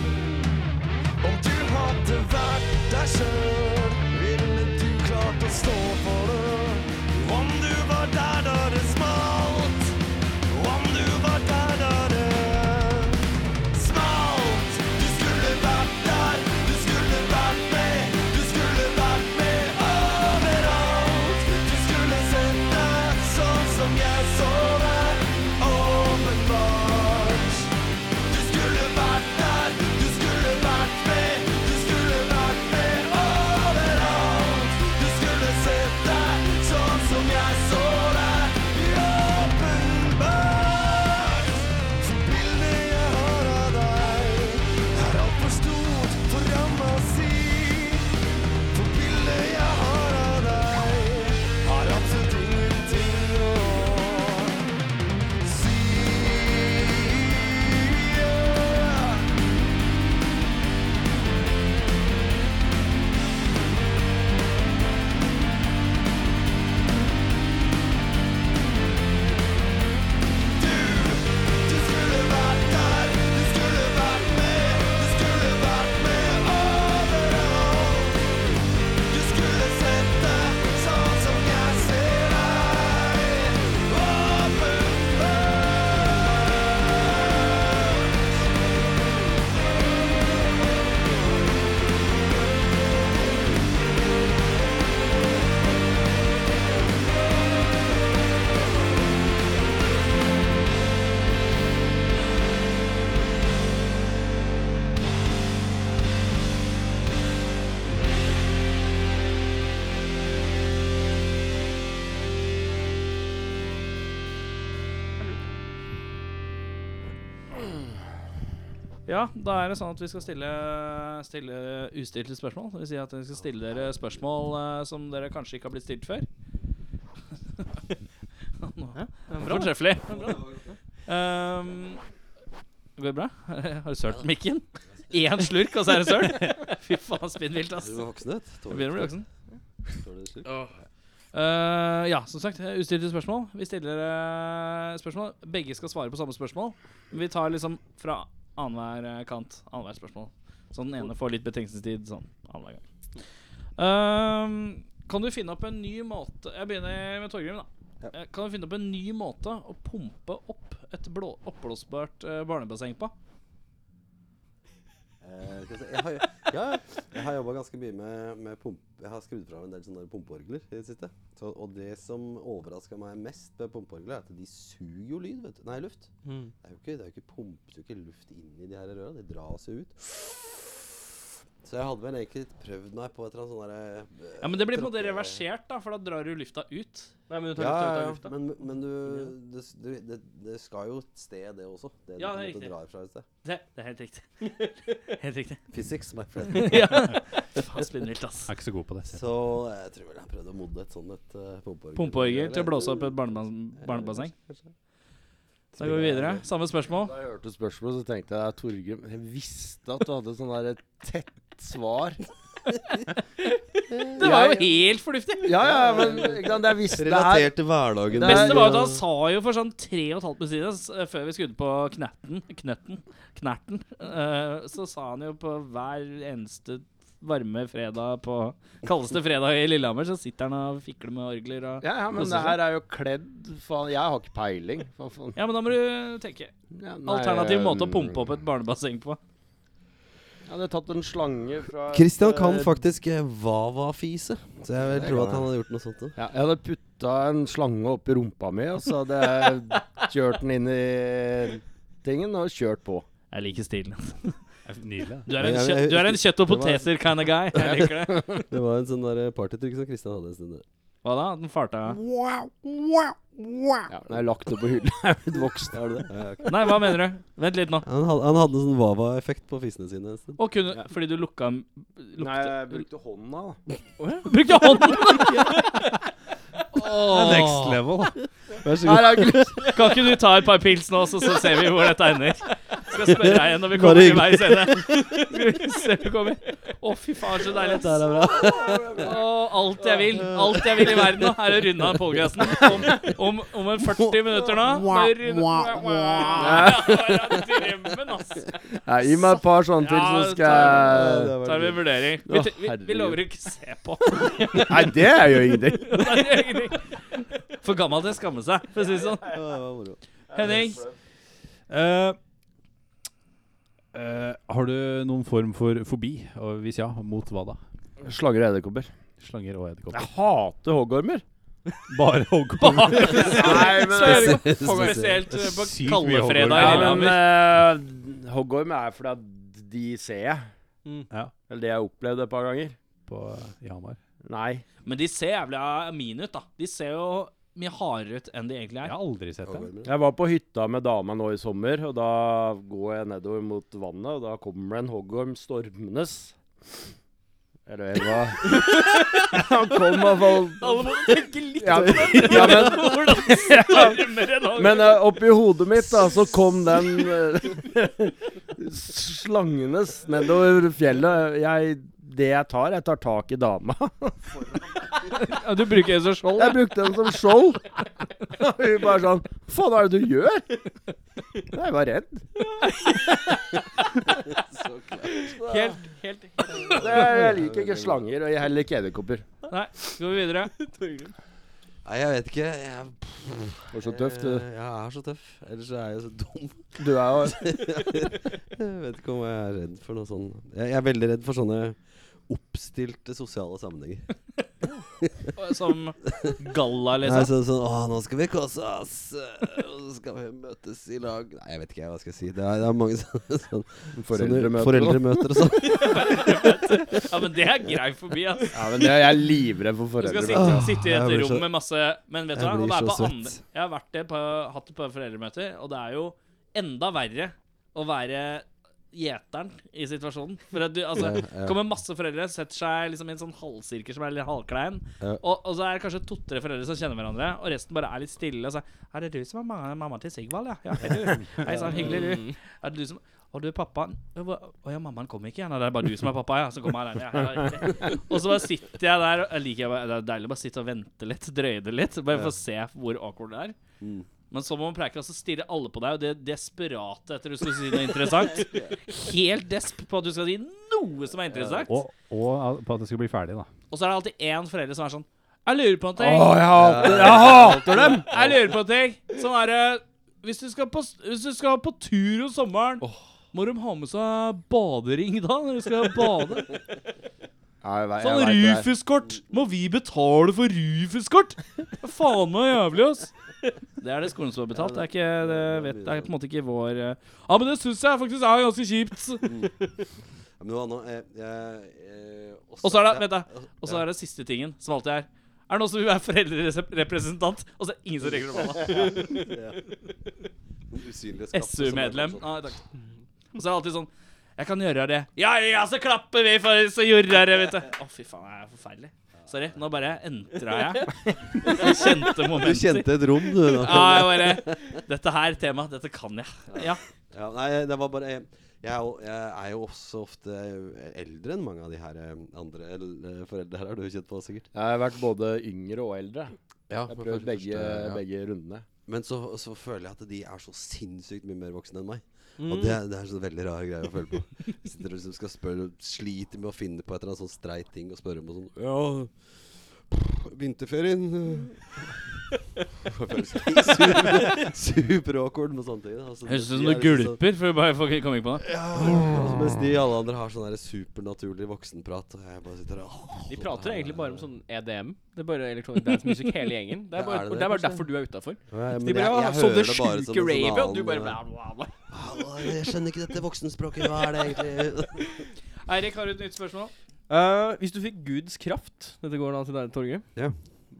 Speaker 7: Om du hadde vært deg sjøl, ville du klart å stå for det. Om du var der da det smalt, om du var der da det smalt. Du skulle vært der, du skulle vært med, du skulle vært med overalt. Du skulle sett deg sånn som jeg så deg, åpenbart. Du skulle vært der, du skulle vært med, du skulle vært med overalt. Du skulle sett deg sånn som jeg så deg, åpenbart. For bildet jeg har av deg, er altfor stort for ramma si. For bildet jeg har av deg, har absolutt ingenting å si. Yeah. Du skulle vært der, du skulle vært med, du skulle vært med overalt. Du skulle sett deg sånn som jeg ser deg, åpenbart.
Speaker 2: Ja, da er det sånn at vi skal stille, stille ustilte spørsmål. Det vil si at vi skal stille dere spørsmål eh, som dere kanskje ikke har blitt stilt før. Nå- Fortreffelig. Um, går det bra? Har du sølt mikken? Én slurk, og så er det søl? Fy faen, spinnvilt, ass.
Speaker 5: Du er voksen, vet du.
Speaker 2: Jeg begynner å bli voksen.
Speaker 5: Tåler du slurk?
Speaker 2: Eh, ja, som sagt, eh, ustilte spørsmål. Vi stiller eh, spørsmål. Begge skal svare på samme spørsmål. Vi tar liksom fra annenhver eh, kant. Annenhver spørsmål. Så den ene får litt betenkningstid sånn annenhver gang. Ehm, kan du finne opp en ny måte Jeg begynner med Torgrim, da. Eh, Kan du finne opp en ny måte å pumpe opp et blå, oppblåsbart eh, barnebasseng på?
Speaker 5: Eh, skal vi se, Jeg har, jo- ja, jeg har jobba ganske mye med, med pump... Jeg har skrudd fra en del sånne pumpeorgler i det siste. Så, og det som overraska meg mest med pumpeorgler, er at de suger jo lyd, vet du. Nei, luft.
Speaker 2: Mm.
Speaker 5: Det er jo ikke, det er jo ikke pumpes jo ikke luft inn i de her røra. De dras jo ut. Så jeg hadde vel egentlig prøvd meg på et eller annet sånn derre
Speaker 2: Ja, Men det blir på en måte reversert, da, for da drar du lufta ut.
Speaker 4: Nei, men du tar
Speaker 5: Ja,
Speaker 4: lufta
Speaker 5: ja,
Speaker 4: ut av
Speaker 5: ja.
Speaker 4: lufta.
Speaker 5: Men, men du, det, s- du det, det skal jo et sted, det også. Det du
Speaker 2: Ja,
Speaker 5: på en
Speaker 2: det er
Speaker 5: måte
Speaker 2: riktig.
Speaker 5: drar fra et sted.
Speaker 2: Det, det er helt riktig. Helt riktig.
Speaker 5: Physics, my friend.
Speaker 2: Ja. Faen, spinnvilt, ass.
Speaker 3: Jeg er ikke så god på det. selv.
Speaker 5: Så eh, jeg tror vel jeg prøvde å modne et sånn et uh, pumpeorgel.
Speaker 2: Pumpeorgel
Speaker 5: Eller-
Speaker 2: til å blåse opp et barnebas- barnebasseng. Da går vi videre. Samme spørsmål.
Speaker 6: Da jeg hørte spørsmålet, så tenkte jeg Torgrim Jeg visste at du hadde sånn der tett svar.
Speaker 2: Det var jo
Speaker 6: Jeg-
Speaker 2: helt fornuftig.
Speaker 6: Ja, ja, men ikke sant, jeg visste det her.
Speaker 5: Relatert til hverdagen.
Speaker 6: Det
Speaker 2: Det beste
Speaker 6: er-
Speaker 2: var at han sa jo for sånn tre og et halvt minutt siden, s- eh, før vi skulle på Knerten, Knøtten, Knerten, eh, så sa han jo på hver eneste varme fredag på kaldeste fredag i Lillehammer, så sitter han og fikler med orgler og
Speaker 6: Ja, ja, men det her er jo kledd Faen, jeg har ikke peiling. Hva faen?
Speaker 2: Ja, men da må du tenke.
Speaker 6: Ja, nei,
Speaker 2: Alternativ måte å
Speaker 6: um,
Speaker 2: pumpe opp et barnebasseng på.
Speaker 6: Jeg hadde tatt en slange fra
Speaker 5: Christian
Speaker 6: et,
Speaker 5: kan
Speaker 6: eh,
Speaker 5: faktisk eh, vava-fise, så jeg vil
Speaker 6: Det
Speaker 5: tro
Speaker 6: kan
Speaker 5: at han hadde gjort noe sånt. Da.
Speaker 6: Ja, jeg hadde putta en slange opp i rumpa mi, og så hadde jeg kjørt den inn i tingen og kjørt på.
Speaker 2: Jeg liker stilen.
Speaker 3: Nydelig.
Speaker 2: Du er en kjøtt,
Speaker 5: Jeg- jeg-
Speaker 2: du er en kjøtt og
Speaker 5: det var-
Speaker 2: poteter kind of guy. Jeg liker det.
Speaker 5: Det var en sånn der partytrykk som Christian hadde en stund. der.
Speaker 2: Hva da? Den farta
Speaker 6: Ja, men jeg har lagt det på hylla. Jeg er blitt voksen.
Speaker 5: Er det det? Ja, ok.
Speaker 2: Nei, hva mener du? Vent litt nå.
Speaker 5: Han hadde, han hadde en sånn vava-effekt på fisene sine en stund.
Speaker 2: Å, kunne, fordi du lukka lukte,
Speaker 6: Nei, jeg brukte hånda, da.
Speaker 2: Brukte hånden!
Speaker 3: Next level.
Speaker 5: Vær så god.
Speaker 6: Nei, jeg har ikke lyst.
Speaker 2: Kan ikke du ta et par pils nå, så, så ser vi hvor dette ender? Skal spørre deg igjen når vi
Speaker 5: Bare
Speaker 2: kommer til
Speaker 5: hyggelig.
Speaker 2: veis ende. Skal vi se om vi kommer. Å, fy faen, så deilig.
Speaker 5: Der er bra.
Speaker 2: Å, alt jeg vil Alt jeg vil i verden nå, er å runde av podkasten. Om, om, om en 40 minutter nå da runder- Ja, det er drømmen, ass.
Speaker 6: Nei, gi meg et par sånne til,
Speaker 2: Ja,
Speaker 6: så skal jeg
Speaker 2: Tar vi en vurdering. Vi,
Speaker 6: Å,
Speaker 2: t- vi, vi
Speaker 6: herregud.
Speaker 2: lover å ikke se på.
Speaker 6: Nei, det gjør ingenting.
Speaker 2: Nei, det gjør ingenting. For gammel til å skamme seg, for å si det sånn.
Speaker 5: Ja, det var moro.
Speaker 2: Henning,
Speaker 3: Eh, eh, har du noen form for fobi? Og hvis ja, mot hva da?
Speaker 6: Slanger og edderkopper.
Speaker 3: Slanger og edderkopper.
Speaker 6: Jeg hater hoggormer.
Speaker 3: Bare hoggorm.
Speaker 6: Nei,
Speaker 2: så
Speaker 6: men
Speaker 2: spesielt eh, på
Speaker 3: Sykt mye
Speaker 2: kalde
Speaker 3: hoggorm.
Speaker 2: fredag i
Speaker 6: Ja, men
Speaker 2: Lillehammer.
Speaker 6: eh, hoggorm er fordi at de ser jeg.
Speaker 3: Ja.
Speaker 6: Eller det jeg har opplevd et par ganger.
Speaker 3: På i Hamar.
Speaker 6: Nei.
Speaker 2: Men de ser jævla mine ut, da. De ser jo mye hardere ut enn de egentlig
Speaker 3: Jeg
Speaker 2: er.
Speaker 3: har aldri sett det.
Speaker 5: Overmoro.
Speaker 6: Jeg var på hytta med dama nå i sommer, og da går jeg nedover mot vannet, og da kommer det en hoggorm stormende. Eller jeg hva Han kom i hvert fall
Speaker 2: Alle må tenke litt
Speaker 6: ja, ja, men,
Speaker 2: hvordan stormer en
Speaker 6: men eh, oppi hodet mitt da, så kom den eh, slangenes nedover fjellet. Jeg, det jeg tar, jeg tar tak i dama.
Speaker 2: Du bruker en som skjold.
Speaker 6: Jeg brukte den som skjold. Og hun bare sånn Hva faen er det du gjør? Jeg var redd.
Speaker 5: Så klart.
Speaker 2: Helt, helt
Speaker 6: Det, jeg liker ikke slanger, og jeg heller ikke edderkopper.
Speaker 2: Nei, skal vi videre?
Speaker 5: Nei, jeg vet ikke. Jeg,
Speaker 6: Du er så tøff,
Speaker 5: Eh,
Speaker 6: du.
Speaker 5: Jeg er så tøff. Ellers så er jeg jo så dum.
Speaker 6: Du er jo
Speaker 5: Jeg vet ikke om jeg er redd for noe sånn Jeg, jeg er veldig redd for sånne oppstilte sosiale sammenhenger.
Speaker 2: Som galla,
Speaker 5: Nei,
Speaker 2: liksom.
Speaker 5: så, sånn Å, nå skal vi kose oss! øh, Og så skal vi møtes i lag Nei, jeg vet ikke hva jeg skal si. Det er, det er mange sånne, sånne
Speaker 6: foreldremøte.
Speaker 5: foreldremøter og sånn.
Speaker 2: Ja, men det er grei forbi, altså. ass.
Speaker 6: Ja, men det, jeg er livredd for
Speaker 2: Du skal
Speaker 6: foreldremøte.
Speaker 2: sitte,
Speaker 5: Åh,
Speaker 2: sitte i
Speaker 5: Ah, jeg
Speaker 2: et
Speaker 5: blir
Speaker 2: rom
Speaker 5: så-
Speaker 2: med masse Men vet du
Speaker 5: Jeg
Speaker 2: hva? å
Speaker 5: blir
Speaker 2: være
Speaker 5: så
Speaker 2: på
Speaker 5: svett.
Speaker 2: andre, jeg har vært det på, hatt det på foreldremøter, og det er jo enda verre å være gjeteren i situasjonen. For at du, altså,
Speaker 5: Ja, ja.
Speaker 2: kommer masse foreldre, setter seg liksom i en sånn halvsirkel som er litt halvklein,
Speaker 5: Ja.
Speaker 2: og, og så er det kanskje to-tre foreldre som kjenner hverandre, og resten bare er litt stille. Og så er, er det du som er mamma, mamma til Sigvald, ja? ja hei, du. Hei sann, hyggelig, du. Er det du som og du er pappaen Å å ja, mammaen kommer ikke igjen. Nei, Det er bare du som er pappa, ja. Så kommer jeg alene. Ja, ja. Og så bare sitter jeg der. Og jeg liker, bare- det er deilig å bare sitte og vente litt, drøye det litt. Bare for å se hvor awkward det er.
Speaker 5: Mm.
Speaker 2: Men så må man preike, og så stirrer alle på deg, og det er desperate etter du skal si noe interessant. Helt desp på at du skal si noe som er interessant.
Speaker 3: Og, og på at det skal bli ferdig, da.
Speaker 2: Og så er det alltid én forelder som er sånn Jeg lurer på en
Speaker 6: Å,
Speaker 2: ting.
Speaker 6: jeg hater, jeg hater dem!
Speaker 2: Jeg lurer på en ting. Sånn er det Hvis du skal på, hvis du skal på tur om sommeren, må de ha med seg badering da? Når du skal bade?
Speaker 6: Ja, jeg, vet- jeg,
Speaker 2: Sånn
Speaker 6: vet det.
Speaker 2: Rufus-kort! Må vi betale for Rufus-kort?! Hva Faen meg jævlig, ass! Det er det skolen som har betalt. Det er, ikke, det, vet, det er på en måte ikke vår eh. Ja, men det syns jeg faktisk er ganske kjipt!
Speaker 5: Men det var noe eh, jeg- eh,
Speaker 2: Og så er det- vent da. Og så er det siste tingen, som alltid er Er det noen som vil være foreldrerepresentant? Og så er det ingen som rekker opp hånda.
Speaker 5: sånn Usynlige skapte som er bare
Speaker 2: SU-medlem.
Speaker 5: sånn.
Speaker 2: Nei, Ah, takk. Og så er det alltid sånn Jeg kan gjøre det. Ja, ja, så klapper vi for så gjorde jeg det, vet du. Å, fy faen, det er forferdelig. Sorry, nå bare entra jeg. Jeg kjente
Speaker 5: Du
Speaker 2: momenter.
Speaker 5: kjente et rom, du. da.
Speaker 2: Ah, Ja, jeg bare Dette her temaet, dette kan jeg. Ja.
Speaker 5: Ja, nei, det var bare jeg, Jeg, er jo- jeg er jo også ofte eldre enn mange av de her eh, andre el- eh, foreldre her, har du kjent på sikkert.
Speaker 6: Jeg har vært både yngre og eldre.
Speaker 5: Ja,
Speaker 6: Jeg har prøvd begge, begge rundene.
Speaker 5: Men så, så føler jeg at de er så sinnssykt mye mer voksne enn meg.
Speaker 8: Mm.
Speaker 5: Og det, er- det er så veldig rar greie å føle på. Jeg Sitter og liksom skal spørre, sliter med å finne på et eller annet sånn streit ting og spørre om og sånn Ja, vinterferien eh». Jeg føler meg Super, super awkward med sånne ting. da. Altså,
Speaker 2: Høres ut som
Speaker 5: de
Speaker 2: du
Speaker 5: er liksom sånn-
Speaker 2: gulper, for å bare få komme ikke på det.
Speaker 5: Ja, mens de alle andre har sånn der supernaturlig voksenprat, og jeg bare sitter der «Åh,
Speaker 8: De prater egentlig bare om sånn
Speaker 4: E
Speaker 8: EDM. Det er bare electronic dance music hele gjengen. Det
Speaker 5: Ja,
Speaker 8: er bare,
Speaker 5: er det
Speaker 8: det
Speaker 5: det,
Speaker 8: er bare
Speaker 5: kanskje?
Speaker 8: derfor du er utafor.
Speaker 5: Ja, men
Speaker 8: De bare
Speaker 5: jeg-
Speaker 8: ja,
Speaker 5: jeg
Speaker 8: så det
Speaker 5: hører bare som
Speaker 8: sjuke
Speaker 5: en sånn
Speaker 8: rave, og du
Speaker 5: annen,
Speaker 8: bare
Speaker 5: eh,
Speaker 8: bla, bla, bla.
Speaker 5: «Hallo, Jeg skjønner ikke dette voksenspråket, hva er det egentlig?
Speaker 2: Eirik, har du et nytt spørsmål?
Speaker 4: Eh, hvis du fikk Guds kraft Dette går da til deg, Torgeir.
Speaker 5: Ja.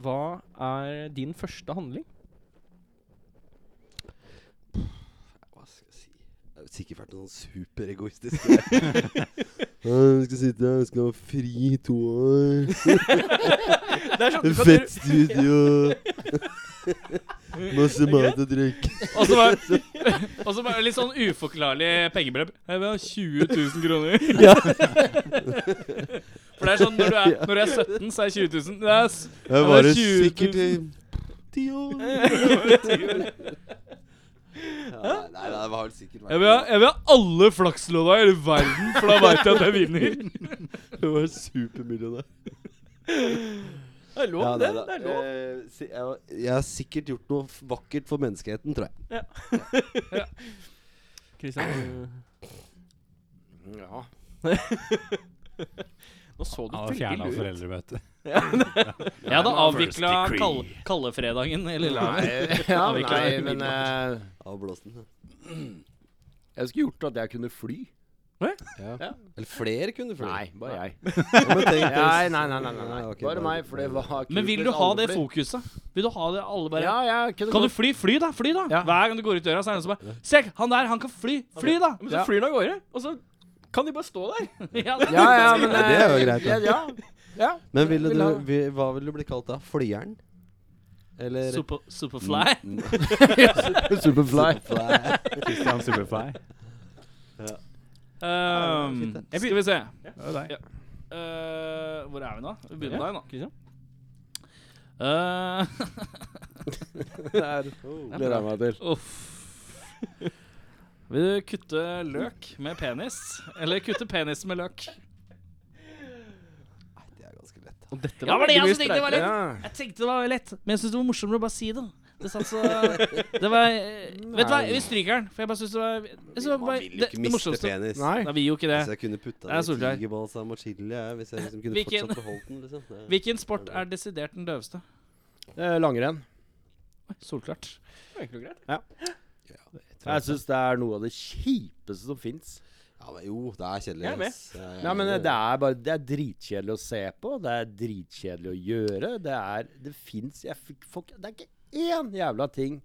Speaker 4: Hva er din første handling?
Speaker 5: Hva skal jeg si? Det er sikkert vært noe sånn superegoistisk. jeg skal sitte her, jeg skal ha fri i to år.
Speaker 4: Det er sånn du kan,
Speaker 1: Fett studio. Masse mat og drikk.
Speaker 2: Og så bare, og så bare litt sånn uforklarlig pengebeløp. Jeg vil ha 20 000 kroner. For det er sånn når du er, når du er 17, så er 20 000 Det er s-
Speaker 1: Jeg
Speaker 2: var
Speaker 1: var det
Speaker 2: 20 000.
Speaker 1: sikkert i ti år.
Speaker 5: Ja, nei, nei, det har vel sikkert vært
Speaker 2: jeg vil, ha, jeg vil ha alle flakslåna i hele verden, for da veit jeg at jeg vinner.
Speaker 5: Jeg var supermillionær.
Speaker 4: det er lov,
Speaker 5: Ja,
Speaker 4: det. Det
Speaker 5: nei,
Speaker 4: er
Speaker 5: da.
Speaker 4: lov.
Speaker 5: Eh, si- jeg, har- jeg har sikkert gjort noe f- vakkert for menneskeheten, tror jeg.
Speaker 4: Kristian,
Speaker 6: Ja.
Speaker 8: Nå så du
Speaker 3: Ja,
Speaker 8: veldig
Speaker 3: fjerna
Speaker 8: lur ut.
Speaker 3: foreldremøtet.
Speaker 2: Jeg hadde avvikla kald, kaldefredagen i Lillehammer.
Speaker 6: ja,
Speaker 2: vi
Speaker 6: nei,
Speaker 2: klarer
Speaker 6: men eh,
Speaker 5: Av blåsen. ja.
Speaker 6: jeg skulle gjort at jeg kunne fly.
Speaker 5: Eller flere kunne flere.
Speaker 6: Nei, bare jeg.
Speaker 5: Ja, men tenk deg-
Speaker 6: Nei, nei, nei. nei, nei, nei.
Speaker 5: Ja, ok,
Speaker 6: Bare meg, for det var kult
Speaker 2: Men vil
Speaker 6: hvis
Speaker 2: du ha
Speaker 6: alle
Speaker 2: det
Speaker 6: flyr.
Speaker 2: fokuset? Vil du ha det alle bare
Speaker 6: Ja, jeg kunne
Speaker 2: Kan du
Speaker 6: godt-
Speaker 2: fly? Fly, da! Fly, da!
Speaker 6: Ja.
Speaker 2: Hver gang du går ut døra, så er det noen som bare Se, han der, han kan fly! Fly, da!
Speaker 4: Men så
Speaker 6: Ja.
Speaker 4: flyr den av gårde, og så kan de bare stå der.
Speaker 2: Ja, det-
Speaker 6: Ja, ja, men
Speaker 5: Ja, det er jo
Speaker 6: eh,
Speaker 5: greit, da.
Speaker 6: Ja, ja.
Speaker 5: Men ville
Speaker 6: Vil
Speaker 5: du,
Speaker 6: ha-
Speaker 5: vi, hva ville du bli kalt da? Flyeren? Eller
Speaker 2: Super, superfly.
Speaker 4: Mm.
Speaker 2: Um,
Speaker 6: ja. Superfly.
Speaker 5: Superfly.
Speaker 3: Christian Superfly.
Speaker 2: Um,
Speaker 5: fint,
Speaker 2: skal vi se.
Speaker 3: Det er jo deg.
Speaker 2: Eh, hvor er vi nå? Vi begynner
Speaker 4: Ja.
Speaker 2: der nå.
Speaker 4: Kristian?
Speaker 2: Eh,
Speaker 6: Gleder jeg meg til.
Speaker 2: Uff. Vil du kutte løk med penis? Eller kutte penis med løk?
Speaker 5: Det er ganske lett.
Speaker 4: Og dette
Speaker 2: Ja, var det jeg
Speaker 4: veldig mye
Speaker 2: som tenkte det var
Speaker 4: streikere.
Speaker 2: lett? Jeg tenkte det var lett, men jeg syns det var morsommere å bare si det. Det satt så Det var eh, Vet du hva, vi stryker den. For jeg bare syns det var jeg synes det var
Speaker 5: Man
Speaker 2: bare, det,
Speaker 5: vil jo ikke
Speaker 2: det
Speaker 5: miste
Speaker 2: morsomste.
Speaker 5: penis.
Speaker 6: Nei.
Speaker 2: Nei, vi gjorde ikke
Speaker 5: Hvis
Speaker 2: det.
Speaker 5: jeg kunne putta
Speaker 2: Det er
Speaker 5: ned
Speaker 2: Solskjær.
Speaker 5: tigerbalsam og chili jeg, Hvis jeg liksom kunne
Speaker 2: Hvilken-
Speaker 5: fortsatt beholdt den, liksom. Det-
Speaker 2: Hvilken sport er desidert den døveste?
Speaker 6: Eh, Langrenn.
Speaker 2: Oi, Solklart.
Speaker 6: Jeg syns det er noe av det kjipeste som fins.
Speaker 5: Ja, men jo, det er kjedelig.
Speaker 4: Jeg er med.
Speaker 5: ass. Ja, jeg er
Speaker 6: Nei, men eh,
Speaker 5: med.
Speaker 6: det er bare Det er dritkjedelig å se på. Det er dritkjedelig å gjøre. Det er Det fins Jeg fikk får ikke- Det er ikke én jævla ting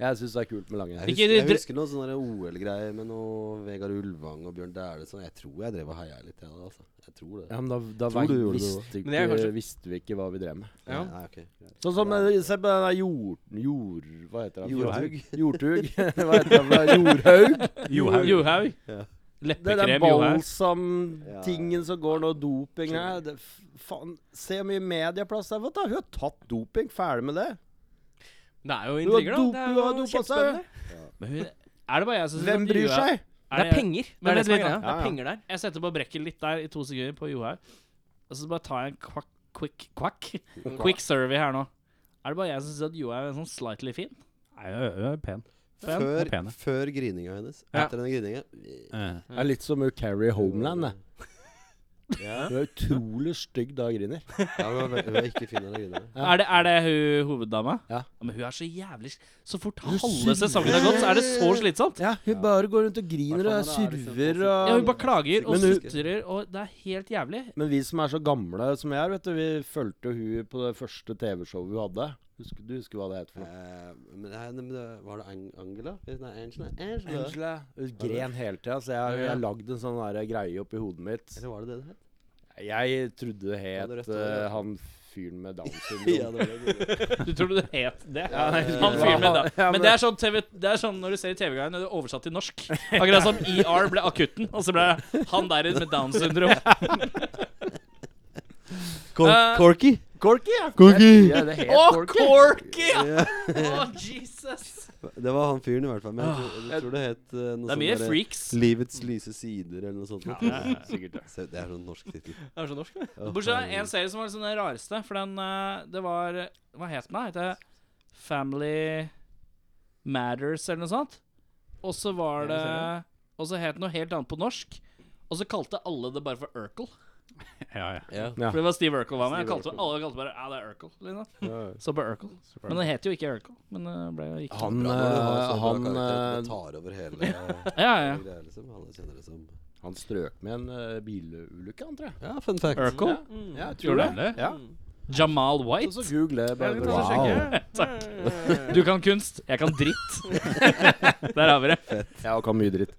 Speaker 6: jeg syns er kult med
Speaker 5: jeg
Speaker 6: langrenn.
Speaker 2: Ikke
Speaker 5: husker, jeg
Speaker 2: dre-
Speaker 5: husker noen sånne OL-greier med noe Vegard Ulvang og Bjørn Dæhlie og sånn. Jeg tror jeg drev og heia litt, jeg da. Altså. Jeg tror det.
Speaker 6: Ja, men da, da
Speaker 5: Tror du gjorde det
Speaker 6: visste, ikke,
Speaker 4: Men jeg er kanskje-
Speaker 6: visste vi ikke hva vi drev med.
Speaker 4: Ja.
Speaker 5: Nei, ok.
Speaker 6: Sånn som eh, Se på den der jord... Jord... Hva heter det?
Speaker 5: Jordhaug.
Speaker 6: Jordtug. hva heter det? for noe? Jordhaug.
Speaker 2: Johaug. Johaug.
Speaker 5: Ja.
Speaker 6: Det er den
Speaker 2: Leppekrem Johaug.
Speaker 6: balsam-tingen som går nå, doping her. Det, f- faen, se hvor mye medieplass det er fått, da. Hun har tatt doping, ferdig med det.
Speaker 4: Det er jo
Speaker 6: Hun har,
Speaker 4: intriger,
Speaker 6: dop,
Speaker 4: da.
Speaker 6: hun har
Speaker 4: Det er jo
Speaker 6: dopa seg.
Speaker 4: kjempespennende.
Speaker 2: Men hun- Er det bare jeg som synes
Speaker 6: Hvem
Speaker 2: at
Speaker 6: bryr
Speaker 2: Johaug-
Speaker 6: seg?
Speaker 4: Det er penger. Det
Speaker 2: Men
Speaker 4: er det som er
Speaker 2: vent litt,
Speaker 4: greia. Det
Speaker 6: da. Ja,
Speaker 4: er
Speaker 6: ja.
Speaker 4: penger der.
Speaker 2: Jeg setter på brekket litt der i to sekunder på Johaug. Og så bare tar jeg en kvakk, quick, quack, quick survey her nå. Er det bare jeg som syns at Johaug er sånn slightly fin?
Speaker 3: Nei, hun er pen.
Speaker 5: Før,
Speaker 3: Pen, pen.
Speaker 5: før grininga hennes.
Speaker 4: Ja.
Speaker 5: Etter den grininga eh,
Speaker 6: Det er litt som hun Carrie Homeland, det.
Speaker 5: Ja,
Speaker 6: Hun er utrolig stygg da hun griner.
Speaker 5: ja men hun er- hun er ikke fin av den grininga.
Speaker 6: Ja.
Speaker 2: Er, det, er det hun hoveddama?
Speaker 6: Ja.
Speaker 2: Men hun er så jævlig s- Så fort
Speaker 6: Hun
Speaker 2: halve sesongen har gått, så er det så slitsomt.
Speaker 6: Ja, hun bare går rundt og griner
Speaker 5: Hvertfall når det
Speaker 6: og
Speaker 5: er liksom
Speaker 6: surver
Speaker 5: på-
Speaker 6: og
Speaker 2: Ja, hun bare klager og
Speaker 6: Men hun-
Speaker 2: sutrer, og det er helt jævlig.
Speaker 6: Men vi som er så gamle som jeg er, vet du, vi fulgte hun på det første TV-showet hun hadde. Husker, du husker hva det het for noe?
Speaker 5: Eh, men det, er- men det, var det Ang- Angela? Nei, Angela. Angela.
Speaker 6: Angela. Hun gren hele tida, så jeg jeg har lagd en sånn der greie oppi hodet mitt.
Speaker 5: Eller var det det det het?
Speaker 6: Jeg trodde det
Speaker 5: Ja, det
Speaker 6: het
Speaker 5: rødt og det
Speaker 6: eh,
Speaker 5: rødt.
Speaker 6: han fyren med Downs
Speaker 5: Ja,
Speaker 6: syndrom.
Speaker 5: det var det gode.
Speaker 2: Du trodde det het det?
Speaker 6: Ja, nei, jeg
Speaker 2: Han
Speaker 6: skulle-
Speaker 2: fyren med da.
Speaker 6: Ja,
Speaker 2: Men det er sånn TV, Det er sånn når du ser i TV-guiden, er det oversatt til norsk. Akkurat som ER ble akutten, og så ble det han der med Downs syndrom.
Speaker 1: Cor
Speaker 2: Eh,
Speaker 1: Corky?
Speaker 6: Corky, ja.
Speaker 1: Corky!
Speaker 6: ja det het
Speaker 2: Å,
Speaker 6: Corky.
Speaker 2: Corky! ja.
Speaker 5: Ja,
Speaker 2: Å, Jesus!
Speaker 5: det var han fyren, i hvert fall. Men jeg tror, jeg tror det het eh, noe
Speaker 2: Ah, Det er mye
Speaker 5: sånn derre
Speaker 2: freaks.
Speaker 5: Livets lyse sider, eller noe sånt.
Speaker 6: Sikkert det.
Speaker 5: Se, Det er sånn norsk tittel.
Speaker 2: Det er så norsk, det. Bortsett fra en serie som var liksom den rareste, for den eh, Det var Hva het den, da? Het det Family Matters, eller noe sånt? Og så var det Og så het den noe helt annet på norsk. Og så kalte alle det bare for Urkel.
Speaker 3: Ja, ja.
Speaker 6: Ja.
Speaker 2: For det var Steve Urkel var med. Jeg
Speaker 6: Steve
Speaker 2: kalte,
Speaker 6: Urkel.
Speaker 2: alle kalte bare Ja, det er Urkel. Liksom.
Speaker 6: Ja, ja.
Speaker 2: Så på Urkel. Men eh, det heter jo ikke Urkel. Men det ble jo ikke
Speaker 6: Han,
Speaker 5: Bra når du har så
Speaker 6: eh,
Speaker 5: bra
Speaker 6: han,
Speaker 5: karakterer som
Speaker 6: eh,
Speaker 5: tar over hele hele
Speaker 2: Ja, ja.
Speaker 5: greia, liksom. Alle kjenner det som
Speaker 6: han strøk med en eh, bilulykke, han, tror jeg.
Speaker 5: Ja, fun fact.
Speaker 2: Urkel?
Speaker 4: Mm.
Speaker 5: Mm.
Speaker 6: Ja, jeg
Speaker 2: Gjorde
Speaker 6: det. Ja.
Speaker 2: Jamal
Speaker 6: Og så
Speaker 2: White?
Speaker 6: google bare.
Speaker 4: vi tar og
Speaker 6: Wow.
Speaker 4: sjekker. Mm.
Speaker 2: Takk. Du kan kunst, jeg kan dritt. Der har vi det.
Speaker 6: Ja, og kan mye dritt.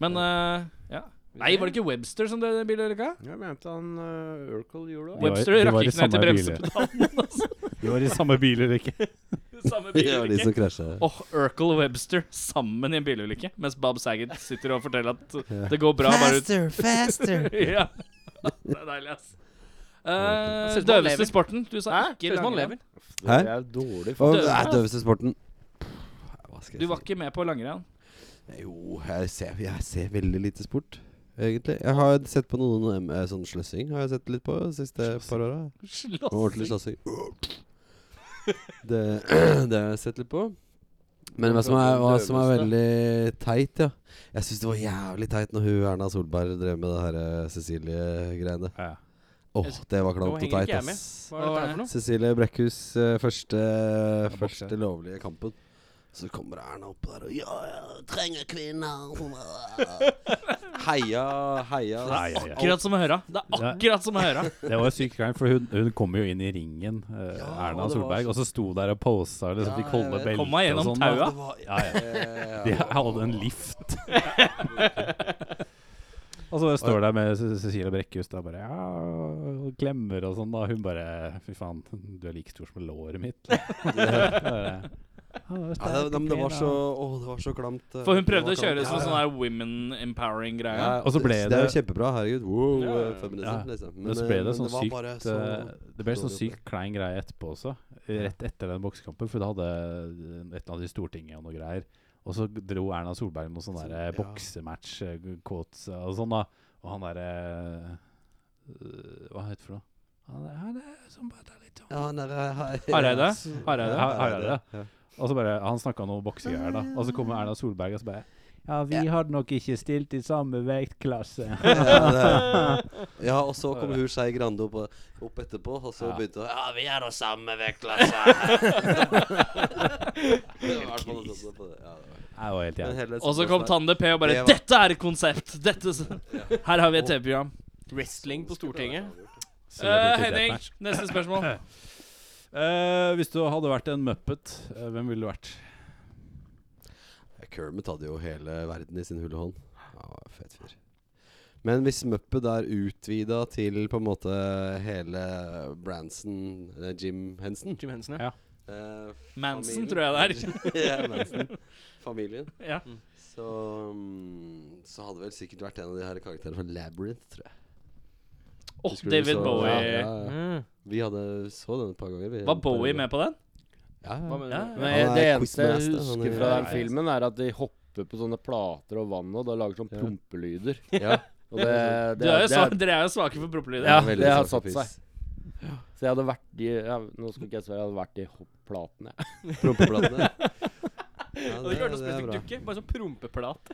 Speaker 2: Men eh, ja. Nei, var det ikke Webster som døde i en bilulykka?
Speaker 6: Ja, men jeg mente han uh, Urkel gjorde det.
Speaker 3: var-
Speaker 2: Webster
Speaker 3: de var
Speaker 2: rakk
Speaker 3: i
Speaker 2: ikke ned til
Speaker 3: samme bil.
Speaker 2: bremsepedalen. altså.
Speaker 3: De var i samme bil eller ikke?
Speaker 2: Samme
Speaker 5: Det var de
Speaker 2: bilulykke.
Speaker 5: som krasja.
Speaker 2: Åh, Urkel og Webster sammen i en bilulykke, mens Bob Saget sitter og forteller at det går bra. Bare ut.
Speaker 7: faster.
Speaker 2: ja. Det er deilig, ass. Eh,
Speaker 8: Ser ut som han lever.
Speaker 2: døveste sporten? Du sa
Speaker 8: Hæ?
Speaker 2: ikke
Speaker 8: Ser ut som han
Speaker 2: langrenn.
Speaker 6: Det
Speaker 5: Hæ?
Speaker 6: er dårlig
Speaker 5: Å,
Speaker 6: for
Speaker 5: det er døveste sporten. Hva skal jeg
Speaker 2: Du
Speaker 5: si?
Speaker 2: var ikke med på langrenn?
Speaker 5: Jo, jeg ser, jeg ser veldig lite sport, egentlig. Jeg har sett på noen em, eh, sånn sløssing har jeg sett litt på de siste par åra. Ordentlig sløssing. Det, det har jeg sett litt på. Men hva som er, hva som er veldig teit, ja Jeg syns det var jævlig teit når hun Erna Solberg drev med det her eh, Cecilie-greiene.
Speaker 3: Ja.
Speaker 5: Åh, det var klamt og
Speaker 8: henger ikke
Speaker 5: teit,
Speaker 8: jeg med.
Speaker 5: ass.
Speaker 8: Hva er dette her for noe?
Speaker 5: Cecilie Brekkhus eh, første,
Speaker 3: borte.
Speaker 5: første lovlige kampen. Så kommer Erna opp der og Ja, ja, trenger kvinner som er-" Heia, heia.
Speaker 3: Nei, ja, ja.
Speaker 2: Akkurat som å høre. Det er akkurat som å høre.
Speaker 3: Det var sykt kleint, for hun, hun kom jo inn i ringen, eh,
Speaker 5: Ja,
Speaker 3: Erna
Speaker 5: og det var
Speaker 3: Solberg, og så sto der og posa og liksom,
Speaker 5: Ja,
Speaker 3: fikk holde
Speaker 5: jeg vet.
Speaker 2: Kom meg gjennom
Speaker 3: beltet og sånn.
Speaker 2: taua.
Speaker 3: da.
Speaker 5: Det var-
Speaker 3: Ja, ja.
Speaker 5: Eh,
Speaker 3: De hadde en lift. og så står der med Ce- Cecilie Brekkhus da bare ja, og klemmer og sånn. da Hun bare Fy faen, du er like stor som låret mitt. Bare, «Ja, det er
Speaker 5: Ja, det,
Speaker 3: sterke
Speaker 5: men det var
Speaker 3: klær,
Speaker 5: så
Speaker 3: da».
Speaker 5: Åh, det var så klamt. eh,
Speaker 2: For hun prøvde å
Speaker 5: det var
Speaker 2: kjøre
Speaker 5: klamt.
Speaker 2: sånn
Speaker 5: Ja,
Speaker 2: sånn
Speaker 5: ja.
Speaker 2: der women empowering-greie.
Speaker 5: Ja,
Speaker 3: Og så ble
Speaker 5: det,
Speaker 3: det-
Speaker 5: er jo kjempebra. Herregud. Wow, eh, feminism,
Speaker 3: Ja.
Speaker 5: liksom.
Speaker 3: Men så ble
Speaker 5: eh,
Speaker 3: det sånn
Speaker 5: var
Speaker 3: sykt
Speaker 5: bare
Speaker 3: eh, Det ble sånn
Speaker 5: dårlig
Speaker 3: sykt klein greie etterpå også. Rett etter den boksekampen, for da hadde et eller annet i Stortinget og noe greier. Og så dro Erna Solberg noe sånn derre boksematch, eh, quotes og sånn, da. Og han derre eh, Hva het det for noe? Han der, han der som bare tar litt sånn.
Speaker 5: Ja, nei, nei, nei.
Speaker 2: Hareide? Hareide?
Speaker 5: Ja,
Speaker 3: Hareide.
Speaker 5: Ja.
Speaker 3: Og så bare Han snakka noe boksegreier, da. Og så kommer Erna Solberg og så bare Ja, vi hadde nok ikke stilt i samme vektklasse.
Speaker 5: Ja, det- ja, og så kom hun Skei Grande opp, opp etterpå, og så begynte hun Ja, vi er da samme vektklasse! Det var i hvert fall noe sånt på det. Ja, det var-
Speaker 3: Det var helt
Speaker 5: Men
Speaker 3: jævlig.
Speaker 5: hele sånn
Speaker 2: Og så kom Tande P og bare
Speaker 5: Det var-
Speaker 2: 'Dette er et konsept!' Dette s- Her har vi et TV-program.
Speaker 8: Wrestling på Stortinget.
Speaker 2: Eh,
Speaker 3: Celebrity
Speaker 2: Henning,
Speaker 3: deathmatch.
Speaker 2: neste spørsmål.
Speaker 3: Eh, hvis du hadde vært en muppet, eh, hvem ville du vært?
Speaker 5: Kermit hadde jo hele verden i sin hule hånd. Ja, han var en fet fyr. Men hvis Muppet er utvida til på en måte hele Branson eh, Jim Henson
Speaker 8: Jim Henson, ja.
Speaker 5: eh,
Speaker 2: Manson,
Speaker 5: familien-
Speaker 2: tror jeg det er.
Speaker 5: ja, Manson. Familien.
Speaker 2: Ja.
Speaker 5: Så, mm, så hadde vel sikkert vært en av de her karakterene fra Labyrinth, tror jeg.
Speaker 2: Åh,
Speaker 5: Husker du
Speaker 2: David
Speaker 5: så- Ja,
Speaker 2: Bowie.
Speaker 8: Mm.
Speaker 5: ja, ja. Vi hadde så den et par ganger. Vi,
Speaker 2: Var Bowie med på den?
Speaker 5: Ja, ja.
Speaker 8: Hva mener du?
Speaker 2: Ja.
Speaker 6: Men
Speaker 5: Han er
Speaker 6: det eneste jeg
Speaker 5: quizmaster, han
Speaker 6: husker
Speaker 5: er-
Speaker 6: fra den
Speaker 3: Ja, ja.
Speaker 6: filmen, er at de hopper på sånne plater og vann, og da lager sånn
Speaker 5: Ja.
Speaker 6: prompelyder.
Speaker 5: Ja,
Speaker 6: Og det,
Speaker 2: Du er
Speaker 6: det,
Speaker 2: jo
Speaker 6: det,
Speaker 5: sånn-
Speaker 2: sva- Dere er jo svake for proppelyder.
Speaker 6: Ja,
Speaker 5: veldig
Speaker 6: det har
Speaker 5: svak
Speaker 6: satt
Speaker 5: piss.
Speaker 6: seg. Så jeg hadde vært i ja, Nå skulle ikke jeg svære, jeg hadde vært i hopplatene. jeg.
Speaker 5: Prompeplatene. Ja,
Speaker 8: Hadde ikke vært noe
Speaker 5: det er
Speaker 8: spesifikk
Speaker 5: bra.
Speaker 8: dukke, bare sånn prompeplate.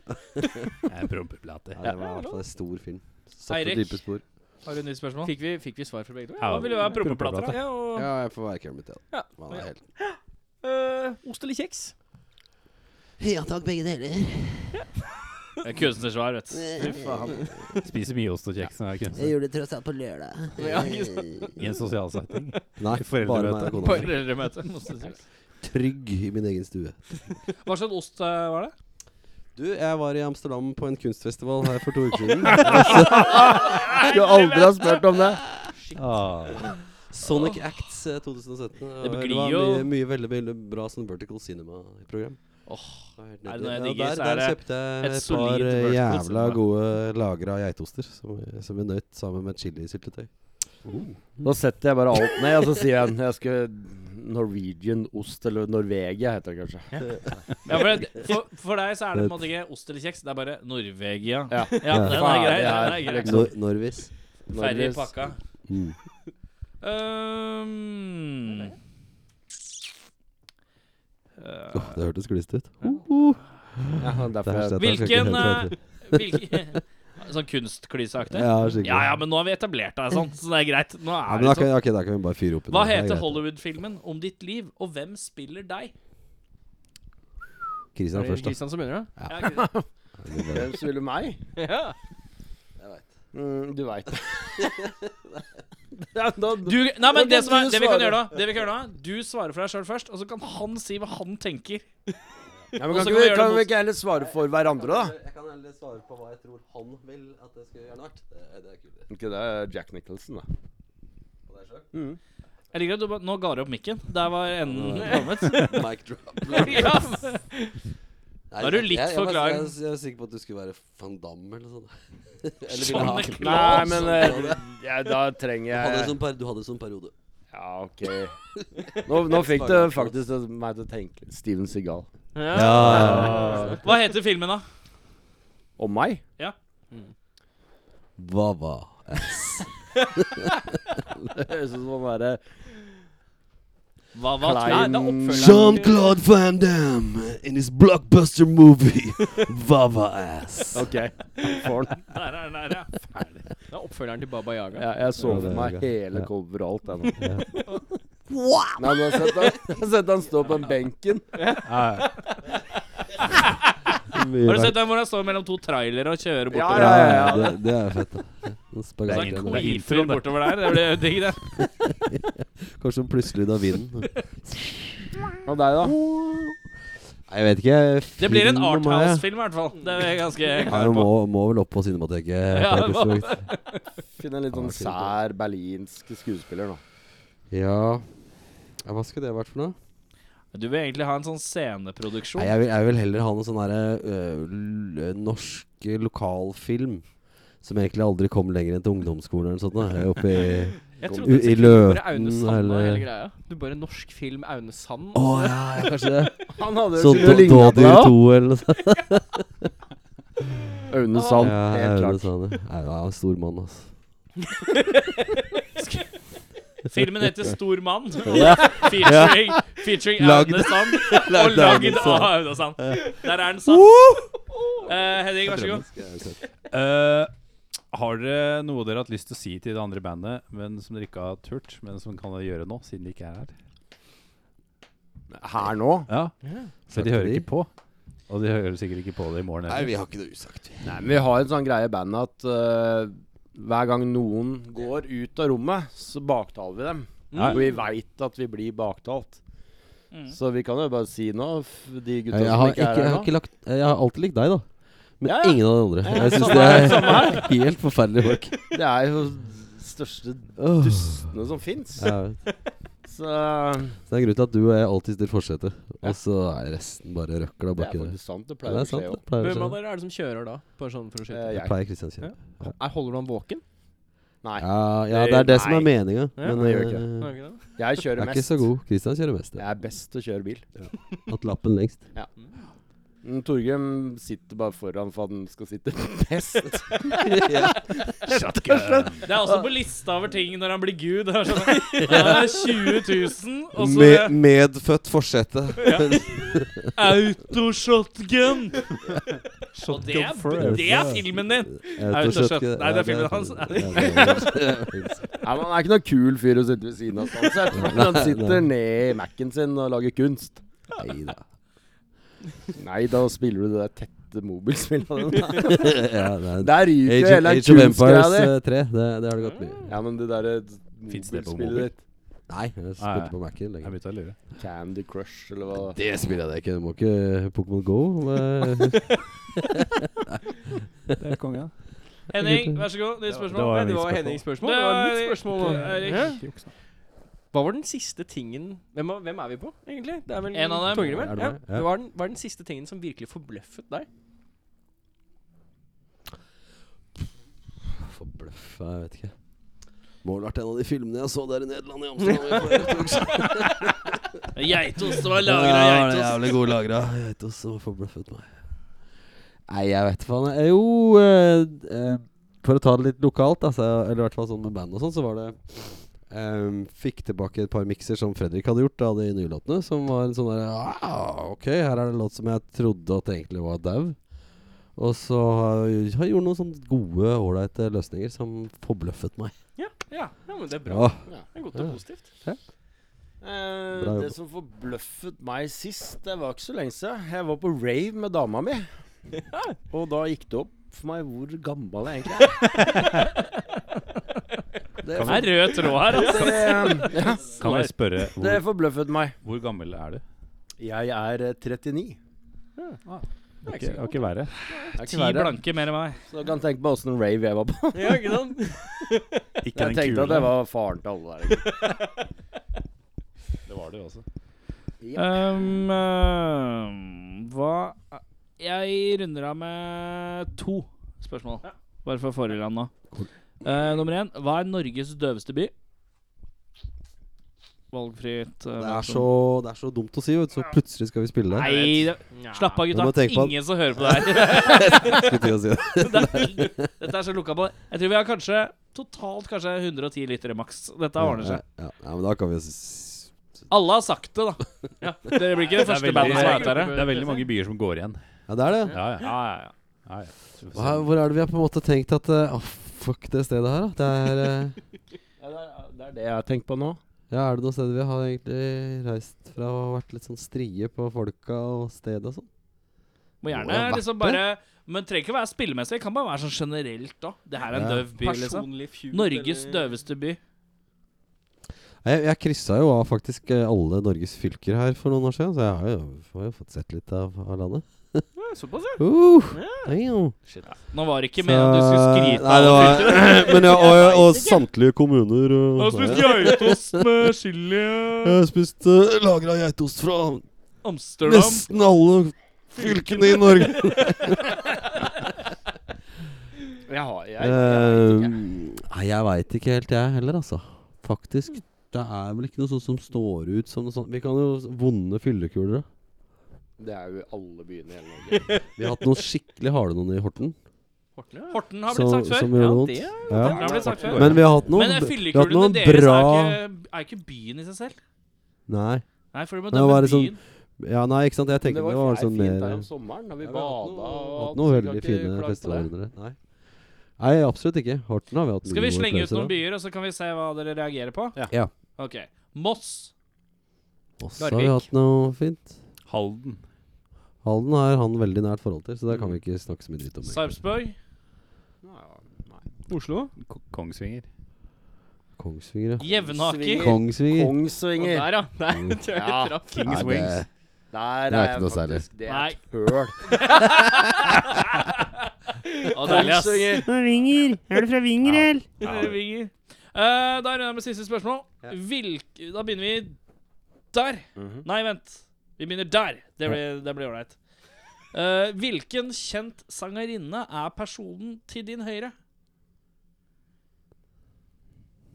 Speaker 3: Prompeplate.
Speaker 5: Ja, det var i hvert fall en stor film. Satte
Speaker 2: Eirik?
Speaker 5: dype spor.
Speaker 2: Har du et nytt spørsmål?
Speaker 8: Fikk vi, fikk vi svar fra begge to?
Speaker 3: Ja,
Speaker 2: Hva ville være prompeplater? da?
Speaker 8: Ja, og
Speaker 5: Ja, jeg får være Kermit, ja.
Speaker 8: Ja.
Speaker 5: Man er helt
Speaker 8: øh,
Speaker 5: Eh,
Speaker 8: ost eller kjeks?
Speaker 7: Ja takk, begge deler.
Speaker 2: Det er Kunstnersvar, Eh, vet du. Fy faen.
Speaker 3: Spiser mye ost og kjeks når jeg er
Speaker 7: Jeg
Speaker 3: kunstner.
Speaker 7: gjorde det tross alt på lørdag. Eh,
Speaker 8: Ja, ikke sant?
Speaker 3: I en sosial setting.
Speaker 5: Nei,
Speaker 3: Foreldremøte.
Speaker 5: bare meg og kona.
Speaker 2: Foreldremøte. måtte jeg si.
Speaker 5: Trygg i min egen stue.
Speaker 2: Hva slags ost eh, var det?
Speaker 5: Du, jeg var i Amsterdam på en kunstfestival her for to uker siden.
Speaker 6: Du aldri har spurt om det!
Speaker 3: Ah.
Speaker 5: Sonic Acts eh, 2017. Det,
Speaker 2: blir
Speaker 5: var
Speaker 2: jo-
Speaker 5: mye, mye veldig, veldig bra sånn Vertical Cinema-program. Oh, er
Speaker 2: det noe jeg digger, så er
Speaker 5: der, der
Speaker 2: det
Speaker 5: kjøpte
Speaker 2: et
Speaker 5: jeg et
Speaker 2: solid
Speaker 5: par eh,
Speaker 2: Vertical
Speaker 5: jævla
Speaker 2: Cinema.
Speaker 5: gode lagra geitoster som, eh, som vi nøt sammen med chilisyltetøy.
Speaker 6: Da setter jeg bare alt ned, og så sier jeg jeg skulle Norwegian ost, eller Norvegia heter det kanskje.
Speaker 2: Ja, for, det- for, for deg så er det på en måte ikke ost eller kjeks, det er bare Norvegia.
Speaker 6: Ja.
Speaker 2: Ja, den er
Speaker 6: Ferdig
Speaker 2: grei.
Speaker 6: her,
Speaker 2: Den er grei.
Speaker 5: Nor Norvis.
Speaker 2: Ferdig
Speaker 6: Norges-
Speaker 2: pakka.
Speaker 5: Mm.
Speaker 2: Um,
Speaker 5: Åh, det hørtes glist ut.
Speaker 6: Ja, derfor
Speaker 5: Der
Speaker 6: jeg,
Speaker 5: satt jeg, skal ikke
Speaker 2: Hvilken
Speaker 5: helt høre
Speaker 2: eh, hvilken- Sånn kunstklyseaktig?
Speaker 5: til. Ja, skikkelig.
Speaker 2: Ja ja, men nå har vi etablert deg sånn, så det er greit. Nå
Speaker 5: Ja,
Speaker 2: er
Speaker 5: men da
Speaker 2: det sånn.
Speaker 5: kan, ok, da kan vi bare fyre opp. i
Speaker 2: Hva
Speaker 5: det. Det er
Speaker 2: heter
Speaker 5: greit.
Speaker 2: Hollywood-filmen om ditt liv, og hvem spiller deg?
Speaker 5: Christian først, da.
Speaker 8: Kristian som begynner, da?
Speaker 2: Ja, ikke sant?
Speaker 6: Hvem spiller meg?
Speaker 8: Ja.
Speaker 6: Mm, du veit det. Ja, da-
Speaker 2: Du, nei, men
Speaker 6: Men
Speaker 2: det,
Speaker 6: det
Speaker 2: som er,
Speaker 6: du
Speaker 2: det vi kan
Speaker 6: svarer.
Speaker 2: gjøre da Det vi kan gjøre da Du svarer for deg sjøl først, og så kan han si hva han tenker.
Speaker 6: Ja,
Speaker 2: Og
Speaker 6: men kan
Speaker 2: så kan vi
Speaker 6: ikke vi,
Speaker 2: gjøre det
Speaker 6: kan vi
Speaker 2: mot-
Speaker 6: ikke heller svare for hverandre, da?
Speaker 5: Jeg kan heller svare på hva jeg tror han vil at jeg skulle gjerne vært. Det, det er kult.
Speaker 6: Ikke det er Jack Nicholson, da.
Speaker 2: Jeg liker at du bare Nå ga du opp mikken. Der var enden kommet.
Speaker 5: Mic drop.
Speaker 2: Ja.
Speaker 5: Nei,
Speaker 2: Da er du litt
Speaker 5: jeg, jeg,
Speaker 2: for
Speaker 5: jeg,
Speaker 2: klar.
Speaker 5: Jeg, jeg, er sikker på at du skulle være van Damme eller sånn. Eller ville
Speaker 2: Sånn
Speaker 5: ha-
Speaker 2: er
Speaker 6: Nei,
Speaker 2: Claes.
Speaker 6: men eh, ja, da
Speaker 5: Du
Speaker 6: trenger
Speaker 5: hadde en
Speaker 6: jeg
Speaker 5: sånn, per, du hadde en sånn periode.
Speaker 6: Ja, OK. Nå, nå fikk du faktisk det- meg til å tenke Steven Seagal.
Speaker 2: Hva heter filmen, da?
Speaker 6: Om meg?
Speaker 5: Vava.
Speaker 6: Det høres ut som han derre
Speaker 2: Hva, hva
Speaker 8: Nei, da
Speaker 6: Klein
Speaker 8: oppfølger
Speaker 1: Jean-Claude Van Damme in his blockbuster movie Vava Ass.
Speaker 6: OK, får han.
Speaker 2: Der er den der, ja.
Speaker 8: Da oppfølger han til Baba Yaga.
Speaker 6: Ja, jeg så
Speaker 5: Ja, det
Speaker 6: for
Speaker 5: er
Speaker 6: meg
Speaker 5: gøy.
Speaker 6: hele
Speaker 5: Ja.
Speaker 6: cover og alt. Jeg, nå. Nei, men jeg har sett han- jeg har sett han stå på en benken.
Speaker 2: Har du sett den hvor han står mellom to trailere og kjører
Speaker 6: Ja,
Speaker 2: bortover?
Speaker 6: ja, ja, ja.
Speaker 5: Det, det er fett, da. En
Speaker 2: Så er
Speaker 5: spagat
Speaker 2: det
Speaker 5: igjen
Speaker 2: en
Speaker 5: der.
Speaker 2: koifer bortover der. Det blir jo digg, det.
Speaker 5: Kanskje en plutselig da vinden.
Speaker 6: Og deg, da?
Speaker 5: Nei, jeg vet ikke.
Speaker 2: Det blir en
Speaker 5: Film må jeg-
Speaker 2: Arthouse-film, i hvert fall. Det er jeg ganske
Speaker 5: Ja,
Speaker 2: klar
Speaker 5: jeg
Speaker 2: på.
Speaker 5: må, må vel opp på Cinemateket.
Speaker 2: Ja,
Speaker 5: på et
Speaker 2: det må-
Speaker 5: tidspunkt.
Speaker 6: Finne en litt
Speaker 5: Han var
Speaker 6: sånn
Speaker 5: fint, da.
Speaker 6: sær berlinsk skuespiller nå.
Speaker 5: ja. ja, hva skulle det vært for noe?
Speaker 2: Du vil egentlig ha en sånn sceneproduksjon.
Speaker 5: Nei, jeg vil, jeg vil heller ha noen sånn derre øh, l- norsk lokalfilm. Som egentlig aldri kom lenger enn til ungdomsskolen eller noe sånt. da. Oppe i,
Speaker 8: Jeg
Speaker 5: i,
Speaker 8: trodde
Speaker 5: i
Speaker 8: sikkert bare
Speaker 5: Løten
Speaker 8: Aune Sand og hele
Speaker 5: E eller
Speaker 8: greia. Du bare norsk film Aune Sand.
Speaker 5: Å ja, ja, kanskje det.
Speaker 6: Han hadde
Speaker 5: Så
Speaker 6: skulle lignet på
Speaker 5: Dådyr
Speaker 6: deg, da.
Speaker 5: 2 eller noe sånt.
Speaker 6: Aune Sand,
Speaker 5: Ja,
Speaker 6: helt
Speaker 5: Aune
Speaker 6: klart.
Speaker 5: Sand, ja. Nei, han er en stor mann, altså.
Speaker 2: Filmen heter Stor mann. Featuring, featuring Aune Sand. Og
Speaker 5: Lagd av
Speaker 2: lagd
Speaker 5: Aune
Speaker 2: av
Speaker 5: Sand.
Speaker 2: Aune Sand. Der er den sann. Eh, Henning, vær så god.
Speaker 3: Eh, har dere noe dere har hatt lyst til å si til det andre bandet, men som dere ikke har turt, men som kan gjøre nå, siden de ikke er her?
Speaker 6: Her nå?
Speaker 3: Ja, For
Speaker 5: Sagt
Speaker 3: de hører
Speaker 5: de.
Speaker 3: ikke på. Og de hører sikkert ikke på det i morgen heller.
Speaker 5: vi har ikke noe usagt.
Speaker 6: Nei, men vi har en sånn greie i bandet at eh, hver gang noen går ut av rommet, så baktaler vi dem.
Speaker 3: Ja.
Speaker 6: Og vi veit at vi blir baktalt.
Speaker 2: Mm.
Speaker 6: Så vi kan jo bare si nå, f- de gutta
Speaker 5: Jeg
Speaker 6: som
Speaker 5: har,
Speaker 6: ikke
Speaker 5: ikke,
Speaker 6: er
Speaker 5: jeg
Speaker 6: her
Speaker 5: har,
Speaker 6: nå
Speaker 5: ikke lagt, jeg har alltid likt deg, da. Men
Speaker 6: Ja, ja.
Speaker 5: ingen av de andre. Jeg syns
Speaker 6: samme
Speaker 5: det
Speaker 6: her,
Speaker 5: er helt forferdelige folk.
Speaker 6: Det er jo største
Speaker 5: Åh.
Speaker 6: dustene som fins.
Speaker 5: Ja, jeg vet.
Speaker 6: Så det
Speaker 5: så det er en grunn til at du og jeg alltid sitter i forsetet, og så er resten bare røkla
Speaker 6: er
Speaker 5: baki der.
Speaker 6: faktisk sant. Det
Speaker 5: Det
Speaker 6: pleier
Speaker 5: er
Speaker 6: å skje
Speaker 5: sant,
Speaker 6: òg.
Speaker 5: det sånn? pleier å
Speaker 8: Hvem av
Speaker 5: skje.
Speaker 8: dere er det som kjører da? Bare sånn for å skyte.
Speaker 5: Det
Speaker 6: Jeg
Speaker 5: pleier Kristian å si.
Speaker 8: Er- Holder du ham våken?
Speaker 6: Nei,
Speaker 5: Ja, ja, det er det som er
Speaker 6: Nei.
Speaker 5: meninga.
Speaker 8: Ja,
Speaker 5: Men
Speaker 6: det
Speaker 5: jeg
Speaker 6: gjør
Speaker 8: Er
Speaker 6: ikke
Speaker 8: det ikke det?
Speaker 6: jeg
Speaker 5: er
Speaker 6: kjører
Speaker 5: ikke
Speaker 6: mest.
Speaker 5: så god. Kristian kjører mest.
Speaker 6: Jeg er best til å kjøre bil.
Speaker 5: Hatt lappen lengst.
Speaker 6: Mm, Torgrim sitter bare foran for at han skal sitte best.
Speaker 2: Det er også på lista over ting når han blir gud. Det er sånn, eh, 20 000, og så
Speaker 5: Med,
Speaker 2: eh,
Speaker 5: medfødt forsete.
Speaker 2: autoshotgun. Og det er, det er filmen din. Autoshot- Nei, det er filmen hans.
Speaker 6: Nei, men Han er ikke noen kul fyr å sitte ved siden av. Sånn sett. Men Han sitter ned i Mac-en sin og lager kunst.
Speaker 5: Neida.
Speaker 6: Nei, da spiller du det der tette mobilspillet. dine.
Speaker 5: Ja, det er-
Speaker 6: Der
Speaker 5: Age
Speaker 6: ryker jo
Speaker 5: of,
Speaker 6: hele
Speaker 5: Age of
Speaker 6: kunstgreia
Speaker 5: Empires
Speaker 6: di.
Speaker 5: eh, 3. Det, Mm. det har det gått mye.
Speaker 6: Ja, men det derre
Speaker 3: Finnes det på
Speaker 6: mobilspillet
Speaker 3: mobil?
Speaker 6: ditt.
Speaker 5: Nei, jeg
Speaker 3: Nei.
Speaker 5: spilte på Mac-en
Speaker 3: Jeg
Speaker 5: lenge.
Speaker 3: begynte å lure.
Speaker 6: Candy Crush, eller hva?
Speaker 5: Det spiller jeg ikke. Du må ikke Pokémon Go. men-
Speaker 3: Det er konge, da.
Speaker 2: Henning, vær så god.
Speaker 8: Det
Speaker 2: Nytt spørsmål.
Speaker 3: Det var mitt
Speaker 8: var
Speaker 3: spørsmål.
Speaker 8: Hennings spørsmål. Det var mitt spørsmål.
Speaker 2: Erik.
Speaker 4: Hva var den siste tingen Hvem, er- hvem er vi på, egentlig? Det er vel
Speaker 2: En av dem.
Speaker 4: Torgrim, vel?
Speaker 6: Er det
Speaker 4: Ja.
Speaker 6: meg? Ja.
Speaker 4: Det var den, var den siste tingen som virkelig forbløffet deg?
Speaker 5: Forbløffa, jeg vet ikke. Må vel vært en av de filmene jeg så der i Nederland i Amsterdam. i forrige uke.
Speaker 2: Geitost, det var lagra
Speaker 5: Ja, det er
Speaker 2: geitost.
Speaker 5: jævlig god lagra geitost som har forbløffet meg. Nei, jeg vet faen. jeg- Jo, eh, eh, for å ta det litt lokalt, altså, eller i hvert fall sånn med band og sånn, så var det eh, Fikk tilbake et par mikser som Fredrik hadde gjort av de nye låtene, som var en sånn derre ah, Ok, her er det en låt som jeg trodde at egentlig var dau. Og så har jeg gjort noen sånne gode, ålreite løsninger som forbløffet meg.
Speaker 4: Ja, ja, ja men det er bra.
Speaker 5: Bra.
Speaker 4: Det er godt og positivt.
Speaker 6: Eh,
Speaker 5: Bra jobba.
Speaker 6: det som forbløffet meg sist, det var ikke så lenge siden. Jeg var på rave med dama mi. Og da gikk det opp for meg hvor gammel jeg egentlig er. Det,
Speaker 2: Det er rød tråd her, altså.
Speaker 6: det, eh, ja,
Speaker 3: Kan jeg spørre
Speaker 6: det
Speaker 3: hvor,
Speaker 6: forbløffet meg.
Speaker 3: hvor gammel er du?
Speaker 6: Jeg er eh, 39.
Speaker 3: Det er ikke, det er ikke verre.
Speaker 6: Det er
Speaker 2: Ti
Speaker 6: ikke verre.
Speaker 2: blanke mer enn meg.
Speaker 6: Så du kan tenke på åssen rave jeg var på.
Speaker 4: Ja, ikke sant?
Speaker 3: Ikke
Speaker 6: Jeg
Speaker 3: den
Speaker 6: tenkte
Speaker 3: kule.
Speaker 6: at jeg var faren til alle der. egentlig.
Speaker 3: Det var det jo også.
Speaker 2: Um, um, hva Jeg runder av med to spørsmål. Bare for forrige land nå. Eh, nummer én Hva er Norges døveste by? Valgfritt. eh,
Speaker 5: Det
Speaker 2: hva
Speaker 5: er
Speaker 2: som-
Speaker 5: så, det er så dumt å si, vet du. Så plutselig skal vi spille.
Speaker 2: Nei, det- slapp av,
Speaker 5: Du må
Speaker 2: gutta.
Speaker 5: tenke på at-
Speaker 2: Ingen som hører på det her.
Speaker 5: Skulle til å si det.
Speaker 2: Det er ingen- Dette er så lukka på. Jeg tror vi har kanskje totalt kanskje 110 liter i maks. Dette ordner seg.
Speaker 5: Ja, ja, ja, men da kan vi s-
Speaker 2: Alle har sagt det, da. Dere blir ikke det første bandet som er ute her.
Speaker 3: det er veldig mange byer som går igjen.
Speaker 5: Ja, det er det.
Speaker 3: Ja, ja. ja, ja.
Speaker 5: Hva, hvor er det vi har på en måte tenkt at eh, Åh, fuck det stedet her, da. Det er eh,
Speaker 6: Ja, det, er, det er det jeg har tenkt på nå.
Speaker 5: Ja, er det noen steder vi har egentlig reist fra og vært litt sånn strie på folka og stedet og sånn?
Speaker 2: Må
Speaker 5: Må jo
Speaker 2: gjerne
Speaker 5: vært
Speaker 2: liksom
Speaker 5: det.
Speaker 2: bare Men trenger ikke å være spillemessig. Kan bare være sånn generelt, da. Det her er en
Speaker 5: Ja.
Speaker 2: døv by, liksom.
Speaker 4: feud.
Speaker 2: Norges døveste by.
Speaker 5: Jeg, jeg kryssa jo av faktisk eh, alle Norges fylker her for noen år siden, så jeg har jo, har jo fått sett litt av, av landet.
Speaker 4: Såpass, ja.
Speaker 5: Uh, damn.
Speaker 2: Nå var det ikke
Speaker 5: Så-
Speaker 2: meningen at du skulle skryte
Speaker 5: Nei,
Speaker 2: av
Speaker 5: det
Speaker 2: det.
Speaker 5: var, men jeg, og, og, samtlige kommuner og, sånn,
Speaker 2: Jeg har spist geitost med chili
Speaker 5: Jeg har spist uh, lagra geitost fra
Speaker 2: Amsterdam.
Speaker 5: nesten alle fylkene i Norge.
Speaker 6: Jeg har, jeg,
Speaker 5: Eh, Nei, jeg veit ikke helt, jeg heller, altså. Faktisk. Det er vel ikke noe sånt som står ut som noe sånt. Vi kan jo s- vonde fyllekuler, da.
Speaker 6: det er jo alle byene i hele Norge.
Speaker 5: Vi har hatt noen skikkelig harde noen i Horten.
Speaker 2: Horten har blitt
Speaker 5: som-
Speaker 2: sagt før.
Speaker 5: Som gjorde
Speaker 2: Ja,
Speaker 5: vondt.
Speaker 2: det
Speaker 5: Ja.
Speaker 2: har blitt sagt før.
Speaker 5: Men vi har hatt noen,
Speaker 2: Men
Speaker 5: b- vi har hatt
Speaker 2: fyllekulene
Speaker 5: noen
Speaker 2: deres
Speaker 5: bra
Speaker 2: er ikke, er ikke byen i seg selv.
Speaker 5: Nei.
Speaker 2: Nei, for du må
Speaker 5: Nei, hva
Speaker 2: dømme
Speaker 5: er det som-
Speaker 2: byen.
Speaker 5: Ja, nei, ikke sant. Jeg
Speaker 6: Men
Speaker 5: tenker det var sånn
Speaker 6: fint her
Speaker 5: mer
Speaker 6: om sommeren, da vi
Speaker 5: Ja, vi
Speaker 6: bada
Speaker 5: har hatt
Speaker 6: og
Speaker 5: noe-
Speaker 6: alt,
Speaker 5: Hatt noen
Speaker 6: så vi
Speaker 5: veldig
Speaker 6: kan ikke
Speaker 5: fine
Speaker 6: klage på det.
Speaker 5: festivalrunder. Nei. nei, absolutt ikke. Horten har vi hatt
Speaker 2: Skal vi
Speaker 5: noen
Speaker 2: slenge ut
Speaker 5: opplevelser
Speaker 2: noen
Speaker 5: av.
Speaker 2: byer, og så kan vi se hva dere reagerer på?
Speaker 6: Ja.
Speaker 5: Ja.
Speaker 2: Ok. Moss.
Speaker 5: Og så har vi
Speaker 2: Larvik.
Speaker 5: hatt noe fint.
Speaker 3: Halden.
Speaker 5: Halden har han veldig nært forhold til, så det kan vi ikke snakke så mye dritt om. egentlig.
Speaker 2: Sarpsborg.
Speaker 4: Oslo.
Speaker 3: K Kongsvinger.
Speaker 5: Kongsvinger, ja.
Speaker 2: Jevnaker.
Speaker 6: Svinger.
Speaker 5: Kongsvinger.
Speaker 6: Kongsvinger.
Speaker 4: Der, ja. Der tror jeg vi
Speaker 6: Ja.
Speaker 4: traff.
Speaker 3: Kings
Speaker 5: Nei,
Speaker 3: Wings.
Speaker 5: det-
Speaker 6: Der
Speaker 5: Det er
Speaker 6: er
Speaker 5: ikke
Speaker 6: jeg
Speaker 5: noe særlig.
Speaker 6: faktisk Det er
Speaker 2: Nei.
Speaker 6: et høl.
Speaker 2: Å, deilig, ass.
Speaker 6: Kongsvinger.
Speaker 2: Eh, Vinger. Eh, da runder jeg med siste spørsmål. Hvilk, da begynner vi der.
Speaker 4: Mhm.
Speaker 2: Nei, vent. Vi begynner der. Det blir det blir ålreit. Eh, hvilken kjent sangerinne er personen til din høyre?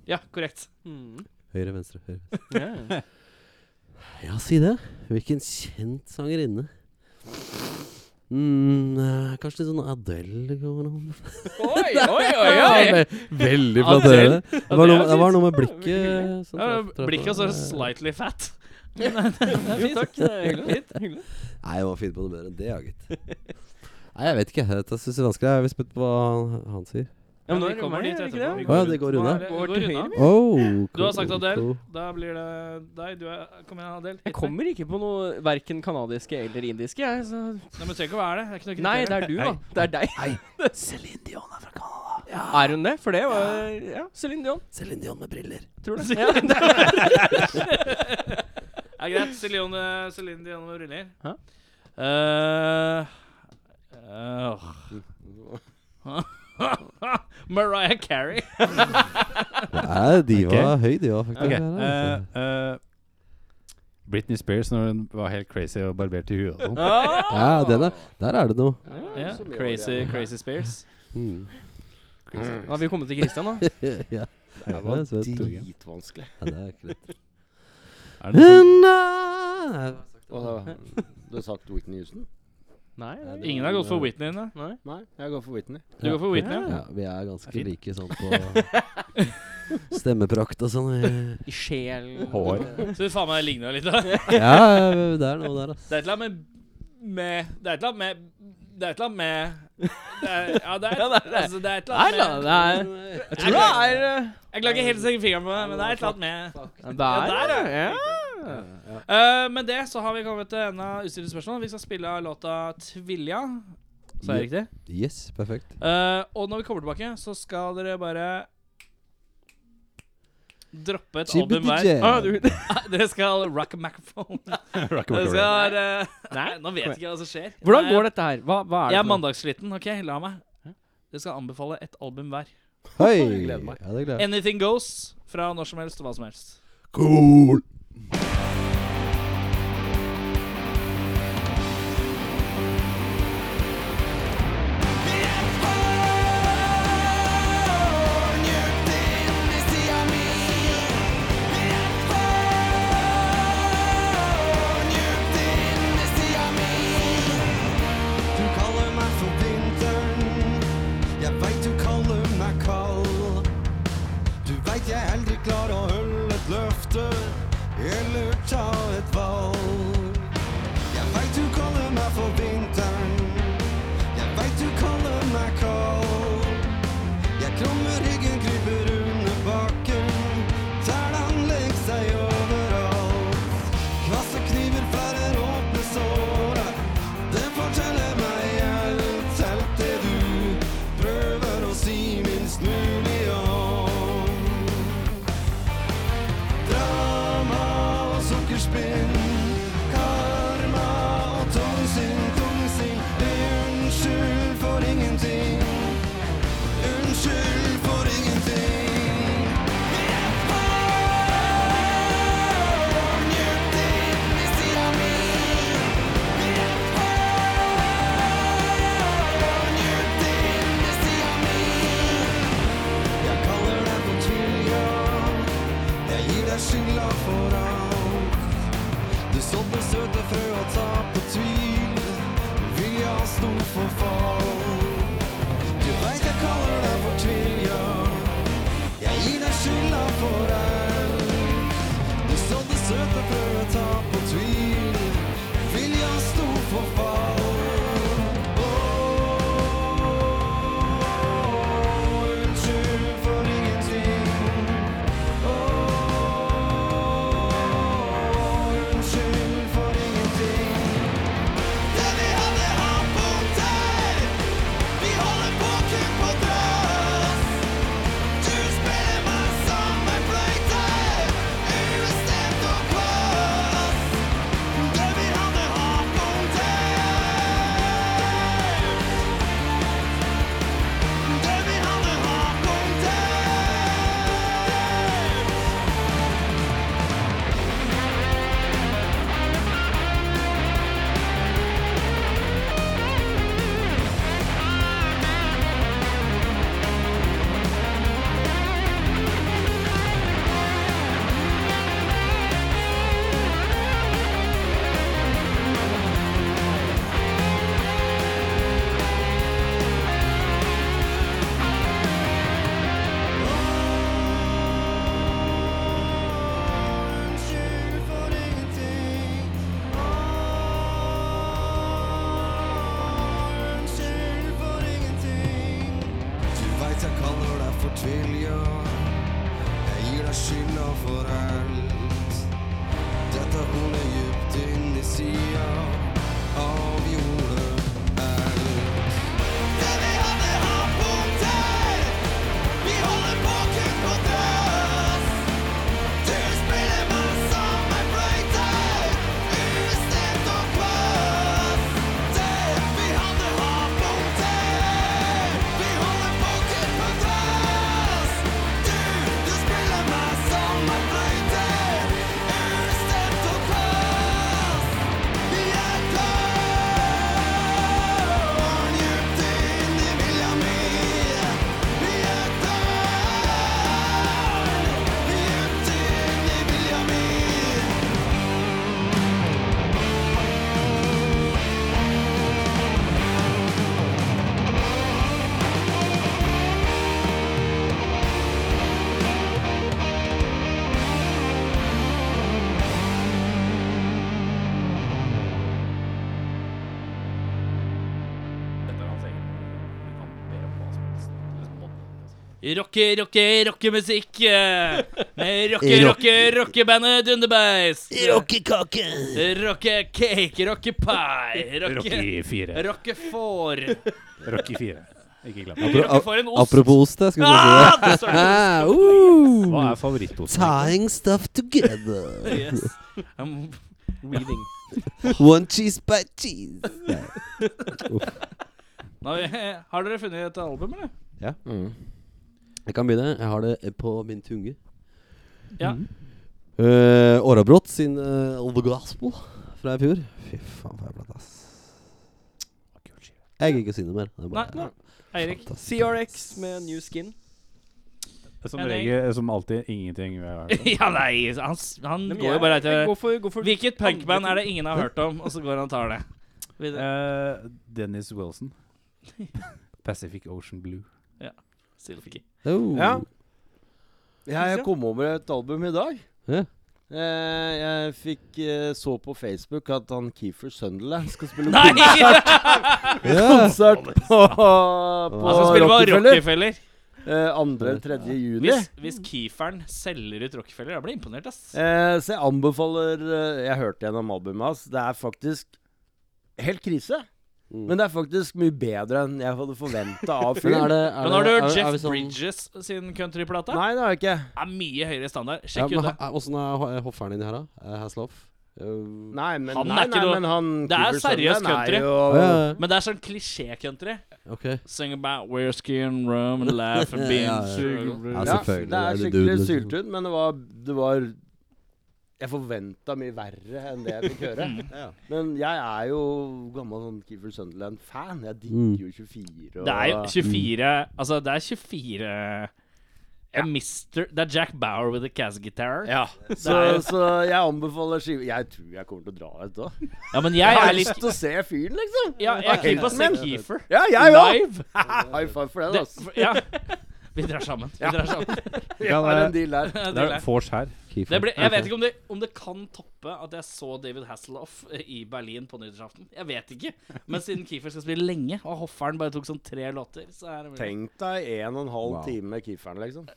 Speaker 2: Ja, korrekt.
Speaker 4: Mm.
Speaker 5: Høyre, venstre, høyre.
Speaker 4: Ja, ja.
Speaker 5: Ja, si det. Hvilken kjent sangerinne. Mm, eh, kanskje litt sånn Adele det kommer noe
Speaker 4: Oi, oi, oi, oi!
Speaker 5: Veldig
Speaker 2: Adele?
Speaker 5: flatterende. Det,
Speaker 2: Adele
Speaker 5: var noe-
Speaker 2: er
Speaker 5: det var noe med
Speaker 4: fint. Ja, veldig
Speaker 5: blikket som
Speaker 2: Ja,
Speaker 5: traff- traff
Speaker 2: Blikket
Speaker 5: meg.
Speaker 2: så slightly fat. Men det er
Speaker 4: Jo,
Speaker 2: fint.
Speaker 4: takk. Det er hyggelig. Fint, hyggelig.
Speaker 5: Nei, jeg må finne på noe bedre enn det, ja, gitt. Nei, jeg vet ikke. Jeg syns det er vanskelig. Jeg er spent på hva han, han sier.
Speaker 4: Ja, men
Speaker 2: Ja,
Speaker 4: nå
Speaker 2: vi kommer
Speaker 4: kommer det
Speaker 2: dit
Speaker 4: er det
Speaker 2: etterpå. Vi
Speaker 4: ikke
Speaker 5: Å ja,
Speaker 4: det?
Speaker 5: det går
Speaker 2: Nå er
Speaker 5: unna.
Speaker 2: det- går
Speaker 4: Går til
Speaker 2: unna.
Speaker 4: høyre.
Speaker 5: Oh,
Speaker 2: Du har sagt
Speaker 5: cool,
Speaker 2: Adele.
Speaker 5: cool.
Speaker 2: Da blir det deg. Du er, kom igjen, Adele.
Speaker 4: Jeg kommer ikke på noe verken kanadiske eller indiske, jeg. Så.
Speaker 2: Nei, men du trenger ikke å være det. Det er ikke noe
Speaker 4: Nei,
Speaker 2: kriterium.
Speaker 4: det er du, da. Det er deg.
Speaker 5: Celine Dion er fra Canada.
Speaker 4: Er hun det? For det var Ja, Céline Dion.
Speaker 5: Celine Dion med briller.
Speaker 4: Tror det. Ja, det
Speaker 2: Det er greit. Celine, Celine Dion med briller.
Speaker 4: Hæ?
Speaker 2: Eh, eh, åh. Mariah Carey.
Speaker 9: Nei, de var
Speaker 3: Ok.
Speaker 9: høy, de var faktisk.
Speaker 3: Ok,
Speaker 9: Ja, det er
Speaker 5: altså?
Speaker 9: det.
Speaker 3: eh, eh, Britney Spears når hun var helt crazy og barberte huet og sånn.
Speaker 9: ja, den er, der er det noe.
Speaker 2: Ja, crazy, crazy Spears.
Speaker 9: Mm.
Speaker 5: Hmm.
Speaker 4: Nå har vi kommet til Christian, da.
Speaker 9: ja,
Speaker 6: Det var
Speaker 9: det er søt.
Speaker 6: dritvanskelig.
Speaker 9: Ja, det er ikke lett.
Speaker 3: Er det noe sånn?
Speaker 9: Nei.
Speaker 6: Og da, du har sagt Whitney Houston?
Speaker 4: Nei,
Speaker 2: Ingen har gått for Whitney ennå.
Speaker 6: Nei, jeg går for Whitney.
Speaker 2: Du går for Whitney? ja?
Speaker 9: Ja, vi er ganske like sånn på stemmeprakt og sånn.
Speaker 4: I sjel
Speaker 3: Hår.
Speaker 2: Så du faen meg ligner litt, da. Det
Speaker 9: Ja, det er noe
Speaker 5: altså.
Speaker 9: der, ass.
Speaker 2: er et eller annet med med Det er et eller annet med Det er et eller annet med det er, Ja, det er, altså, det er et
Speaker 4: Nei
Speaker 2: eller
Speaker 4: da,
Speaker 2: annet med
Speaker 4: det er Jeg tror det er
Speaker 2: Jeg klarer ikke helt å sette fingeren på det, men det er et eller annet med
Speaker 4: eh, Der,
Speaker 2: Ja, der,
Speaker 4: ja.
Speaker 2: Eh, Med det så har vi kommet til enden av utstilte spørsmål. Vi skal spille av låta 'Tvilja'. Sa jeg riktig?
Speaker 9: Yes, perfekt.
Speaker 2: Eh, og når vi kommer tilbake, så skal dere bare Droppe et album hver.
Speaker 9: Chibidje.
Speaker 4: Ah, du,
Speaker 2: Dere skal rock a microphone.
Speaker 3: Rock
Speaker 2: Dere
Speaker 3: and roll.
Speaker 2: skal eh, Nei, nå vet jeg ikke hva som skjer.
Speaker 4: Hvordan går dette her? Hva, hva er det?
Speaker 2: Jeg er
Speaker 4: for noe?
Speaker 2: mandagssliten. OK, la meg. Dere skal anbefale et album hver.
Speaker 9: Hei! Ja,
Speaker 6: gleder meg.
Speaker 9: det gleder jeg.
Speaker 2: Anything Goes fra når som helst og hva som helst.
Speaker 1: Cool.
Speaker 7: Du kaller meg for vinteren. Jeg veit du kaller meg kald. Du veit jeg aldri klarer å holde et løfte eller ta et valg. Jeg veit du kaller meg for vinteren. Jeg veit du kaller meg kald. Jeg krummer ryggen, kryper under bakken. Tærne legger seg overalt. Kvasse kniver færre åpne såret Det forteller meg alt Alt det du prøver å si minst mulig om Drama og sukkerspinn Karma og tungsinn, tungsinn Unnskyld for ingenting Unnskyld for ingenting Jeg kaller deg for tvilja Jeg gir deg skylda for alt Du sådde søte frø og tapte tvil Vilja sto for fall Du veit jeg kaller deg for tvilja Jeg gir deg skylda for alt Du sådde søte frø og tapte tvil Vilja sto for fall Unnskyld for ingenting. Åh, unnskyld for ingenting. Det vi hadde har vondt her. Vi holder på å kuppe drøss. Du spiller meg som en fløyte, ubestemt og kvass. Det vi hadde har vondt her. Det vi hadde har vondt her. Unnskyld for ingenting. Åh, unnskyld for ingenting. Du veit jeg kaller deg for tvilja. Jeg gir deg skylda for alt. Dette hornet djupt inn i sida av jordet. Det vi hadde, har punkter. Vi holder på å kuppe og drøss. Du spiller meg som en fløyte, ubestemt og kvass. Det vi hadde har vondt her, vi holder på å kuppe dress. Du, du
Speaker 2: Rocke, rocke, rockemusikk. eh, Med rocke, rocke, rockebandet Dunderbeis.
Speaker 1: Rockekake!
Speaker 2: Rocke cake, rocke pie, rocke
Speaker 3: Rocky 4.
Speaker 2: Rocke får.
Speaker 3: Rocky 4. Ikke glem det.
Speaker 2: Rocke får en ost.
Speaker 9: Apropos ost, jeg skulle si det.
Speaker 2: Ah, det står det.
Speaker 9: Ah, uh,
Speaker 3: Hva er favorittosten?
Speaker 9: tying stuff together.
Speaker 2: Yes. Um,
Speaker 4: Weaving.
Speaker 9: One cheese by cheese.
Speaker 2: nå har vi- har dere funnet et album, eller?
Speaker 6: Mm.
Speaker 9: Jeg kan begynne. Jeg har det på min tunge.
Speaker 2: Ja.
Speaker 9: Mm. Uh, Årabrott sin eh, Old Gospel fra i fjor. Fy faen, for en plate, ass. Jeg gidder ikke å si noe mer. Det er
Speaker 2: Nei,
Speaker 9: bare
Speaker 2: nei. Eirik.
Speaker 9: fantastisk.
Speaker 4: CRX med new skin.
Speaker 3: Som regel, eh, som alltid, ingenting. vi har hørt om.
Speaker 2: Ja, nei, han, s- han går jo bare etter
Speaker 4: Gå for, gå for
Speaker 2: Hvilket punkband er det ingen har hørt om, og så går han og tar det? Videre.
Speaker 3: Eh, Dennis Wilson. Pacific Ocean Blue.
Speaker 2: Silky.
Speaker 9: Oh.
Speaker 6: Ja. Ja, jeg kom over et album i dag.
Speaker 9: Ja.
Speaker 6: Eh, jeg fikk eh, så på Facebook at han Keefer Sunderland skal spille
Speaker 2: Nei!
Speaker 6: konsert, konsert på, på
Speaker 2: Han skal spille på
Speaker 6: Rockefeller.
Speaker 2: Rockefeller.
Speaker 6: Eh, 2. eller 3. juni.
Speaker 2: Hvis, hvis Keeferen selger ut Rockefeller, jeg blir imponert, ass.
Speaker 6: Eh, så jeg anbefaler eh, Jeg hørte gjennom albumet hans. Det er faktisk helt krise. Men det er faktisk mye bedre enn jeg hadde forventa av
Speaker 9: Men
Speaker 6: fyren.
Speaker 9: er det, er
Speaker 2: Mm. Men har du
Speaker 9: det,
Speaker 2: hørt
Speaker 9: er- er
Speaker 2: Jeff
Speaker 9: vi sånn-
Speaker 2: Bridges sin countryplate?
Speaker 6: Nei, det har jeg ikke.
Speaker 2: er mye høyere standard.
Speaker 9: Ja,
Speaker 2: Sjekk
Speaker 9: men
Speaker 2: ut det.
Speaker 9: ha- er- Åssen er ho- hofferen din her, da? Er Hasloff? Uh,
Speaker 6: Nei, men
Speaker 2: Han er
Speaker 6: nei,
Speaker 2: ikke
Speaker 6: nei,
Speaker 2: noe-
Speaker 6: men han
Speaker 2: Det er
Speaker 6: Kiefer
Speaker 2: seriøs
Speaker 6: Sutherland er
Speaker 2: country.
Speaker 6: jo-
Speaker 9: ja, ja.
Speaker 2: Men det er sånn klisjé-country.
Speaker 9: Ok.
Speaker 2: Sing about whiskey and rum and laugh and being
Speaker 9: Ja, ja, ja. Ja,
Speaker 2: sugar.
Speaker 6: Ja,
Speaker 9: selvfølgelig.
Speaker 6: det
Speaker 9: er
Speaker 6: er
Speaker 9: det
Speaker 6: skikkelig
Speaker 9: duden, liksom.
Speaker 6: syltynt, men det var, det var Jeg forventa mye verre enn det jeg fikk høre.
Speaker 2: Mm.
Speaker 6: Men jeg er jo gammel sånn Keefer Sunderland-fan. Jeg
Speaker 9: Mm.
Speaker 6: digger jo 24 og
Speaker 2: Det er jo 24 Altså, det er 24 ja. Mister, det er Jack Bauer with a Cas guitar. Ja.
Speaker 6: så, så jeg anbefaler skive. Jeg tror jeg kommer til å dra ut òg. Jeg,
Speaker 2: men jeg
Speaker 6: har
Speaker 2: er
Speaker 6: lyst
Speaker 2: litt
Speaker 6: til å se fyren, liksom.
Speaker 2: Ja, jeg er keen på å se
Speaker 6: Men-
Speaker 2: Keefer
Speaker 6: Ja, jeg òg!
Speaker 2: live.
Speaker 6: High five for den,
Speaker 2: Det,
Speaker 6: altså.
Speaker 2: ja. Vi drar sammen. Vi drar sammen.
Speaker 6: Jeg har en deal der.
Speaker 3: Det er Fors her.
Speaker 2: Det ble, jeg vet ikke om det, om det kan toppe at jeg så David Hasselhoff eh, i Berlin på nyttårsaften. Jeg vet ikke. Men siden Keefer skal spille lenge, og hofferen bare tok sånn tre låter, så er det mulig.
Speaker 6: Tenk deg en og en halv time med Keeferen, liksom.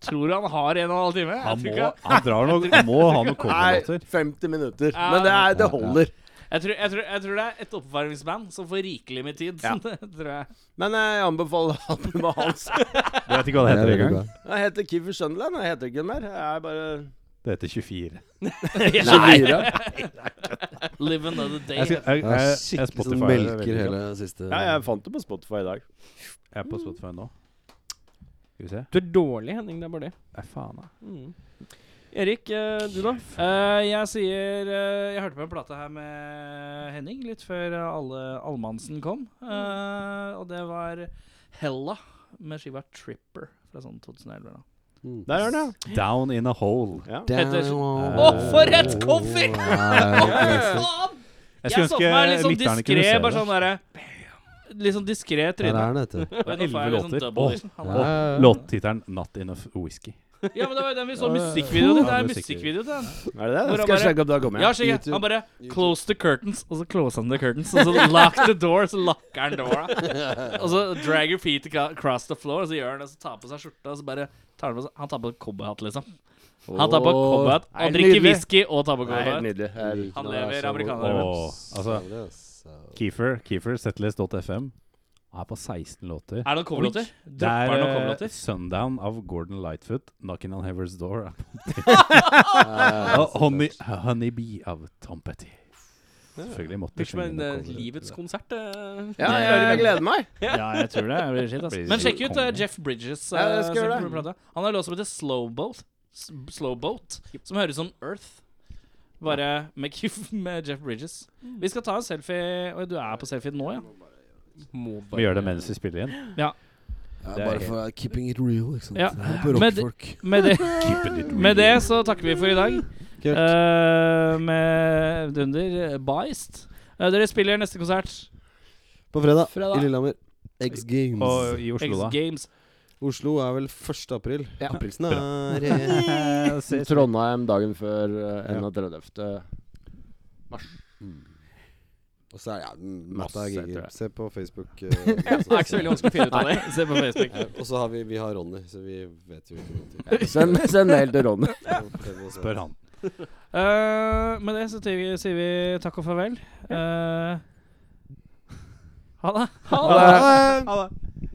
Speaker 2: Tror du han har en og en halv time? Jeg
Speaker 3: Han
Speaker 2: tror,
Speaker 3: må,
Speaker 2: ikke-
Speaker 3: han drar nok, han må ha noen
Speaker 6: Nei,
Speaker 3: coverlåter.
Speaker 6: 50 minutter. Men det, er, det holder.
Speaker 2: jeg, tror, jeg, tror, jeg tror det er et oppvarmingsband som får rikelig med tid. Det tror jeg.
Speaker 6: Men eh, jeg anbefaler albumet hans.
Speaker 3: Du vet ikke hva det heter
Speaker 9: veldig
Speaker 3: engang?
Speaker 9: bra.
Speaker 6: Jeg heter Kiefer Sunderland. Jeg heter ikke noe mer. Jeg er bare
Speaker 3: Det heter 24.
Speaker 2: Live another day.
Speaker 3: Jeg, skal, jeg,
Speaker 9: Det er
Speaker 3: jeg, jeg,
Speaker 9: skikkelig sånn
Speaker 3: Spotify, det er
Speaker 9: melker
Speaker 3: veldig bra.
Speaker 9: hele siste
Speaker 6: Ja, jeg fant det på Spotify i dag.
Speaker 2: Mm.
Speaker 3: jeg er på Spotify nå. Skal vi se.
Speaker 4: Du er dårlig, Henning. Det er bare det.
Speaker 3: Nei, faen, da.
Speaker 4: Erik, eh, du da?
Speaker 2: Eh, jeg sier eh, Jeg hørte på en plate her med Henning litt før eh, alle allmannsen kom. Eh, og det var Hella med skiva Tripper fra sånn 2011. Da.
Speaker 6: Der er den,
Speaker 3: Down in a hole.
Speaker 6: ja. ja.
Speaker 9: Down Oh,
Speaker 2: Petters-
Speaker 9: on-
Speaker 2: Å, for et cover!
Speaker 9: Ja,
Speaker 2: Eh, Faen!
Speaker 3: Jeg
Speaker 2: Jeg
Speaker 3: skulle
Speaker 2: så for meg litt
Speaker 3: ønske
Speaker 2: sånn
Speaker 3: lytterne
Speaker 2: diskré,
Speaker 3: kunne se
Speaker 2: bare
Speaker 3: det.
Speaker 2: sånn derre Litt sånn diskré
Speaker 9: Der er
Speaker 2: tryne.
Speaker 9: den, vet du.
Speaker 2: Men nå får jeg
Speaker 3: elleve
Speaker 2: litt
Speaker 3: låter.
Speaker 2: sånn double
Speaker 3: Åh.
Speaker 2: vision. Han
Speaker 9: Ja, ja, ja.
Speaker 3: Låttittelen 'Not Enough Whisky'.
Speaker 2: bare- Ja, men det var jo den vi så musikkvideo til. Det
Speaker 3: Ja,
Speaker 2: er
Speaker 3: musikkvideo.
Speaker 2: musikkvideo til den.
Speaker 6: Er
Speaker 2: Hvor han
Speaker 6: det det? Skal jeg
Speaker 2: bare-
Speaker 6: sjekke opp da kommer
Speaker 2: Ja,
Speaker 6: jeg.
Speaker 2: skjegget. Han bare Close the curtains, og så close han the curtains. Og så lock the door, så locker han dora. Og så drag your feet acro- across the floor, og så gjør han det, så tar han på seg skjorta, og så bare tar han på seg Han tar på seg cowboyhatt, liksom. Han tar på
Speaker 6: Åh,
Speaker 2: cowboyhatt,
Speaker 6: nei,
Speaker 2: han drikker
Speaker 6: nydelig.
Speaker 2: whisky og tar på
Speaker 6: Det er helt
Speaker 2: cowboyhatt.
Speaker 6: nydelig. Jeg liker
Speaker 2: Han
Speaker 6: det.
Speaker 2: lever amerikaner.
Speaker 3: Og altså Keefer, Keefer Settlist.fm er på 16 låter.
Speaker 2: Er det noen coverlåter?
Speaker 3: Det
Speaker 2: Dropper
Speaker 3: er
Speaker 2: han noen
Speaker 3: eh,
Speaker 2: coverlåter?
Speaker 3: 'Sundown' av Gordon Lightfoot. 'Knocking on Heaven's Door' er på Og honey, 'Honeybee' av Tom Petty. Selvfølgelig måtte
Speaker 4: Virker som
Speaker 3: synge
Speaker 4: en
Speaker 3: noen
Speaker 4: eh,
Speaker 3: cover.
Speaker 4: livets konsert. eh.
Speaker 6: Ja, jeg, jeg gleder meg.
Speaker 2: Ja, jeg tror det. blir shit, ass.
Speaker 3: Blir
Speaker 2: Men sjekk
Speaker 3: shit.
Speaker 2: ut eh, Jeff Bridges. eh,
Speaker 6: Ja, jeg skal gjøre
Speaker 2: sin
Speaker 6: det.
Speaker 2: plate. Han har en låt som heter Slowboat, S- Slowboat som høres som Earth. Bare med, Keef- med Jeff Bridges.
Speaker 8: Mm.
Speaker 2: Vi skal ta en selfie. Oi, du er på selfie nå, ja?
Speaker 4: Må
Speaker 3: Vi gjør det mens vi spiller igjen. Det er
Speaker 9: Bare for uh, keeping it real, ikke sant.
Speaker 2: Ja,
Speaker 9: Det er på
Speaker 2: men det-
Speaker 9: rockfolk.
Speaker 2: Med det,
Speaker 3: Keeping it
Speaker 2: med
Speaker 3: real.
Speaker 2: det så takker vi for i dag.
Speaker 9: Kult.
Speaker 2: Eh, med Dunder eh, Biased. Eh, dere spiller neste konsert,
Speaker 9: På fredag,
Speaker 2: Fredag.
Speaker 9: i Lillehammer. X Games.
Speaker 3: Og i
Speaker 2: X
Speaker 3: Oslo, da.
Speaker 2: Games.
Speaker 9: Oslo er vel 1. april.
Speaker 6: Ja.
Speaker 9: Aprilsnare.
Speaker 3: Eh,
Speaker 6: Trondheim dagen før eh, 31. mars. Og så er det ja,
Speaker 9: Masse,
Speaker 6: masse
Speaker 9: tror
Speaker 6: gigger.
Speaker 9: jeg.
Speaker 6: Se på Facebook. eh,
Speaker 8: Det er ikke så veldig vanskelig å finne ut av det.
Speaker 2: Se på Facebook.
Speaker 5: Eh, Og så har vi, vi har Ronny, så vi vet jo ikke noe.
Speaker 6: Send, send mail til Ronny.
Speaker 3: Spør han.
Speaker 2: Eh, med det så sier vi, sier vi takk og farvel. Eh, ha det.
Speaker 6: Ha det.